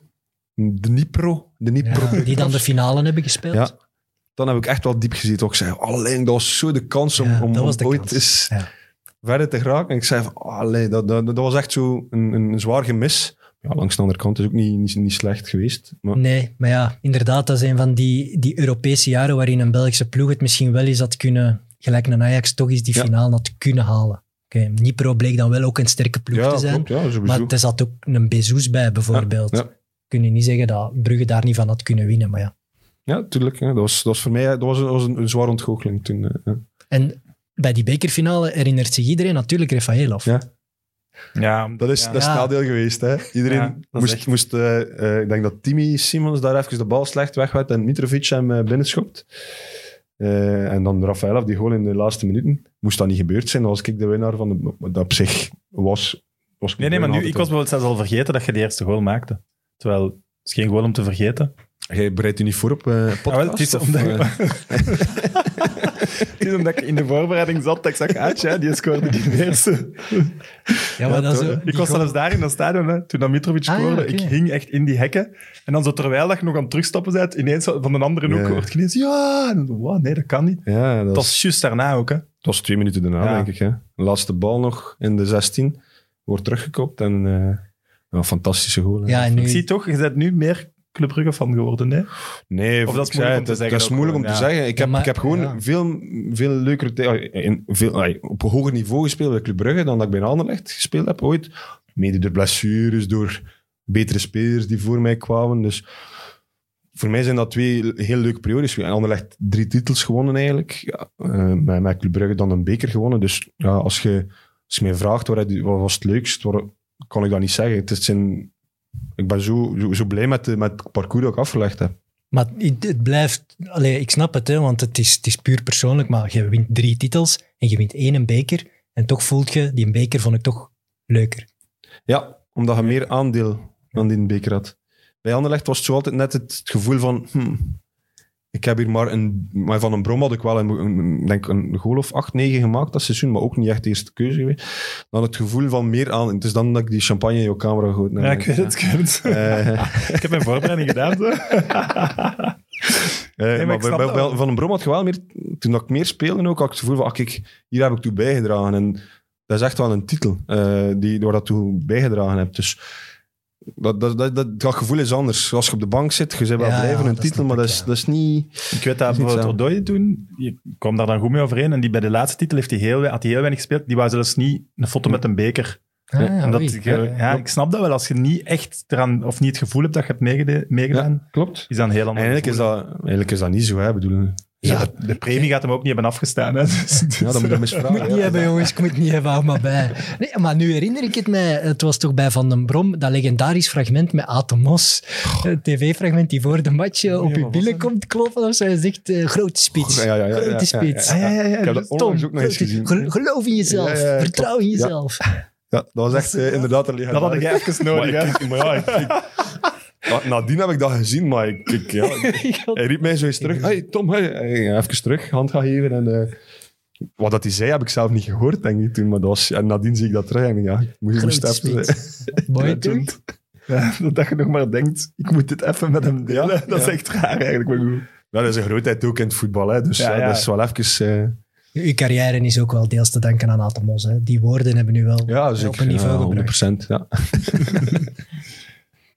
D: Dnipro. Dnipro
B: Ja, die dan de
D: Beşiktaş.
B: finale hebben gespeeld.
D: Ja. Dan heb ik echt wel diep gezeten. Ik zei, alleen dat was zo de kans om,
B: Ja,
D: om,
B: dat was
D: om
B: de
D: ooit
B: kans.
D: eens
B: Ja.
D: verder te geraken. En ik zei, van, allee, dat, dat, dat was echt zo een, een zwaar gemis. Ja, langs de andere kant is ook niet, niet, niet slecht geweest. Maar
B: Nee, maar ja, inderdaad, dat is een van die, die Europese jaren waarin een Belgische ploeg het misschien wel eens had kunnen, gelijk naar Ajax, toch eens die
D: Ja.
B: finale had kunnen halen. Oké, Nipro bleek dan wel ook een sterke ploeg
D: ja,
B: te zijn.
D: klopt, ja, sowieso.
B: Maar er zat ook een Bezoes bij, bijvoorbeeld.
D: Ja, ja.
B: Kun je niet zeggen dat Brugge daar niet van had kunnen winnen. Maar ja.
D: Ja, tuurlijk. ja. Dat, was, dat was voor mij dat was een, was een, een zwaar ontgoocheling toen. eh, ja.
B: En bij die bekerfinale herinnert zich iedereen natuurlijk Rafael af.
D: Ja.
A: Ja,
D: Dat is, dat is
B: Ja.
D: het nadeel geweest. Hè? Iedereen
A: Ja, dat is
D: moest...
A: echt-
D: moest eh, eh, ik denk dat Timmy Simons daar even de bal slecht wegwet en Mitrovic hem eh, binnenschopt. Eh, en dan Rafaelov, die goal in de laatste minuten. Moest dat niet gebeurd zijn, dan was ik de winnaar van de... maar Dat op zich was... was
A: Nee, nee, maar nu, ik was
D: altijd
A: bijvoorbeeld zelfs al vergeten dat je de eerste goal maakte. Terwijl, het is geen goal om te vergeten.
D: wel- Jij bereidt u niet voor op eh podcast?
A: Ah, wel, het, is
D: of,
A: omdat,
D: eh,
A: het is omdat ik in de voorbereiding zat, dat ik zag, ah tja, die scoorde die eerste.
B: Ja, maar dat is zo-
A: Ik was
B: die
A: zelfs daar in dat stadion, hè, toen dat Mitrovic
B: Ah, ja,
A: scoorde.
B: oké.
A: Ik hing echt in die hekken. En dan zo terwijl dat je nog aan het terugstappen bent, ineens van een andere ook
D: Ja.
A: hoort je ineens, ja, en, dan, wow, nee, dat kan niet.
D: Ja, dat
A: Dat
D: was,
A: was juist daarna ook, hè.
D: dat was twee minuten daarna,
A: Ja.
D: denk ik. Hè? Laatste bal nog in de 16. Wordt teruggekopt en... eh, een fantastische goal. hè.
B: Ja, en
A: Ik zie
B: nu,
A: toch, je bent nu meer Club Brugge fan geworden, hè?
D: Nee,
A: Of dat is
D: ik zei
A: moeilijk om te
D: het,
A: zeggen
D: Dat is
A: ook
D: moeilijk om
A: gewoon,
D: te
A: ja.
D: zeggen. Ik heb,
B: maar-
D: ik heb gewoon
B: ja.
D: veel, veel leukere tij- ah, in veel, ah, op een hoger niveau gespeeld bij Club Brugge dan dat ik bij Anderlecht gespeeld heb ooit. Mede door blessures, door betere spelers die voor mij kwamen. Dus voor mij zijn dat twee heel leuke periodes. En Anderlecht drie titels gewonnen eigenlijk. Ja, eh, met, met Club Brugge dan een beker gewonnen. Dus ja, als je als je mij vraagt waar het- wat was het leukst, waar, kan ik dat niet zeggen. Het is een, ik ben zo, zo, zo blij met, de- met het parcours dat ik afgelegd heb.
B: Maar het het blijft... Allee, ik snap het, hè, want het is, het is puur persoonlijk, maar je wint drie titels en je wint één een beker. En toch voelt je, die beker vond ik toch leuker.
D: Ja, omdat je meer aandeel aan die beker had. Bij Anderlecht was het zo altijd net het gevoel van... hm, ik heb hier maar een... Maar van een Brom had ik wel een, een- denk een goal of 8, 9 gemaakt dat seizoen, maar ook niet echt de eerste keuze geweest. Dan het gevoel van meer aan... Het is dan dat ik die champagne in jouw camera gehouden heb.
A: Ja, ik weet het. Ik, weet het.
D: Eh,
A: ik heb mijn voorbereiding gedaan. Zo.
D: Eh,
A: ik
D: maar bij,
A: snap
D: bij-
A: dat
D: bij
A: wel.
D: Van den Brom had je wel meer... Toen dat ik meer speelde ook, had ik het gevoel van... ah, kijk, hier heb ik toe bijgedragen. En dat is echt wel een titel eh, die, waar dat toe bijgedragen hebt. Dus dat, dat, dat, dat, dat gevoel is anders. Als je op de bank zit, je bent wel
B: Ja,
D: blij van
B: ja,
D: een
B: dat
D: titel,
B: snap
D: maar dat
B: ik,
D: is,
B: ja.
D: dat is niet...
A: Ik weet dat
D: is niet
A: bijvoorbeeld
D: zo.
A: Odoi toen, die kwam daar dan goed mee overeen. En die bij de laatste titel heeft hij heel, we- had hij heel weinig gespeeld. Die wou zelfs niet een foto met een beker.
B: Ah,
A: Omdat
B: oei.
A: je- ja, ik snap dat wel. Als je niet echt eraan, of niet het gevoel hebt dat je hebt meegede- meegedaan,
D: klopt.
A: is dat een heel ander
D: Eigenlijk is
A: gevoel.
D: dat, eigenlijk is dat niet zo, hè. Ik bedoel,
A: Ja, de premie gaat hem ook niet hebben afgestaan. Hè. Dus,
D: ja, dan moet je dat misvragen.
B: Ik moet het niet
D: ja.
B: hebben, jongens. Ik moet het niet hebben. Hou maar bij. Nee, maar nu herinner ik het mij. Het was toch bij Van den Brom, dat legendarisch fragment met Atomos. Het tv-fragment die voor de match eh, op
D: wat
B: je
D: was
B: billen
D: dat? Oh,
B: komt kloppen. Of zo. Hij zegt, eh, grote spits.
D: Ja, ja, ja, ja, ja,
B: grote
D: ja,
B: spits.
D: ja, ja. Ik heb dat
B: Tom,
D: onlangs ook nog eens
B: grote-
D: gezien.
B: gel- geloof in jezelf.
D: Ja, ja, ja,
B: vertrouw in
D: klopt. Ja.
B: jezelf.
D: Ja, dat was echt eh, inderdaad een
A: dat had ik even nodig.
D: Maar
A: hè.
D: ik- maar ja, ik- ik- Ja, nadien heb ik dat gezien, maar ik, ik- ja, ik- hij riep mij zo eens terug. Hey Tom, hey. Hey, even terug, hand gaan geven. En, eh, wat dat hij zei, heb ik zelf niet gehoord, denk ik toen. Maar dat was, en nadien zie ik dat terug en ik denk, ja, ik moest, moest
B: Grote
D: even-
B: spits. Mooi, toch?
A: Ja, dat je nog maar denkt, ik moet dit even met hem delen.
D: Ja,
A: dat is
D: ja.
A: echt raar eigenlijk. Maar goed.
D: Ja, dat is een grootheid ook in het voetbal, hè, dus
A: Ja,
D: ja,
A: ja.
D: dat is wel even... eh,
B: Uw carrière is ook wel deels te danken aan Atomos. Hè. Die woorden hebben nu wel
D: ja,
B: op
D: zeker.
B: een niveau
D: Ja,
B: gebracht.
D: 100%. Ja.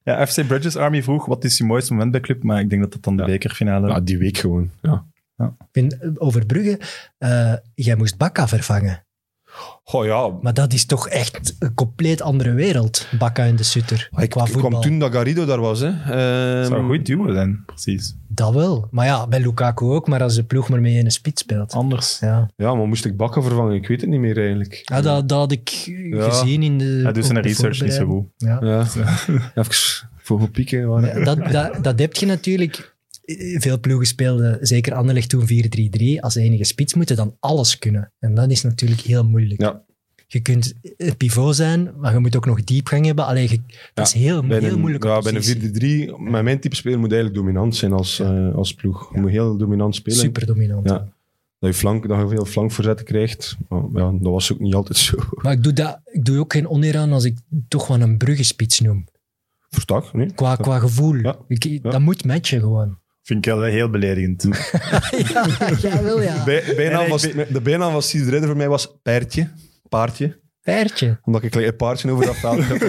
A: Ja, FC Bridges Army vroeg, wat is je mooiste moment bij club? Maar ik denk dat dat dan de
D: Ja.
A: bekerfinale...
D: Ja, nou, die week gewoon. Ja.
B: Ik vind, eh, Over Brugge, eh, jij moest Bakka vervangen.
D: Goh, ja,
B: Maar dat is toch echt een compleet andere wereld, Bakka en de Sutter.
D: ik,
B: qua
D: ik kwam
B: voetbal.
D: toen dat Garrido daar was. Hè. Ehm,
A: Dat zou een goed duo zijn, precies.
B: Dat wel. Maar ja, bij Lukaku ook, maar als de ploeg maar mee in een spits
D: Ah.
B: speelt.
A: Anders.
B: Ja,
D: Ja, maar moest ik bakken vervangen? Ik weet het niet meer eigenlijk.
B: ja dat, dat had ik gezien in de.
A: Hij doet zijn
B: op de
A: dus research niet zo
B: voorbereiding.
A: goed.
B: Ja.
D: Ja. Even voor pieken. waar-
B: Ja, dat, dat, dat heb je natuurlijk. Veel ploegen speelden, zeker Anderlecht toen 4-3-3. Als enige spits moeten dan alles kunnen. En dat is natuurlijk heel moeilijk.
D: Ja.
B: Je kunt een pivot zijn, maar je moet ook nog diepgang hebben. Alleen dat is heel,
D: Bij
B: heel
D: een,
B: moeilijk.
D: ja, bij een 4-3, met mijn type speler moet eigenlijk dominant zijn als, eh, als ploeg. Je moet heel dominant spelen.
B: Super dominant.
D: Ja. Dat je, flank, dat je veel flankverzetten krijgt. Maar ja, dat was ook niet altijd zo.
B: Maar ik doe, dat, ik doe ook geen oneer aan als ik toch wel een bruggespits noem.
D: Verstak, nee?
B: Qua, qua gevoel.
D: Ja.
B: Ik, Dat moet matchen gewoon.
A: Vind ik wel heel beledigend.
B: ja, ja, wel ja.
D: Bij, bijnaam
A: Nee, nee,
D: was, de bijnaam was Sid Redder voor mij was Paardje. Paardje.
B: Paardje.
D: Omdat ik een paardje over dat veld heb.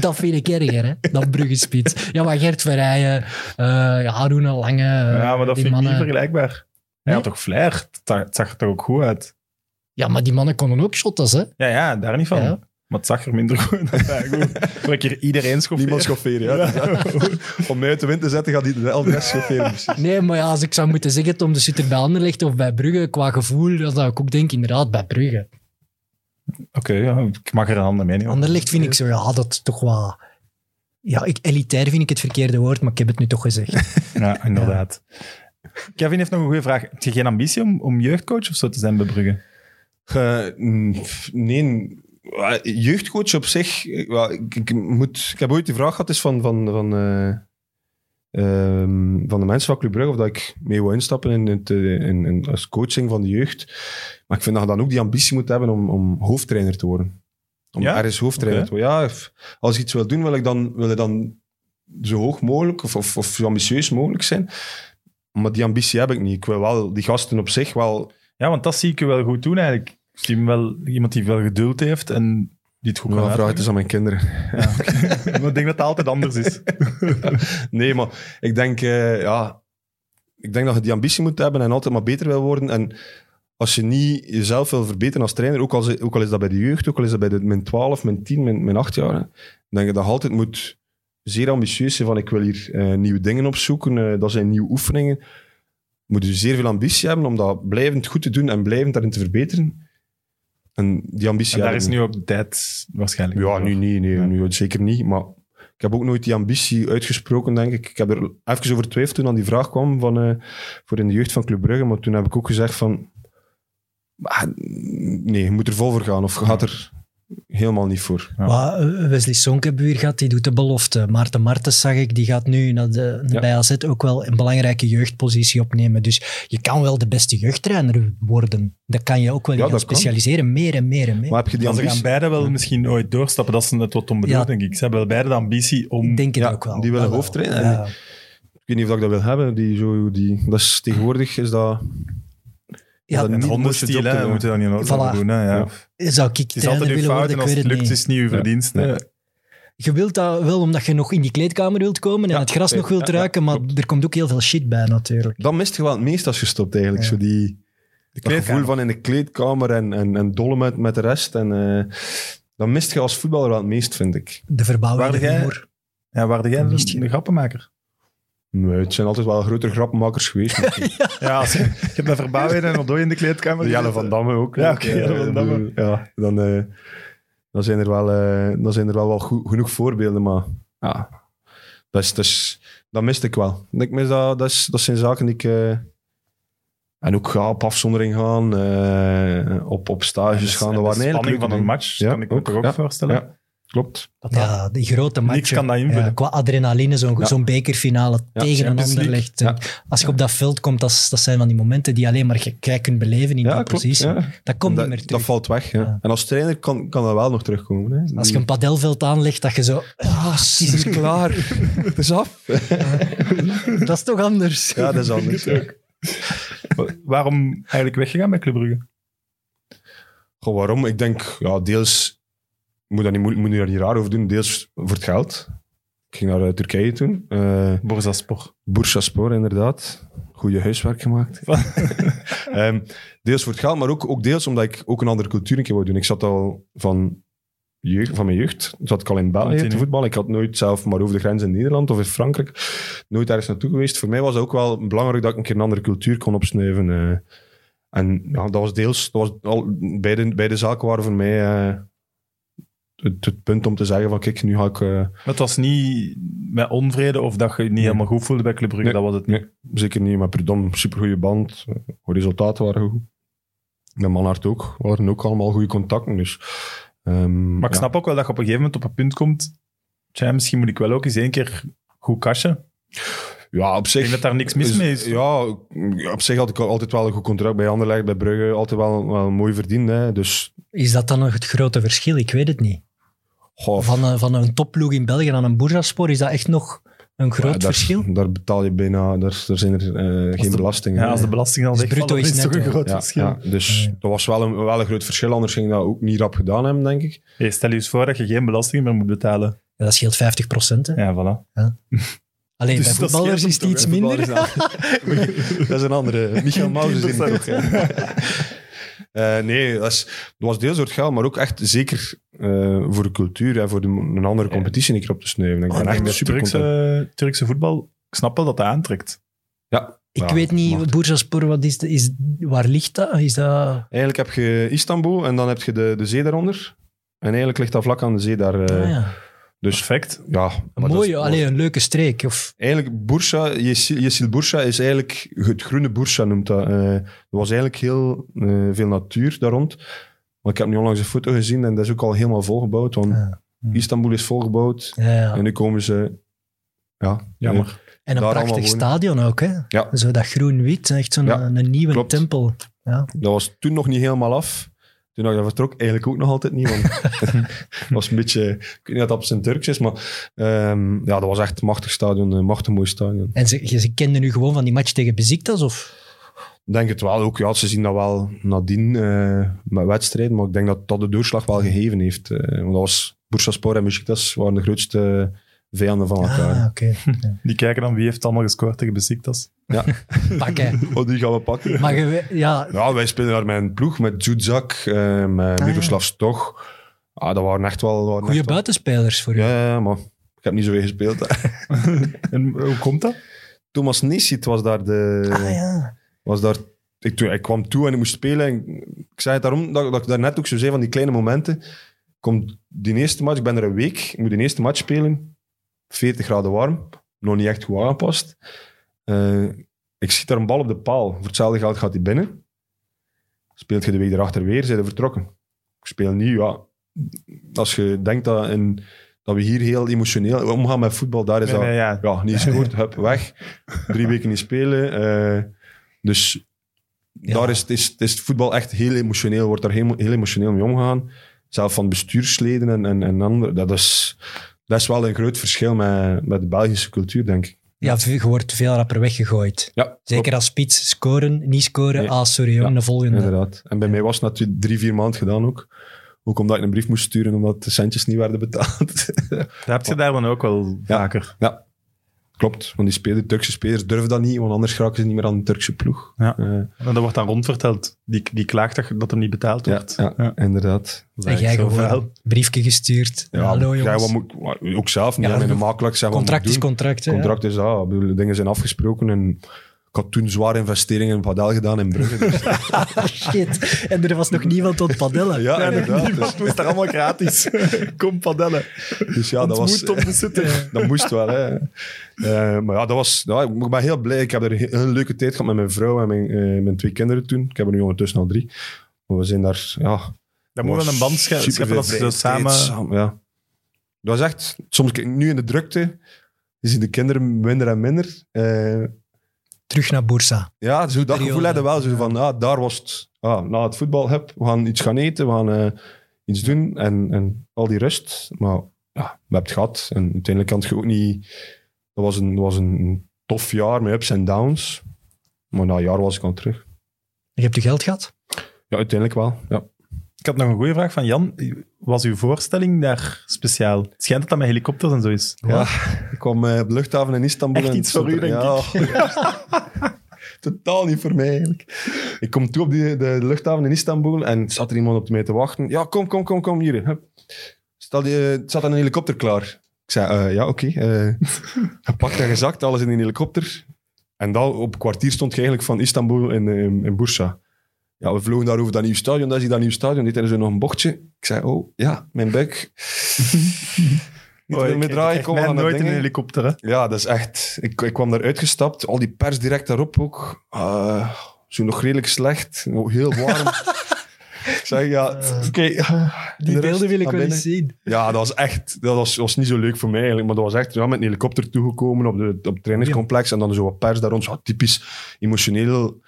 B: Dat vind ik erger, hè. Dan bruggespits. Ja, maar Gert Verrijen, eh Haruna Lange... eh,
A: ja, maar dat
B: die
A: vind ik niet
B: mannen-
A: vergelijkbaar. Hij
B: Nee?
A: had toch flair? Het za- Het zag er toch ook goed uit?
B: Ja, maar die mannen konden ook shotters, hè.
A: Ja, ja daar niet van.
B: Ja.
A: Maar het zag er minder goed uit. Ja, goed. Voor ik hier iedereen schoffeer.
D: Niemand schofferen. Ja. Om mij uit de wind te zetten, gaat hij de LDS schofferen. precies.
B: Nee, maar ja, als ik zou moeten zeggen, Tom de Sutter bij Anderlecht of bij Brugge, qua gevoel, dan zou ik ook denken, inderdaad, bij Brugge.
A: Oké, ja, ik mag er een andere mening over.
B: Anderlecht vind ik zo, ja, dat is toch wel... Ja, ik, elitair vind ik het verkeerde woord, maar ik heb het nu toch gezegd.
A: Ja, inderdaad. Kevin heeft nog een goede vraag. Heb je geen ambitie om, om jeugdcoach of zo te zijn bij Brugge?
D: Eh, mm, pff, nee, Eh, jeugdcoach op zich. eh, wel, Ik, ik, moet, ik heb ooit die vraag gehad is van, van, van, eh, ehm, van de mensen van Club Brugge of dat ik mee wil instappen in, het, eh, in, in- als coaching van de jeugd. Maar ik vind dat je dan ook die ambitie moet hebben om, om hoofdtrainer te worden. Om
A: Ja?
D: ergens hoofdtrainer
A: Oké.
D: te worden. Ja, f- als ik iets wil doen, wil ik dan, wil ik dan zo hoog mogelijk of, of, of zo ambitieus mogelijk zijn. Maar die ambitie heb ik niet. Ik wil wel die gasten op zich wel
A: Ja, want dat zie ik je wel goed doen eigenlijk. Ik zie hem wel iemand die veel geduld heeft en die het goed
D: Ik
A: kan
D: vraag
A: uitleggen.
D: het eens aan mijn kinderen.
A: Maar ik denk dat het altijd anders is.
D: Nee, maar ik denk, eh, ja, ik denk dat je die ambitie moet hebben en altijd maar beter wil worden. En als je niet jezelf wil verbeteren als trainer, ook al, ook al is dat bij de jeugd, ook al is dat bij de, mijn 12, mijn 10, mijn, mijn 8 jaar, hè, denk je dat je altijd moet zeer ambitieus zijn van ik wil hier eh, nieuwe dingen opzoeken, eh, dat zijn nieuwe oefeningen. Moet je zeer veel ambitie hebben om dat blijvend goed te doen en blijvend daarin te verbeteren. En die ambitie
A: En daar
D: hebben.
A: is nu ook de tijd waarschijnlijk.
D: Ja, nu niet. Nee,
A: Ja.
D: nu zeker niet. Maar ik heb ook nooit die ambitie uitgesproken, denk ik. Ik heb er even over twijfeld toen aan die vraag kwam van, eh, voor in de jeugd van Club Brugge. Maar toen heb ik ook gezegd van... "Ah, Nee, je moet er vol voor gaan. Of je gaat er helemaal niet voor.
A: Ja.
B: Maar, eh, Wesley Sonk hebben we hier gehad, die doet de belofte. Maarten Martens zag ik, die gaat nu naar de,
D: Ja.
B: bij AZ ook wel een belangrijke jeugdpositie opnemen. Dus je kan wel de beste jeugdtrainer worden. Dan kan je ook wel
D: Ja,
B: je gaan
D: dat kan.
B: specialiseren, meer en meer en meer.
D: Maar heb je die
A: Maar ze gaan
D: ambitie...
A: beide wel misschien ooit doorstappen. Dat is net wat Tom bedoelt,
B: Ja.
A: denk ik. Ze hebben wel beide de ambitie om...
B: ik denk het
D: ja,
B: ook wel.
D: die
B: Dat
D: willen
B: wel.
D: hoofdtrainer.
B: Ja.
D: Ik weet niet of ik dat wil hebben. Die, zo, die, dat is, tegenwoordig is dat...
B: Ja,
D: dat
A: En
D: niet
A: honden
D: moest je
A: stelen,
D: job te
A: hè,
D: doen.
A: moet je dat niet nodig
B: Voilà.
A: doen. Hè, ja.
D: Ja.
A: Het
B: Zou ik
A: is altijd
B: trainer
A: uw
B: willen
A: fout
B: worden?
A: en
B: Ik
A: als
B: weet
A: het
B: het
A: lukt,
B: niet.
A: is het niet uw
D: Ja.
A: verdienst.
D: Nee.
A: hè.
B: Je wilt dat wel omdat je nog in die kleedkamer wilt komen en
D: Ja,
B: het gras nog
D: zeker.
B: wilt
D: Ja, ja,
B: ruiken, maar
D: klopt.
B: er komt ook heel veel shit bij natuurlijk.
D: Dat mist je wel het meest als je stopt, eigenlijk.
B: Ja.
D: Zo die...
A: De
D: Het gevoel
A: kleedkamer.
D: van in de kleedkamer en, en, en dolle met, met de rest. En, eh, dat mist je als voetballer wel het meest, vind ik.
B: De verbouwing,
A: Waar
B: de
A: jij-
B: humor.
A: Ja, waar jij
B: Mist
A: de,
B: je.
A: de grappenmaker?
D: Nee, het zijn altijd wel grotere grappenmakers geweest. maar-
A: Ja, als je, je hebt bij Verbouwen en Odoi in de kleedkamer.
D: de Jelle
A: gezeten.
D: van Damme ook.
A: Ja, oké,
D: Eh,
A: Jelle van Damme.
D: ik bedoel, Ja, dan, eh, dan, zijn er wel, eh, dan zijn er wel, wel goe- genoeg voorbeelden, maar ja, dat, is, dat, is, dat mist ik wel. Ik mis dat, dat, is, dat zijn zaken die ik... eh, en ook ga op afzondering gaan, eh, op, op
A: En de-
D: stages gaan.
A: en
D: Dat
A: de
D: waren eigenlijk
A: spanning
D: leuke
A: van een
D: dingen.
A: match,
D: Ja,
A: kan ik me
D: ook,
A: toch ook
D: ja.
A: voorstellen.
D: Ja. Klopt.
A: Dat dat-
B: Ja, die grote matchen.
A: Niks kan dat invullen.
B: Ja, qua adrenaline, zo'n
D: Ja.
B: zo'n bekerfinale
D: Ja,
B: tegen een
A: Champions
B: ander
A: League.
B: legt. Als je op dat veld komt, dat, is- dat zijn van die momenten die alleen maar je- jij kunt beleven in die positie.
D: ja.
B: Dat komt
D: dat,
B: niet meer
D: dat
B: terug.
D: valt weg. Ja.
B: Ja.
D: En als trainer kan, kan dat wel nog terugkomen. Hè.
B: Als je een padelveld aanlegt, dat je zo... Ah,
D: het is
B: shit,
D: klaar. het is af.
B: dat is toch anders.
D: Ja, dat is anders. ja.
A: Wa- Waarom eigenlijk weggegaan bij Club Brugge?
D: Goh, waarom? Ik denk, ja, deels moet, dat niet, moe- moet je daar niet raar over doen. Deels voor het geld. Ik ging naar eh, Turkije toen. Eh
A: Borzaspor.
D: Bursaspor, inderdaad. Goede huiswerk gemaakt. Ehm, deels voor het geld, maar ook, ook deels omdat ik ook een andere cultuur een keer wou doen. Ik zat al van, jeugd, van mijn jeugd, zat ik al in België te
A: Continu.
D: voetballen. Ik had nooit zelf maar over de grens in Nederland of in Frankrijk nooit ergens naartoe geweest. Voor mij was het ook wel belangrijk dat ik een keer een andere cultuur kon opsnuiven. eh. en ja, dat was deels, dat was al, beide, beide zaken waren voor mij eh, het, het punt om te zeggen van kijk, nu ga ik... eh,
A: Het was niet met onvrede of dat je je niet helemaal goed voelde bij Club Brugge.
D: Nee.
A: Dat was het niet.
D: Nee, zeker niet. Met Prudom, supergoeie band. Eh, Resultaten waren goed. Met Manhart ook. waren ook allemaal goede contacten. Dus, ehm,
A: Maar ik
D: ja.
A: snap ook wel dat je op een gegeven moment op een punt komt. Tja, misschien moet ik wel ook eens één keer goed cashen.
D: Ja, op
A: Ik
D: zich...
A: denk dat daar niks mis mee is.
D: Ja, op zich had ik altijd wel een goed contract bij Anderlecht, bij Brugge. Altijd wel, wel mooi verdiend. Hè. Dus,
B: Is dat dan nog het grote verschil? Ik weet het niet.
D: goh,
B: Van een, van een topploeg in België aan een bourgeoispoor, is dat echt nog een groot
D: ja, daar,
B: verschil?
D: Daar betaal je bijna... Daar, daar zijn er eh, geen
A: de-
D: belastingen.
A: Ja, als de belasting al
B: Dus
A: wegvalt,
B: bruto
A: dan is
B: is
A: het toch een
B: netto.
A: groot
D: Ja,
A: verschil.
D: ja, dus dat was wel een, wel een groot verschil. Anders ging ik dat ook niet rap gedaan hebben, denk ik.
A: Hey, stel je eens voor dat je geen belasting meer moet betalen.
B: Ja, dat scheelt 50 procent.
A: Ja, voilà.
B: Alleen
A: Dus
B: bij
A: dat
B: voetballers
A: scheelt
B: is
A: hem
B: het iets
D: toch, hè?
B: minder.
D: dat is een andere. Michael Maus is in toch. Eh, nee, dat, is, dat was deels door het geld, maar ook echt zeker eh, voor de cultuur en voor de, een andere competitie een keer op te snuiven. Ik ben
A: Maar
D: echt
A: met
D: super content.
A: Turkse, Turkse voetbal, ik snap wel dat dat aantrekt.
D: Ja,
B: Ik
D: ja,
B: weet
D: mag.
B: niet, bourgeoispoor, wat is, de- is, waar ligt dat? Is dat...
D: eh, Eigenlijk heb je Istanbul en dan heb je de, de zee daaronder. En eigenlijk ligt dat vlak aan de zee daar. eh,
B: ah, ja.
D: Dus
A: Perfect.
D: ja.
B: Een
D: maar dat is-
B: mooie, allee, een leuke streek. Of,
D: Eigenlijk, Bursa, Yesil Yesil Bursa is eigenlijk het groene Bursa, noemt dat. Eh, er was eigenlijk heel eh, veel natuur daar rond. Maar ik heb nu onlangs een foto gezien en dat is ook al helemaal volgebouwd. Want
B: Ja.
D: Istanbul is volgebouwd
B: ja, ja.
D: en nu komen ze... Ja,
A: Jammer.
D: eh,
B: En een
D: daar allemaal
B: prachtig
D: wonen.
B: stadion ook, hè?
D: Ja.
B: Zo dat groen-wit, echt zo'n eh,
D: Ja,
B: een, een nieuwe
D: klopt.
B: tempel.
D: dat was toen nog niet helemaal af. Toen ik daar vertrok, eigenlijk ook nog altijd niet. Want het was een beetje... Ik weet niet of dat op zijn Turks is, maar... ehm, ja, dat was echt een machtig stadion, een machtig mooi stadion.
B: En ze, je- ze kenden nu gewoon van die match tegen Beziktas, of?
D: Ik denk het wel ook. Ja, ze zien dat wel nadien eh, met wedstrijden, maar ik denk dat dat de doorslag wel gegeven heeft. eh, want dat was Bursaspor en Besiktas waren de grootste eh, vijanden van elkaar.
B: Ah, oké.
A: Die kijken dan wie heeft allemaal gescoord tegen Besiktas.
B: Pakken.
D: Oh, die gaan we pakken.
B: Maar je weet- ja,
D: Ja, wij spelen daar met een ploeg, met Zudzak, eh met
B: Ah, ja.
D: Miroslav Stoch. Ah, dat waren echt wel... waren
B: goede
D: echt wel-
B: buitenspelers voor u.
D: Ja, ja, ja, maar ik heb niet zoveel gespeeld. hè.
A: En hoe komt dat?
D: Thomas Nissit was daar de...
B: Ah ja.
D: was daar, ik, toen- ik kwam toe en ik moest spelen. En ik zei het daarom dat, dat ik daarnet ook zo zei van die kleine momenten. Komt die eerste match, ik ben er een week, ik moet die eerste match spelen. 40 graden warm, nog niet echt goed aangepast. Eh, ik schiet daar een bal op de paal. Voor hetzelfde geld gaat hij binnen. Speelt je de week erachter weer, zijn ze vertrokken. Ik speel nu, ja. Als je denkt dat, in, dat we hier heel emotioneel omgaan met voetbal, daar is
A: Nee,
D: dat
A: nee, ja.
D: ja, niet gescoord, hup, weg. Drie weken niet spelen. eh, dus
B: Ja.
D: daar is, is, is het voetbal echt heel emotioneel, wordt daar heel, heel emotioneel mee omgegaan. Zelf van bestuursleden en, en, en anderen. Dat is, dat is wel een groot verschil met, met de Belgische cultuur, denk ik.
B: Ja, je wordt veel rapper weggegooid.
D: Ja,
B: Zeker als spits scoren, niet scoren.
D: Nee.
B: Ah, sorry jong,
D: Ja,
B: de volgende.
D: inderdaad. En eh, bij mij was het natuurlijk drie, vier maanden gedaan ook. Ook omdat ik een brief moest sturen, omdat de centjes niet werden betaald.
A: Dat heb je daar dan ook wel vaker.
D: Ja, klopt. Want die spelers, Turkse spelers durven dat niet, want anders raken ze niet meer aan de Turkse ploeg.
A: Ja.
D: Eh,
A: En dat wordt dan rondverteld. Die, die klaagt dat, dat hem niet betaald
D: ja,
A: wordt.
D: ja, inderdaad.
B: En jij
A: Zo
B: gewoon
A: vuil.
B: een briefje gestuurd.
D: Ja,
B: Hallo
D: jij,
B: jongens.
D: wat moet, wat- ook zelf niet.
B: Ja,
D: Ja, met
B: dat-
D: een makelaar zeggen wat
B: contract
D: moet
B: is
D: ik doen.
B: contract. hè, ja.
D: Contract is dat. Ik bedoel, de dingen zijn afgesproken en ik had toen zware investeringen in padel gedaan in Brugge. dus-
B: Ah, Shit. En er was nog niemand tot padellen.
D: ja, inderdaad. Dus,
A: Niemand moest daar allemaal gratis. Kom padellen.
D: dus ja, dat was...
A: Ontmoet op de sitter.
D: Dat moest wel, hè. Eh, maar ja, dat was... ja, ik ben heel blij. Ik heb er een leuke tijd gehad met mijn vrouw en mijn, eh, mijn twee kinderen toen. Ik heb er nu ondertussen al drie. Maar we zijn daar... Ja,
A: Dat moet wel een band sche- scheppen dat ze zo
D: superveel
A: samen...
D: vrije tijd samen, Ja. Dat is echt... Soms, kijk, nu in de drukte, zien de kinderen minder en minder. Eh,
B: Terug naar Bursa.
D: Ja, zo dat
B: Periode.
D: gevoel hadden wel. Zo van, ah, daar was het. Ah, na het voetbal, heb, we gaan iets gaan eten, we gaan eh, iets doen. En, en al die rust. Maar ja, we hebben het gehad. En uiteindelijk kan het je ook niet... Dat was een, dat was een tof jaar met ups en downs. Maar na een jaar was ik al terug.
B: Je hebt je geld gehad?
D: Ja, uiteindelijk wel. Ja.
A: Ik had nog een goede vraag van Jan. Was uw voorstelling daar speciaal? Het Schijnt dat dat met helikopters en zo is.
D: Ja, ik kwam eh, op de luchthaven in Istanbul.
A: Echt
D: en
A: iets voor u, denk
D: ja, Totaal niet voor mij, eigenlijk. Ik kom toe op die, de luchthaven in Istanbul en zat er iemand op mij te wachten. Ja, kom, kom, kom, kom hier. Hup. Stel die, eh, zat een helikopter klaar. Ik zei, eh, ja, oké. eh, gepakt en gezakt, alles in een helikopter. En dan op kwartier stond je eigenlijk van Istanbul in, eh, in, in Bursa. Ja, we vlogen daar over dat nieuwe stadion, daar zie je dat nieuwe stadion. Dit en zo nog een bochtje. Ik zei, oh, ja, mijn buik. Niet
A: Oh,
D: meer mee draaien,
A: ik
D: kom
A: mij
D: aan dat
A: nooit in
D: ding.
A: een helikopter, hè.
D: Ja, dat is echt. Ik, ik kwam daar uitgestapt, al die pers direct daarop ook. Eh, zo nog redelijk slecht, nog heel warm. ik zeg ja,
A: Eh.
D: oké.
B: Die
D: de rest
B: beelden wil ik
D: naar
B: wel eens
D: binnen.
B: zien.
D: Ja, dat was echt. Dat was, was niet zo leuk voor mij eigenlijk. Maar dat was echt ja, met een helikopter toegekomen op, de, op het trainingscomplex. En dan zo wat pers daar rond. Zo typisch emotioneel.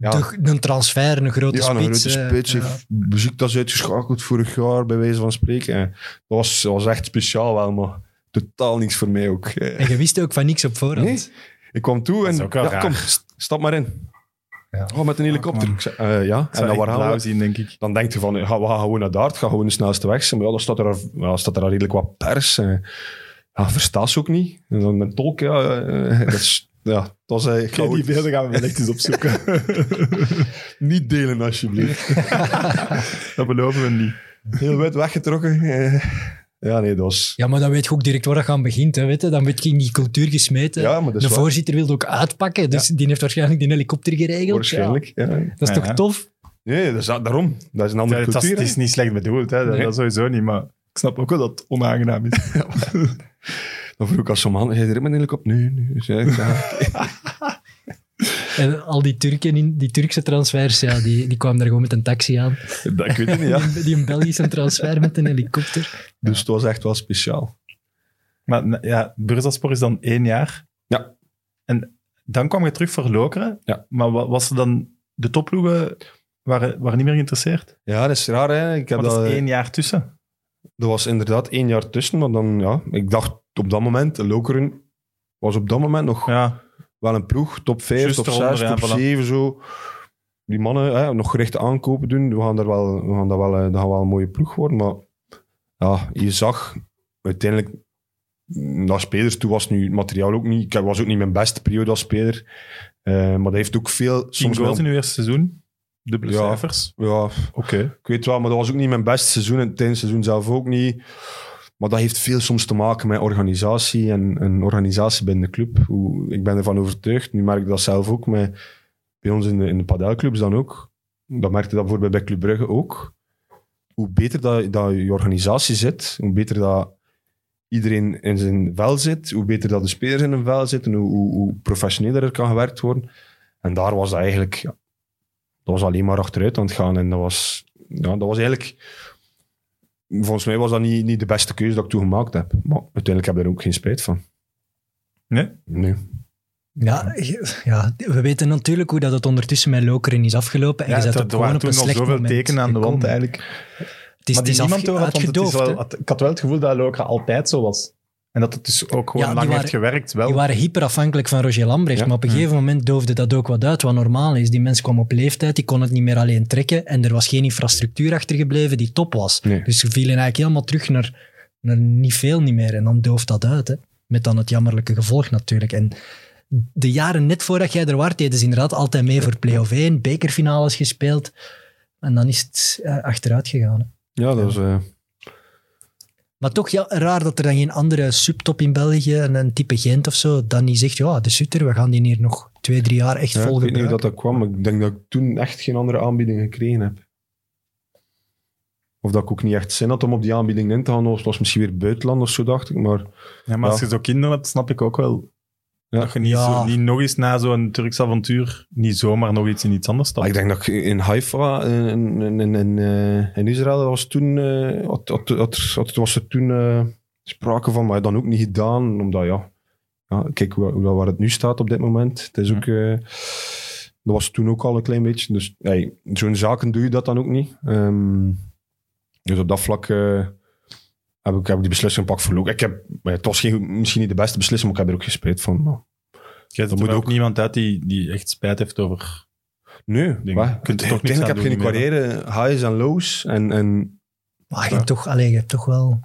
D: Ja,
B: De- een transfer, een grote
D: ja, een
B: spits.
D: grote
B: eh,
D: spits.
B: ja.
D: heeft Besiktas uitgeschakeld vorig jaar, bij wijze van spreken. En dat was, dat was echt speciaal wel, maar totaal niks voor mij ook. Eh.
B: En je wist ook van niks op voorhand.
D: Nee. Ik kwam toe
A: is
D: en
A: ook wel
D: ja,
A: raar.
D: kom, st- stap maar in.
B: Ja.
D: Oh, met een helikopter.
A: man.
D: Ik zei, eh, ja,
A: En
D: en dan waar gaan we?
A: zien, denk ik.
D: Dan denk je van, eh, ga- we gaan gewoon naar daar, het gaat gewoon de snelste weg zijn. Maar ja, dan staat er, al- ja, dan staat er al redelijk wat pers. eh. ja, verstaat ze ook niet. En dan met tolk, ja. eh, dat is, ja, dat was eh, chaotisch.
A: die beelden gaan we wellicht eens opzoeken.
D: Niet delen, alsjeblieft.
A: dat beloven we niet.
D: Heel wit weggetrokken. eh. ja, nee, dat was...
B: Ja, maar dan weet je ook direct waar dat aan begint. Hè, weet je? Dan weet je in die cultuur gesmeten.
D: Ja, maar dat
B: de
D: is waar.
B: voorzitter wilde ook uitpakken, dus die heeft waarschijnlijk die helikopter geregeld.
D: Waarschijnlijk. Ja.
B: Ja. Dat is
A: Ja,
B: toch
A: ja.
B: tof?
D: Nee, dat is, daarom. Dat is een andere
A: het, was-
D: cultuur.
A: het
D: hè.
A: is niet slecht bedoeld, hè. Dat,
B: Nee.
A: dat sowieso niet. Maar ik snap ook wel dat het onaangenaam is.
D: Dan vroeg ik als zo'n man, ga je er met een helikopter? Nee, nee. Dus ja, ik zei, ja.
B: En al die Turken, in, die Turkse transfers, ja, die, die kwamen daar gewoon met een taxi aan.
D: Dat- ik weet het niet, ja.
B: Die, die een Belgische transfer met een helikopter.
D: Dus het was echt wel speciaal.
A: Maar n- ja, Bursaspor is dan één jaar.
D: Ja.
A: En dan kwam je terug voor Lokeren.
D: Ja.
A: Maar wa- was er dan... De topploegen waren, waren niet meer geïnteresseerd?
D: Ja, dat is raar, hè. Ik heb
A: Want
D: dat,
B: eh,
A: dat is één jaar tussen.
D: Er was inderdaad één jaar tussen, maar dan, ja, ik dacht op dat moment, Lokeren was op dat moment nog
A: Ja.
D: wel een ploeg, top 5,
E: Juist
D: top
E: eronder,
D: 6,
E: ja,
D: top
E: voilà.
D: 7, zo. Die mannen hè, nog gerichte aankopen doen, we gaan daar wel, we gaan daar wel, eh, dat gaat wel een mooie ploeg worden. Maar ja, je zag uiteindelijk, naar spelers toe was nu het materiaal ook niet, ik was ook niet mijn beste periode als speler. Eh, maar dat heeft ook veel...
A: Tien
D: wel-
A: goals in uw eerste seizoen. Dubbele
D: Ja.
A: cijfers.
D: ja,
A: Oké.
D: ik weet wel, maar dat was ook niet mijn beste seizoen. En tijdens het seizoen zelf ook niet. Maar dat heeft veel soms te maken met organisatie en, en organisatie binnen de club. Hoe, ik ben ervan overtuigd. Nu merk ik dat zelf ook met, bij ons in de, in de padelclubs dan ook. Dat merkte dat bijvoorbeeld bij Club Brugge ook. Hoe beter dat, dat je organisatie zit, hoe beter dat iedereen in zijn vel zit, hoe beter dat de spelers in hun vel zitten, hoe, hoe, hoe professioneler er kan gewerkt worden. En daar was dat eigenlijk... ja, dat was alleen maar achteruit aan het gaan. En dat was ja, dat was eigenlijk... Volgens mij was dat niet, niet de beste keuze dat ik toen gemaakt heb. Maar uiteindelijk heb ik er ook geen spijt van.
A: Nee?
D: Nee.
B: Ja, je- ja, we weten natuurlijk hoe dat het ondertussen met Lokeren is afgelopen. En
A: Ja,
B: je zat
A: dat-
B: ook
A: er
B: gewoon
A: waren
B: op een
A: toen al
B: slecht
A: zoveel
B: moment
A: tekenen aan de wand
B: gekomen.
A: eigenlijk.
B: Het is,
A: maar
B: het
A: die
B: is
A: niemand
B: afge-
A: door had, want het is
B: uitgedoofd,
A: wel-
B: hè.
A: had- ik had wel het gevoel dat Lokeren altijd zo was. En dat het dus ook gewoon
B: Ja, die
A: lang heeft
B: waren-
A: gewerkt. Wel.
B: Die waren hyperafhankelijk van Roger Lambrecht.
D: Ja. Mm.
B: Maar op een gegeven moment doofde dat ook wat uit, wat normaal is. Die mens kwam op leeftijd, die kon het niet meer alleen trekken. En er was geen infrastructuur achtergebleven die top was.
D: Nee.
B: Dus ze vielen eigenlijk helemaal terug naar, naar niet veel niet meer. En dan dooft dat uit. Hè. Met dan het jammerlijke gevolg natuurlijk. En de jaren net voordat jij er was, deden ze inderdaad altijd mee voor play-off 1, bekerfinales gespeeld. En dan is het eh, achteruit gegaan. hè.
D: Ja, dat was... eh,
B: Maar toch ja, raar dat er dan geen andere subtop in België, een, een type Gent of zo, dan die zegt, ja, de Sutter, we gaan die hier nog twee, drie jaar echt
D: ja, ik
B: vol
D: weet niet hoe
B: gebruiken.
D: dat, dat kwam, maar ik denk dat ik toen echt geen andere aanbieding gekregen heb. Of dat ik ook niet echt zin had om op die aanbieding in te gaan. Of het was misschien weer buitenland of zo, dacht ik. Maar
A: Ja, maar als
D: Ja.
A: je zo kinderen hebt, snap ik ook wel.
D: Ja.
A: Dat je niet,
B: Ja.
A: zo, niet nog eens na zo'n Turks avontuur, niet zomaar nog iets in iets anders stapt.
D: Maar ik denk dat ik in Haifa, in, in, in, in, eh, in Israël, dat was toen, eh, had, had, had, had- was er toen eh, sprake van, maar ja, dan ook niet gedaan, omdat ja, ja kijk hoe, hoe, dat- waar het nu staat op dit moment. Het is ook, eh, dat was toen ook al een klein beetje, dus hey, zo'n zaken doe je dat dan ook niet. Ehm, dus op dat vlak eh, heb, ik, heb ik die beslissing pak verloren. Ik heb, maar het was geen, misschien niet de beste beslissing, maar ik heb er ook geen spijt van. nou, Maar,
A: Jij zet
D: dat
A: er
D: moet
A: ook
D: ook-
A: niemand uit die, die echt spijt heeft over...
D: nee,
A: Ding.
D: maar,
A: Je kunt er toch niks
D: uiteindelijk
A: aan
D: heb je
A: doen,
D: geen
A: niet meer,
D: carrière, highs en lows. En, en
B: Maar je hebt toch, allee, je hebt toch wel...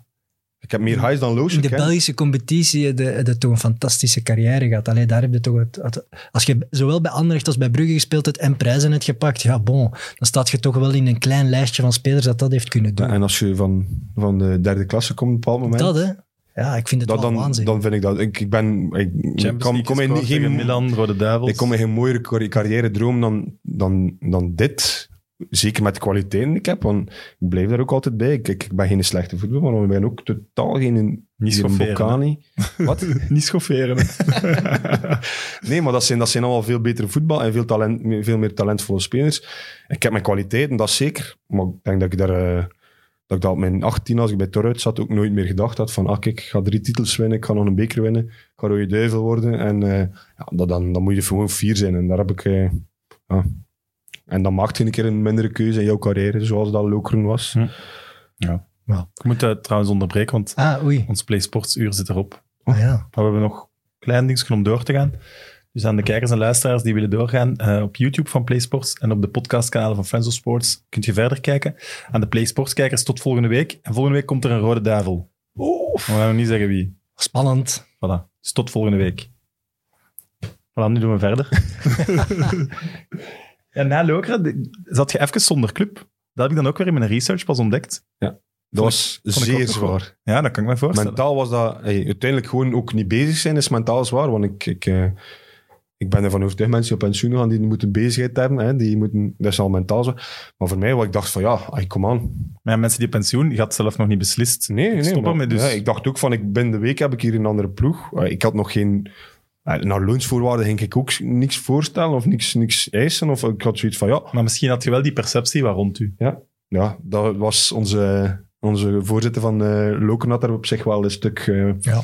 D: Ik heb meer highs dan lows
B: In de
D: gekend.
B: Belgische competitie de, de toch een fantastische carrière gehad. Allee, daar heb je toch het, het- als je zowel bij Anderlecht als bij Brugge gespeeld hebt en prijzen hebt gepakt, ja bon, dan staat je toch wel in een klein lijstje van spelers dat dat heeft kunnen doen.
D: Ja, en als je van, van de derde klasse komt op een bepaald moment,
B: dat hè? Ja, ik vind het
D: dat
B: wel
D: dan,
B: waanzin.
D: dan vind ik dat... Ik, ik ben... Ik, ik
A: Champions
D: Mm, kom,
A: League
D: kom in
A: gescoord tegen
D: geen,
A: Milan, Rode Duivels.
D: ik kom in geen mooiere carri- carrière-droom dan, dan, dan dit. Zeker met de kwaliteiten die ik heb, want ik blijf daar ook altijd bij. Ik, ik ben geen slechte voetballer, maar ik ben ook totaal geen,
A: Niet
D: geen
A: schofferen,
D: Boccani. Wat?
A: Niet schofferen. hè.
D: Nee, maar dat zijn, dat zijn allemaal veel betere voetbal en veel, talent, veel meer talentvolle spelers. Ik heb mijn kwaliteiten, dat zeker. Maar ik denk dat ik daar... eh, dat ik dat op mijn 18, als ik bij Torruit zat, ook nooit meer gedacht had van ah, kijk, ik ga drie titels winnen, ik ga nog een beker winnen, ik ga rode duivel worden. En eh, ja, dat, dan, dan moet je gewoon fier zijn. En daar heb ik... eh, ja. En dan maakt je een keer een mindere keuze in jouw carrière, zoals dat Lokeren was.
A: Hm. ik moet dat trouwens onderbreken, want
B: Ah, oei.
A: ons PlaySports-uur zit erop.
B: Ah, ja.
A: Maar we hebben nog klein dingetje om door te gaan. Dus aan de kijkers en luisteraars die willen doorgaan, eh, op YouTube van PlaySports en op de podcastkanalen van Friends of Sports kunt je verder kijken. Aan de PlaySports-kijkers tot volgende week. En volgende week komt er een rode duivel. We gaan nog niet zeggen wie.
B: Spannend.
A: Voilà. Dus tot volgende week. Voilà, nu doen we verder. ja, na Lokeren de- zat je even zonder club. Dat heb ik dan ook weer in mijn research pas ontdekt.
D: Dat
A: Vond
D: was
A: vond ik ook
D: zeer
A: nog wel.
D: zwaar.
A: Ja, dat kan ik me voorstellen.
D: Mentaal was dat... hey, uiteindelijk gewoon ook niet bezig zijn is mentaal zwaar. Want ik, ik, eh, ik ben ervan overtuigd, mensen die op pensioen gaan, die moeten bezigheid hebben. Hè, die moeten, dat is al mentaal zwaar. Maar voor mij, wat ik dacht van ja, ay, kom aan.
A: Maar ja, mensen die pensioen, je had zelf nog niet beslist.
D: Nee,
A: Ik
D: nee.
A: stop
D: maar-
A: ermee dus.
D: ja, ik dacht ook van, ik, binnen de week heb ik hier een andere ploeg. Eh, ik had nog geen... eh, naar lunchvoorwaarden ging ik ook niks voorstellen of niks, niks eisen. Of ik had zoiets van ja,
A: Maar misschien had je wel die perceptie waar rond u.
D: ja dat was onze... Onze voorzitter van eh Loken had daar op zich wel een stuk eh,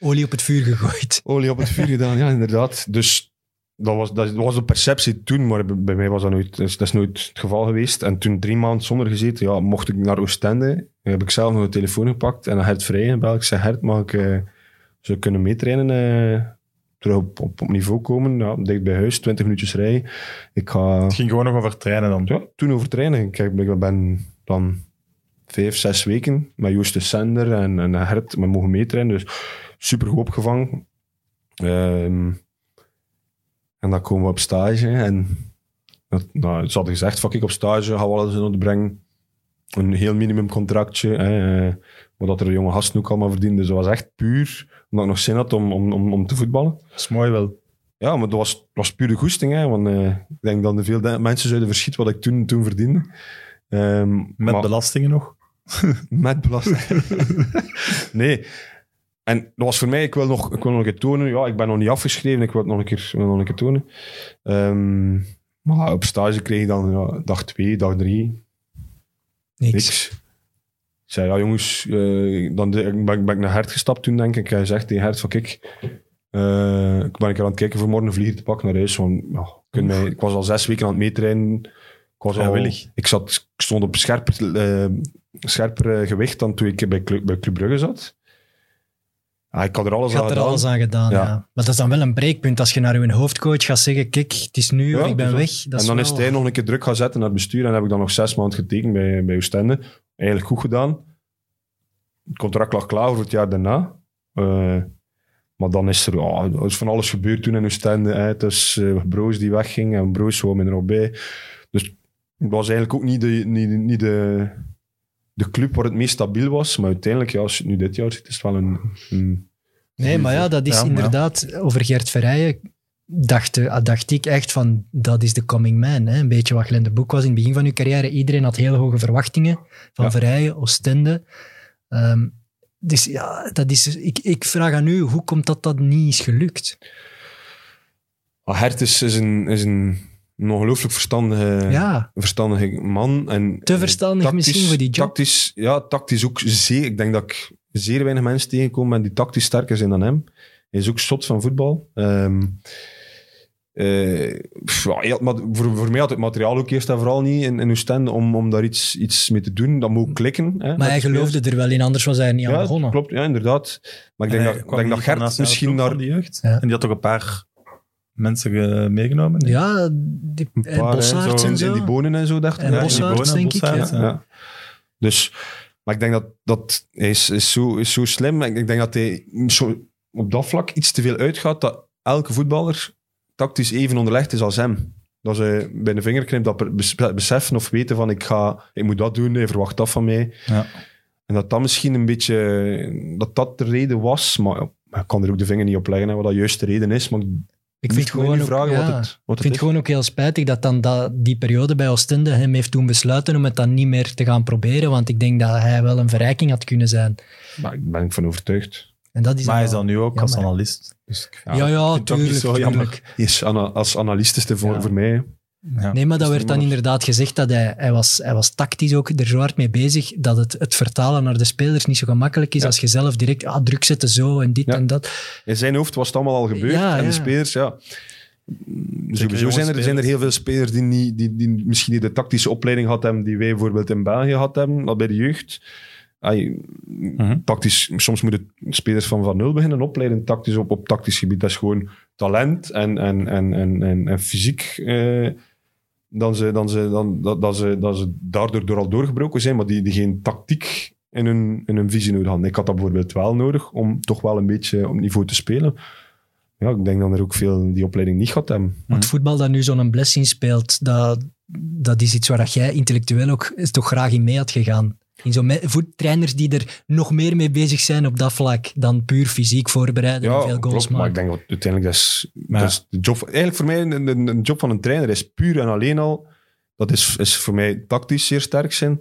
B: Olie op het vuur gegooid.
D: olie op het vuur gedaan, ja, inderdaad. Dus dat was, dat was de perceptie toen, maar bij- bij mij was dat nooit, dat is, dat is nooit het geval geweest. En toen drie maanden zonder gezeten, ja, mocht ik naar Oostende, heb ik zelf nog een telefoon gepakt en een Hert Vrij gebeld. Ik zei, Hert, mag ik eh, zou ik kunnen meetrainen eh, terug op, op, op niveau komen. Ja, dicht bij huis, 20 minuutjes rijden. Ik ga
A: Het ging gewoon nog over trainen dan.
D: ja, toen over trainen. Kijk, ik ben dan vijf, zes weken met Joost de Sender en, en Hert. We mogen meetrainen, dus super goed opgevangen. Ehm, en dan komen we op stage. En dat, nou, ze hadden gezegd, fuck ik op stage, ga alles in orde brengen. Een heel minimum contractje. Hè, eh, wat er de jonge gasten ook allemaal verdienden. Dus dat was echt puur, omdat ik nog zin had om, om, om, om te voetballen.
A: Dat is mooi wel.
D: Ja, maar dat was, dat was pure goesting. Hè, want eh, ik denk dat er veel de- mensen zouden verschieten wat ik toen, toen verdiende. Ehm,
A: Met
D: maar-
A: belastingen nog.
D: met belasting. nee. En dat was voor mij, ik wil nog, ik wil nog een keer tonen. Ja, ik ben nog niet afgeschreven, ik wil het nog een keer, wil nog een keer tonen. Ehm, maar op stage kreeg ik dan ja, dag twee, dag drie,
B: Niks.
D: Niks. Ik zei, ja jongens, eh, dan de- ik ben, ben ik naar Hert gestapt toen, denk ik. Hij zegt tegen Hert van, kijk, eh, ik ben een keer aan het kijken voor morgen een vlieger te pakken naar huis. Want, ja, ik kon mij- ik was al zes weken aan het meetrainen. Ik, was al,
A: Vrijwillig.
D: ik, zat, ik stond op scherper, eh, scherper eh, gewicht dan toen ik bij Club, bij Club Brugge zat. Ja, ik had er alles
B: Ik had
D: aan
B: er
D: gedaan.
B: alles aan gedaan, ja.
D: Ja.
B: Maar dat is dan wel een breekpunt als je naar je hoofdcoach gaat zeggen, kijk, het is nu,
D: Ja,
B: of ik ben weg.
D: dus
B: Dat
D: en dan
B: wel-
D: is hij nog een keer druk gaan zetten naar het bestuur. En heb ik dan nog zes maanden getekend bij, bij Oostende. Eigenlijk goed gedaan. Het contract lag klaar voor het jaar daarna. Eh, maar dan is er, ja, er is van alles gebeurd toen in Oostende. Hè. Dus eh Broos die wegging en Broos kwam er nog bij. Dus het was eigenlijk ook niet de, niet, niet de, de club waar het meest stabiel was. Maar uiteindelijk, ja, als je het nu dit jaar ziet, is het wel een... een
B: Nee, maar ja, dat is
A: Ja, maar ja.
B: inderdaad, over Gert Verrijen dacht, eh, dacht ik echt van, dat is de coming man. Hè? Een beetje wat Glenn de Boek was in het begin van uw carrière. Iedereen had heel hoge verwachtingen van
D: Ja.
B: Verrijen, Oostende. Ehm, dus ja, dat is, ik, ik vraag aan u, hoe komt dat dat niet is gelukt?
D: Ah, Hert is, is, een, is een, een ongelooflijk verstandige...
B: Ja,
D: een verstandige man. En,
B: Te
D: eh,
B: verstandig misschien voor die job.
D: Tactisch, ja, tactisch ook zeer. Ik denk dat ik zeer weinig mensen tegenkom ben die tactisch sterker zijn dan hem. Hij is ook zot van voetbal. Ehm, eh, pff, ja, hij had mat- voor, voor mij had het materiaal ook eerst en vooral niet in, in Oostende om, om daar iets, iets mee te doen. Dat moet klikken. Hè, met
B: maar hij
D: de spelers.
B: geloofde er wel in, anders was hij er niet aan
D: ja,
B: begonnen.
D: Klopt, ja, inderdaad. Maar ik denk
A: En hij
D: dat, ik
A: kwam
D: denk
A: niet van de
D: dat Gert
A: nationale
D: misschien
A: ploeg
D: naar...
A: van die jeugd.
B: Ja.
A: En die had toch een paar mensen ge- meegenomen? Nee.
B: Ja, die,
D: Een
B: eh,
D: paar, hè,
B: Bossaerts
D: zo in-
B: en zo.
D: In die bonen en zo, dacht ik.
B: En
D: Ja,
A: die
B: Bossaerts,
A: Bonen,
B: denk ik,
A: Bossaerts,
D: Ja. Dus, maar ik denk dat, dat hij is, is, zo, is zo slim. Ik, ik denk dat hij zo, op dat vlak iets te veel uitgaat dat elke voetballer tactisch even onderlegd is als hem. Dat ze bij de vingerknip dat per- bes- beseffen of weten van ik, ga, ik moet dat doen, hij verwacht dat van mij.
A: Ja.
D: En dat dat misschien een beetje, dat dat de reden was, maar ja, maar ik kan er ook de vinger niet op leggen hè, wat dat juist de reden is. Maar
B: Ik vind gewoon
D: niet
B: ook-
D: vragen
B: ja.
D: wat het, wat
B: Ik
D: het
B: vind
D: is.
B: het gewoon ook heel spijtig dat dan dat, die periode bij Oostende hem heeft doen besluiten om het dan niet meer te gaan proberen, want ik denk dat hij wel een verrijking had kunnen zijn.
D: Maar daar ben ik van overtuigd.
B: En dat
A: Maar
B: is dan
A: hij is
B: wel-
A: dan nu ook als
B: jammer.
A: analist. Dus ik-
B: Ja, ja,
D: ik vind het ook niet
B: tuurlijk,
D: zo jammer.
B: tuurlijk.
D: Hij is ana- als analist is het voor,
B: Ja.
D: voor mij. hè.
A: ja.
B: Nee, maar dat
D: is
B: werd
D: niet
B: dan
D: meer-
B: inderdaad gezegd dat hij, hij, was, hij was tactisch ook er zo hard mee bezig dat het, het vertalen naar de spelers niet zo gemakkelijk is
D: Ja.
B: als je zelf direct ah, druk zetten zo en dit
D: Ja.
B: en dat.
D: In zijn hoofd was het allemaal al gebeurd.
B: Ja,
D: en
B: ja.
D: de spelers, ja. Dus Sowieso
A: jonge
D: zijn er,
A: spelers.
D: zijn er heel veel spelers die, niet, die, die misschien niet de tactische opleiding gehad hebben die wij bijvoorbeeld in België gehad hebben, dat bij de jeugd. Ai,
A: Mhm.
D: tactisch, soms moeten spelers van van nul beginnen opleiden tactisch op, op tactisch gebied. Dat is gewoon talent en, en, en, en, en, en fysiek. eh, dan ze, dan ze, dan, dat, dat ze, dat ze daardoor door al doorgebroken zijn, maar die, die geen tactiek in hun, in hun visie nodig hadden. Ik had dat bijvoorbeeld wel nodig om toch wel een beetje op niveau te spelen. Ja, ik denk dat er ook veel die opleiding niet gehad hebben.
B: Want voetbal dat nu zo'n blessing speelt, dat, dat is iets waar dat jij intellectueel ook toch graag in mee had gegaan. In zo'n me- voor trainers die er nog meer mee bezig zijn op dat vlak dan puur fysiek voorbereiden en veel goals
D: klopt, maar
B: maken.
D: ik denk dat uiteindelijk dat is,
A: Maar
D: dat is de job. Eigenlijk voor mij een, een, een job van een trainer is puur en alleen al. Dat is, is voor mij tactisch zeer sterk zijn.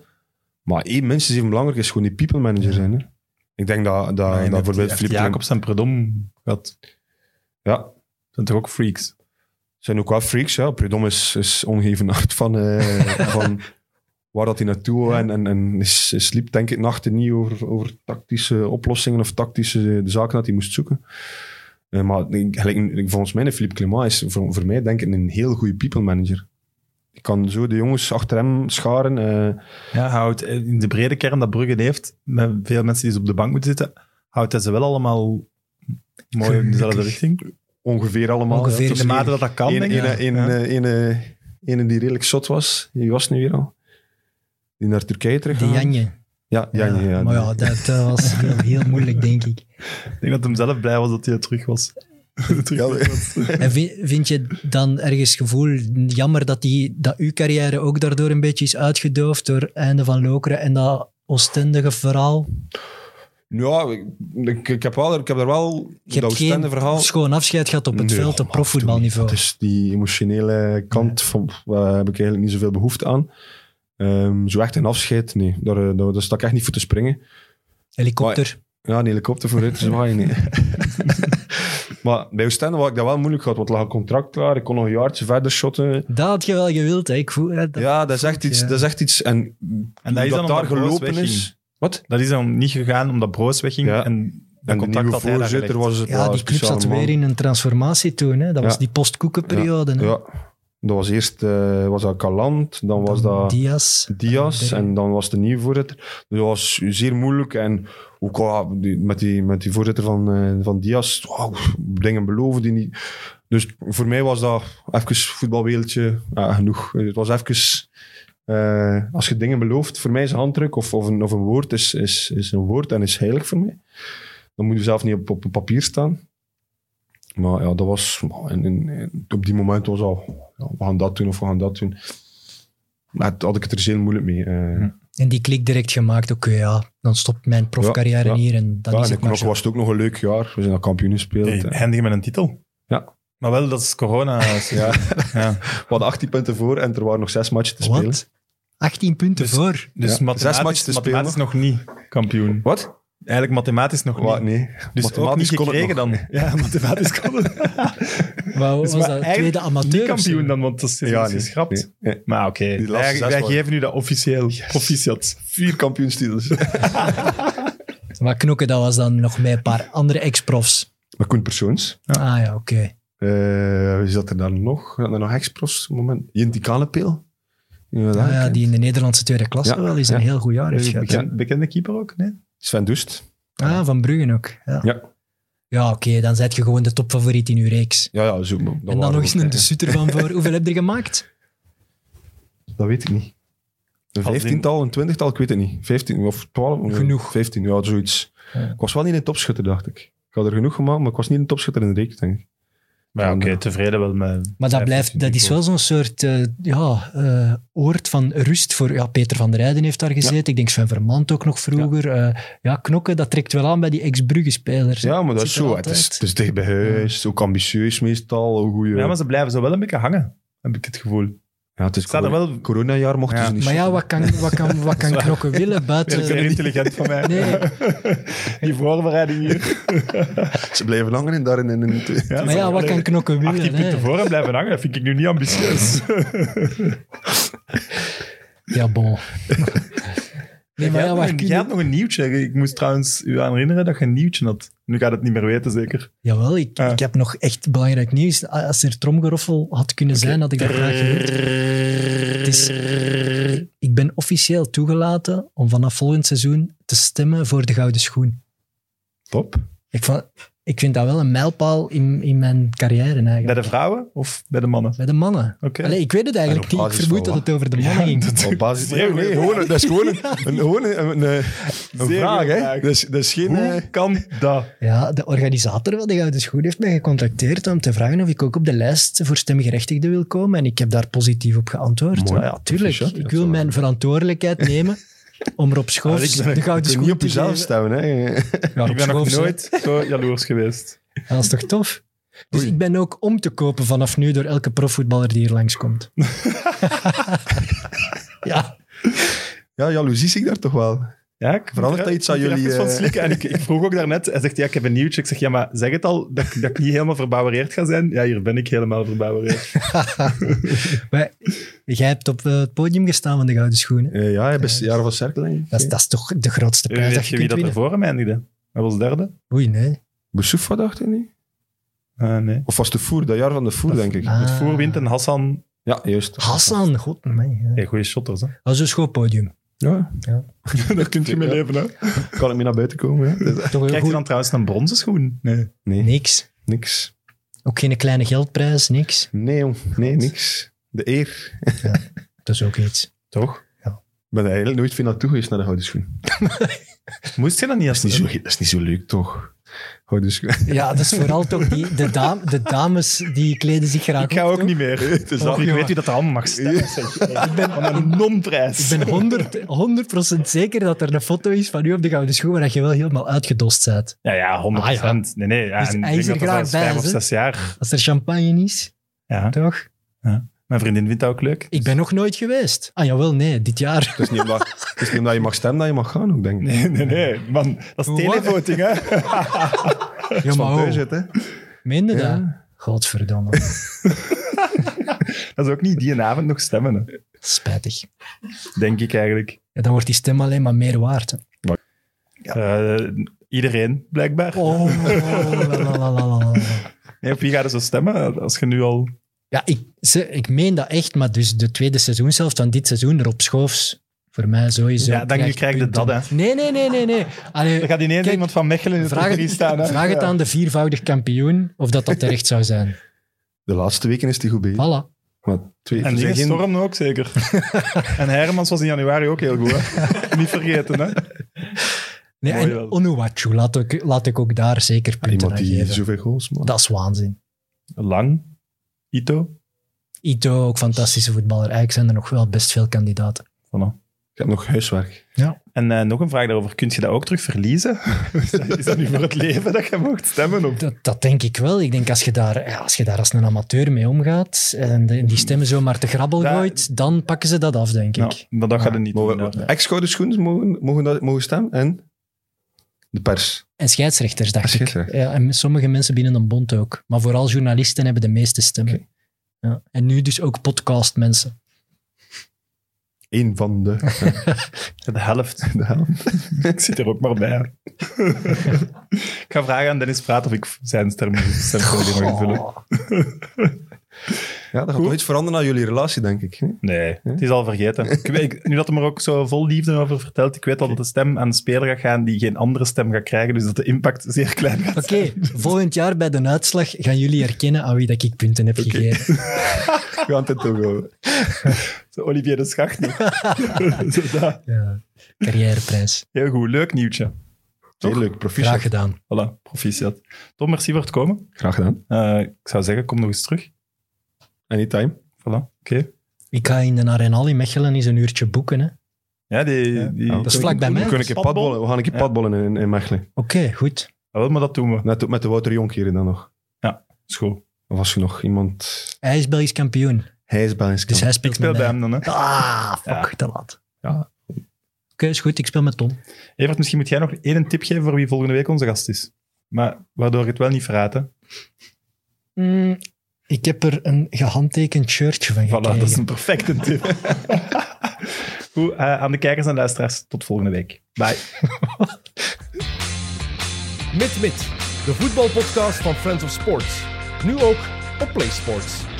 D: Maar één minstens even belangrijk is gewoon die people manager zijn. Hè. Ik denk dat, dat,
A: Maar je
D: dat
A: hebt
D: bijvoorbeeld
A: echt
D: Philippe Clement-
A: Jacobs en Predom gehad.
D: Ja,
A: zijn toch ook freaks?
D: zijn ook wel freaks. Ja. Predom is, is ongeëvenaard van, eh, van waar dat hij naartoe wil. En, en, en is, is sliep denk ik nachten niet over, over tactische oplossingen of tactische eh, zaken dat hij moest zoeken. Eh, maar ik, gelijk- ik- volgens mij, Philippe Clement is voor, voor mij denk ik een heel goede people manager. Ik kan zo de jongens achter hem scharen. eh,
A: Ja, houdt in de brede kern dat Brugge heeft, met veel mensen die ze op de bank moeten zitten, houdt hij ze wel allemaal mooi in dezelfde richting.
D: Ongeveer allemaal.
B: Ongeveer
D: Ja,
B: in
A: In de
D: tussen
A: mate dat dat kan,
D: Ene,
A: denk ik.
D: ene, ene,
A: Ja.
D: ene- ene die redelijk zot was, die was nu weer al. Die naar Turkije terug.
B: De Janje.
D: Ja, Janje. Ja,
B: maar ja, dat, dat was heel, heel moeilijk, denk ik.
A: Ik denk dat hem zelf blij was dat hij terug was. terug was.
B: En vi- vind je dan ergens gevoel, jammer dat, die, dat uw carrière ook daardoor een beetje is uitgedoofd door einde van Lokeren en dat oostendige verhaal?
D: ja ik, ik, ik heb wel, ik heb er wel
B: Je
D: dat
B: hebt geen
D: Oostende verhaal.
B: schoon afscheid gehad op het
D: Nee,
B: veld op
D: maar toen
B: profvoetbalniveau.
D: niet. Dus die emotionele kant van, waar heb ik eigenlijk niet zoveel behoefte aan. Ehm, zo echt een afscheid, nee. Daar, eh, daar, daar sta ik echt niet voor te springen.
B: Helikopter.
D: Ja, een helikopter vooruit zwaaien, nee. maar bij Oostende had ik dat wel moeilijk gehad, want er lag een contract klaar. Ik kon nog een jaartje verder shotten.
B: Dat had je wel gewild, hè? Ik voel, hè, dat-
D: ja, dat is echt iets.
B: ja.
D: Dat is echt iets. En,
A: En dat is dan omdat Broos wegging.
D: Wat?
A: Dat is dan niet gegaan omdat Broos wegging.
D: Ja.
A: En dat
D: En de
A: contact
D: nieuwe
A: had hij daar gelegd.
D: voorzitter was het eh,
B: ja, die club zat weer in een transformatie toen. Hè? Dat
D: Ja.
B: was die postkoekenperiode. hè.
D: Ja, dat was eerst eh, was dat Calant, dan was dat
B: Diaz.
D: Diaz en dan was de nieuwe voorzitter. Dat was zeer moeilijk en ook ah, die- met, die, met die voorzitter van, eh, van Diaz, wauw, dingen beloven die niet. Dus voor mij was dat even voetbalwereldje ja, genoeg. Het was even, eh, als je dingen belooft, voor mij is een handdruk of, of, een, of een woord is, is, is een woord en is heilig voor mij. Dan moet je zelf niet op, op een papier staan. Maar ja, dat was, en, en- en op die moment was al, ja, we gaan dat doen of we gaan dat doen. Maar het- had ik het er zeer moeilijk mee. eh.
B: En die klik direct gemaakt. Oké, ja, dan stopt mijn profcarrière
D: Ja, ja.
B: hier en dan
D: ja,
B: is het
D: en ik nog
B: maar zo.
D: was het ook nog een leuk jaar. We zijn al kampioen gespeeld.
A: Hey,
D: eh.
A: Handig met een titel.
D: Ja.
A: Maar wel, dat is corona. Dus
D: Ja.
A: Ja.
D: We hadden 18 punten voor en er waren nog zes matchen te spelen.
B: Wat? 18 punten
A: Dus-
B: voor.
A: Dus
D: Ja.
A: mathematisch,
D: Zes matchen te spelen.
A: mathematisch nog niet kampioen.
D: Wat?
A: Eigenlijk mathematisch nog
D: Wat?
A: niet.
D: Nee.
A: Dus ook niet
D: Mathematisch kon het
A: gekregen
D: nog.
A: dan. Ja, mathematisch kon het.
B: Maar
A: Dus
B: was
A: maar
B: dat
A: eigenlijk
B: tweede amateur?
A: Niet
B: of zo?
A: kampioen dan, want dat is
D: Ja,
A: is
D: nee.
A: geschrapt.
D: Nee. Nee.
A: Maar oké,
D: Die laatste
A: wij,
D: zes
A: wij
D: waren-
A: geven nu dat officieel. Proficiat.
D: Vier kampioenstitels.
B: Maar knokken, dat was dan nog met een paar andere ex-profs.
D: maar Koen Persoons.
B: Ah ja, oké.
D: Eh, wie zat er dan nog? Zat er nog ex-profs op het moment? Jinti Kanepeil. Ja,
B: Ah ja, die in de Nederlandse tweede klasse
D: Ja,
B: wel eens een
D: ja.
B: heel goed jaar heeft gehad.
A: Bekend- Bekende keeper ook? Nee?
D: Sven Dust.
B: Ah, van Bruggen ook. Ja,
D: Ja.
B: Ja, oké, dan zet je gewoon de topfavoriet in uw reeks.
D: Ja, ja, zo.
B: en dan nog eens een de Sutter van voor. Hoeveel heb je er gemaakt?
D: Dat weet ik niet. Een
A: Als die-
D: vijftiental, een twintigtal, ik weet het niet. Vijftien of twaalf?
B: Genoeg.
D: Vijftien, ja, zoiets.
B: Ja.
D: Ik was wel niet een topschutter, dacht ik. Ik had er genoeg gemaakt, maar ik was niet een topschutter in de reeks, denk ik.
A: Maar oké, tevreden wel met...
B: Maar dat, blijft, dat is wel zo'n soort eh, ja, eh, oord van rust voor... Ja, Peter van der Rijden heeft daar gezeten. Ik denk Sven Vermand ook nog vroeger. Ja, ja knokken, dat trekt wel aan bij die ex-Brugge-spelers. hè.
D: Ja, maar dat is
B: zit er
D: zo. Het is,
B: altijd.
D: het is dicht bij huis, ook ambitieus meestal. Een goeie...
A: Ja, maar ze blijven zo wel een beetje hangen, heb ik het gevoel.
D: Ja, het is
A: Staat er
D: corona-
A: wel-
D: Coronajaar mochten
A: Ja.
D: ze niet
B: Maar ja,
D: shotten.
B: wat kan, wat kan, wat kan knokken willen buiten...
A: intelligent van mij.
B: Nee,
A: Die voorbereiding hier.
D: Ze blijven hangen en daarin in een...
B: maar ja, wat kan knokken willen?
A: 18 punten
B: hè?
A: voor en blijven hangen, dat vind ik nu niet ambitieus.
B: Ja, bon. Nee, maar ja, wat kun je-
A: had nog een nieuwtje. Ik moest trouwens u aan herinneren dat je een nieuwtje had. Nu gaat het niet meer weten, zeker.
B: Jawel, ik,
A: Ah.
B: ik heb nog echt belangrijk nieuws. Als er tromgeroffel had kunnen zijn, had ik dat graag gehoord. Het is- ik ben officieel toegelaten om vanaf volgend seizoen te stemmen voor de Gouden Schoen.
D: Top.
B: Ik, va- ik vind dat wel een mijlpaal in, in mijn carrière eigenlijk.
A: Bij de vrouwen of bij de mannen?
B: Bij de mannen.
A: Oké.
B: Allee, ik weet het eigenlijk
D: En
B: niet.
D: op
B: Ik
D: basis
B: vermoed
D: van
B: dat het over de mannen ging.
D: Op basis...
A: Zeer
D: Nee, nee,
A: goeie
D: gewoon, dat is gewoon een, een, gewoon een, een, een
A: goeie
D: vraag,
A: vraag.
D: hè. Dat is, dat is geen... eh,
A: Hoe kan dat?
B: Ja, de organisator van de Gouden Schoen heeft mij gecontacteerd om te vragen of ik ook op de lijst voor stemgerechtigden wil komen. En ik heb daar positief op geantwoord.
D: Mooi.
B: Maar ja, tuurlijk.
D: Proficiat, ja,
B: ik
D: dat
B: wil
D: is
B: mijn verantwoordelijkheid nemen om Rob Schoofs
A: Ah, ik ben-
B: de
D: je
B: Gouden
D: kunt
B: Schoen
D: niet op
B: te
D: jezelf
B: geven.
D: stemmen, hè.
B: Ja,
A: ik
B: Rob
A: ben nog
B: Schoofs, hè.
A: nooit zo jaloers geweest.
B: Dat is toch tof? Dus
D: Oei.
B: ik ben ook om te kopen vanaf nu door elke profvoetballer die hier langskomt. ja,
D: Ja, jaloezie zie ik daar toch wel.
A: Ja, ik
D: Verandert dat iets aan
A: ik moet er
D: jullie,
A: even van
D: eh?
A: slikken. En ik, ik vroeg ook daarnet, hij zegt, ja, ik heb een nieuwtje. Ik zeg, ja, maar zeg het al, dat, ik- dat ik niet helemaal verbouwereerd ga zijn. Ja, hier ben ik helemaal verbouwereerd.
B: maar jij hebt op eh, het podium gestaan van de Gouden Schoenen.
D: Eh, ja, hij best jaren van Cerkeling.
B: Dat is, dat is toch de grootste prijs dat
A: Weet
B: je
A: je wie
B: kunt
A: dat
B: winnen?
A: er voor hem eindigde? Hij was derde?
B: Oei, nee.
D: Boussoufa dacht ik niet.
A: Ah, nee.
D: Of was de voer, dat jaar van de voer, denk ik.
B: Ah.
A: Het voor wint en Hassan...
D: Ja, juist.
B: Hassan, god, man. Ja.
A: Hey, goede shotters, hè?
B: Dat is een schoon podium.
D: Ja.
A: Daar kunt
D: je mee
A: leven, hè?
D: Kan ik mee naar buiten komen? Hè?
B: Toch een
A: Krijgt hij
B: goed...
A: dan trouwens een bronzen schoen? Nee.
D: Nee,
B: Niks.
D: niks.
B: Oké, Ook geen kleine geldprijs, niks.
D: Nee, jong. Nee, niks. De eer.
B: Dat is ook iets.
D: Toch?
B: Ja.
D: Ik ben eigenlijk nooit veel naartoe geweest naar de gouden schoen.
A: Moest je dat niet als
D: Dat is niet zo, dat is niet zo leuk, toch? Gouden schoen.
B: Ja, dat is vooral toch die, de, dam, de dames die kleden zich graag
A: Ik ga
B: op,
A: ook
B: toch?
A: niet meer.
D: Het is
A: Want
D: al-
A: ik weet wie dat er allemaal mag stemmen. zeg. Ik ben van een non-prijs.
B: Ik ben 100, 100 zeker dat er een foto is van u op de gouden schoen waar dat je wel helemaal uitgedost bent.
A: Ja, ja, 100
B: Ah,
A: Nee, nee. Ja,
B: Dus
A: en ik
B: hij
A: denk
B: is er
A: dat dat
B: graag
A: al
B: bij,
A: Vijf of
B: hè?
A: zes jaar.
B: Als er champagne is,
A: Ja.
B: toch?
A: Mijn vriendin vindt dat ook leuk.
B: Ik ben nog nooit geweest. Ah jawel, nee, dit jaar.
D: Het is niet omdat, het is niet omdat je mag stemmen dat je mag gaan, ook, denk ik.
A: Nee, nee, nee. Man, dat
B: Wat?
A: is televoting, hè.
B: Ja,
D: Van
B: maar oh,
D: thuis uit, hè.
B: meende dat?
D: Ja.
B: Godverdomme.
A: Dat is ook niet die avond nog stemmen, hè.
B: Spijtig.
A: denk ik eigenlijk.
B: Ja, dan wordt die stem alleen maar meer waard. hè.
A: Eh, iedereen, blijkbaar.
B: Oh, la, la, la, la, la.
A: Nee, op wie gaat er zo stemmen als je nu al...
B: Ja, ik, ze- ik meen dat echt, maar dus de tweede seizoenshelft van dit seizoen erop schoofs. Voor mij sowieso.
A: Ja, dan nu krijg je
B: punten.
A: dat, hè.
B: Nee, nee, nee, nee. nee. Allee,
A: Er gaat ineens
B: Kijk,
A: iemand van Mechelen in het
B: vraag,
A: jury
B: het,
A: staan, hè.
B: vraag het aan de viervoudig kampioen of dat dat terecht zou zijn.
D: De laatste weken is die goed bezig.
B: Voilà.
D: Maar twee,
A: En
D: er
A: die
D: zijn geen-
A: storm ook zeker. en Hermans was in januari ook heel goed. Hè? Niet vergeten, hè?
B: Nee,
A: Mooi
B: en
A: wel. Ah,
B: Onuwachu, laat ik, laat ik ook daar zeker punten
D: Ah, Iemand
B: aan
D: die
B: geven.
D: zoveel goals maakt.
B: Dat is waanzin.
A: Lang. Ito.
B: Ito, ook fantastische voetballer. Eigenlijk zijn er nog wel best veel kandidaten.
A: Voilà.
D: Ik heb nog huiswerk.
A: En eh, nog een vraag daarover. Kun je dat ook terug verliezen? is, dat, is dat nu voor het leven dat je mocht stemmen? Of?
B: Dat, dat denk ik wel. Ik denk als je daar, ja, als je daar als een amateur mee omgaat en de- die stemmen zomaar te grabbel
A: Ja.
B: gooit, dan pakken ze dat af, denk ik.
A: Nou, maar dat gaat er niet
D: Maar
A: doen.
D: we-
A: inderdaad.
D: Ex-gouden schoenen mogen, mogen, dat- mogen stemmen en de pers.
B: En scheidsrechters,
A: Ah,
B: dacht ik.
D: Scheidsrechter.
B: Ja, en sommige mensen binnen een bond ook. Maar vooral journalisten hebben de meeste stemmen. Ja. En nu dus ook podcastmensen.
D: Eén van de,
A: De helft.
D: de helft.
A: ik zit er ook maar bij. ik ga vragen aan Dennis Praat of ik zijn stem stem mag invullen.
B: Oh.
D: Ja, dat gaat toch iets veranderen aan jullie relatie, denk ik. hè?
A: Nee, het is al vergeten. Ik weet, ik- nu dat hij er ook zo vol liefde over vertelt, ik weet al dat de stem aan de speler gaat gaan die geen andere stem gaat krijgen, dus dat de impact zeer klein gaat
B: Oké, volgend jaar bij de uitslag gaan jullie herkennen aan wie dat ik punten heb gegeven.
D: We gaan het toch wel.
A: Zo Olivier de Schacht niet. Zo dat.
B: Ja. Carrièreprijs.
A: Heel goed, leuk nieuwtje.
D: Heel leuk, proficiat.
B: Graag
D: Graag,
B: gedaan.
A: Voilà, proficiat. Tom, merci voor het komen.
D: gedaan.
A: Eh, ik zou zeggen, kom nog eens terug.
D: Anytime.
A: Voilà, oké.
B: Ik ga in de Arenal in Mechelen eens een uurtje boeken. Hè. Oké,
A: Ja, die, die,
D: Dat
B: is vlak bij
A: Hoe-
B: mij.
A: hoe
D: We, kunnen
A: kunnen
D: een keer padbollen. we gaan een keer
A: Ja.
D: padbollen in, in Mechelen.
B: goed.
A: Ah, wel, maar dat doen we.
D: Net met de Wouter Jonkeren dan nog.
A: School.
D: Of was er nog iemand...
B: Hij is Belgisch kampioen,
D: Hij is Belgisch
B: dus hij
A: Ik
B: speelt
A: speel
B: met
A: bij
B: mij.
A: hem dan. Hè.
B: Ah, fuck,
A: Ja.
B: te laat.
D: Ja.
B: Oké, is goed. Ik speel met Tom.
A: Evert, misschien moet jij nog één tip geven voor wie volgende week onze gast is. Maar waardoor ik het wel niet verraad. hè.
B: Mm, ik heb er een gehandtekend shirtje van gekregen.
A: Voilà, dat is een perfecte tip. Goed, eh, aan de kijkers en luisteraars, tot volgende week. Bye.
C: Mit Mit, de voetbalpodcast van Friends of Sports. Nu ook op PlaySports.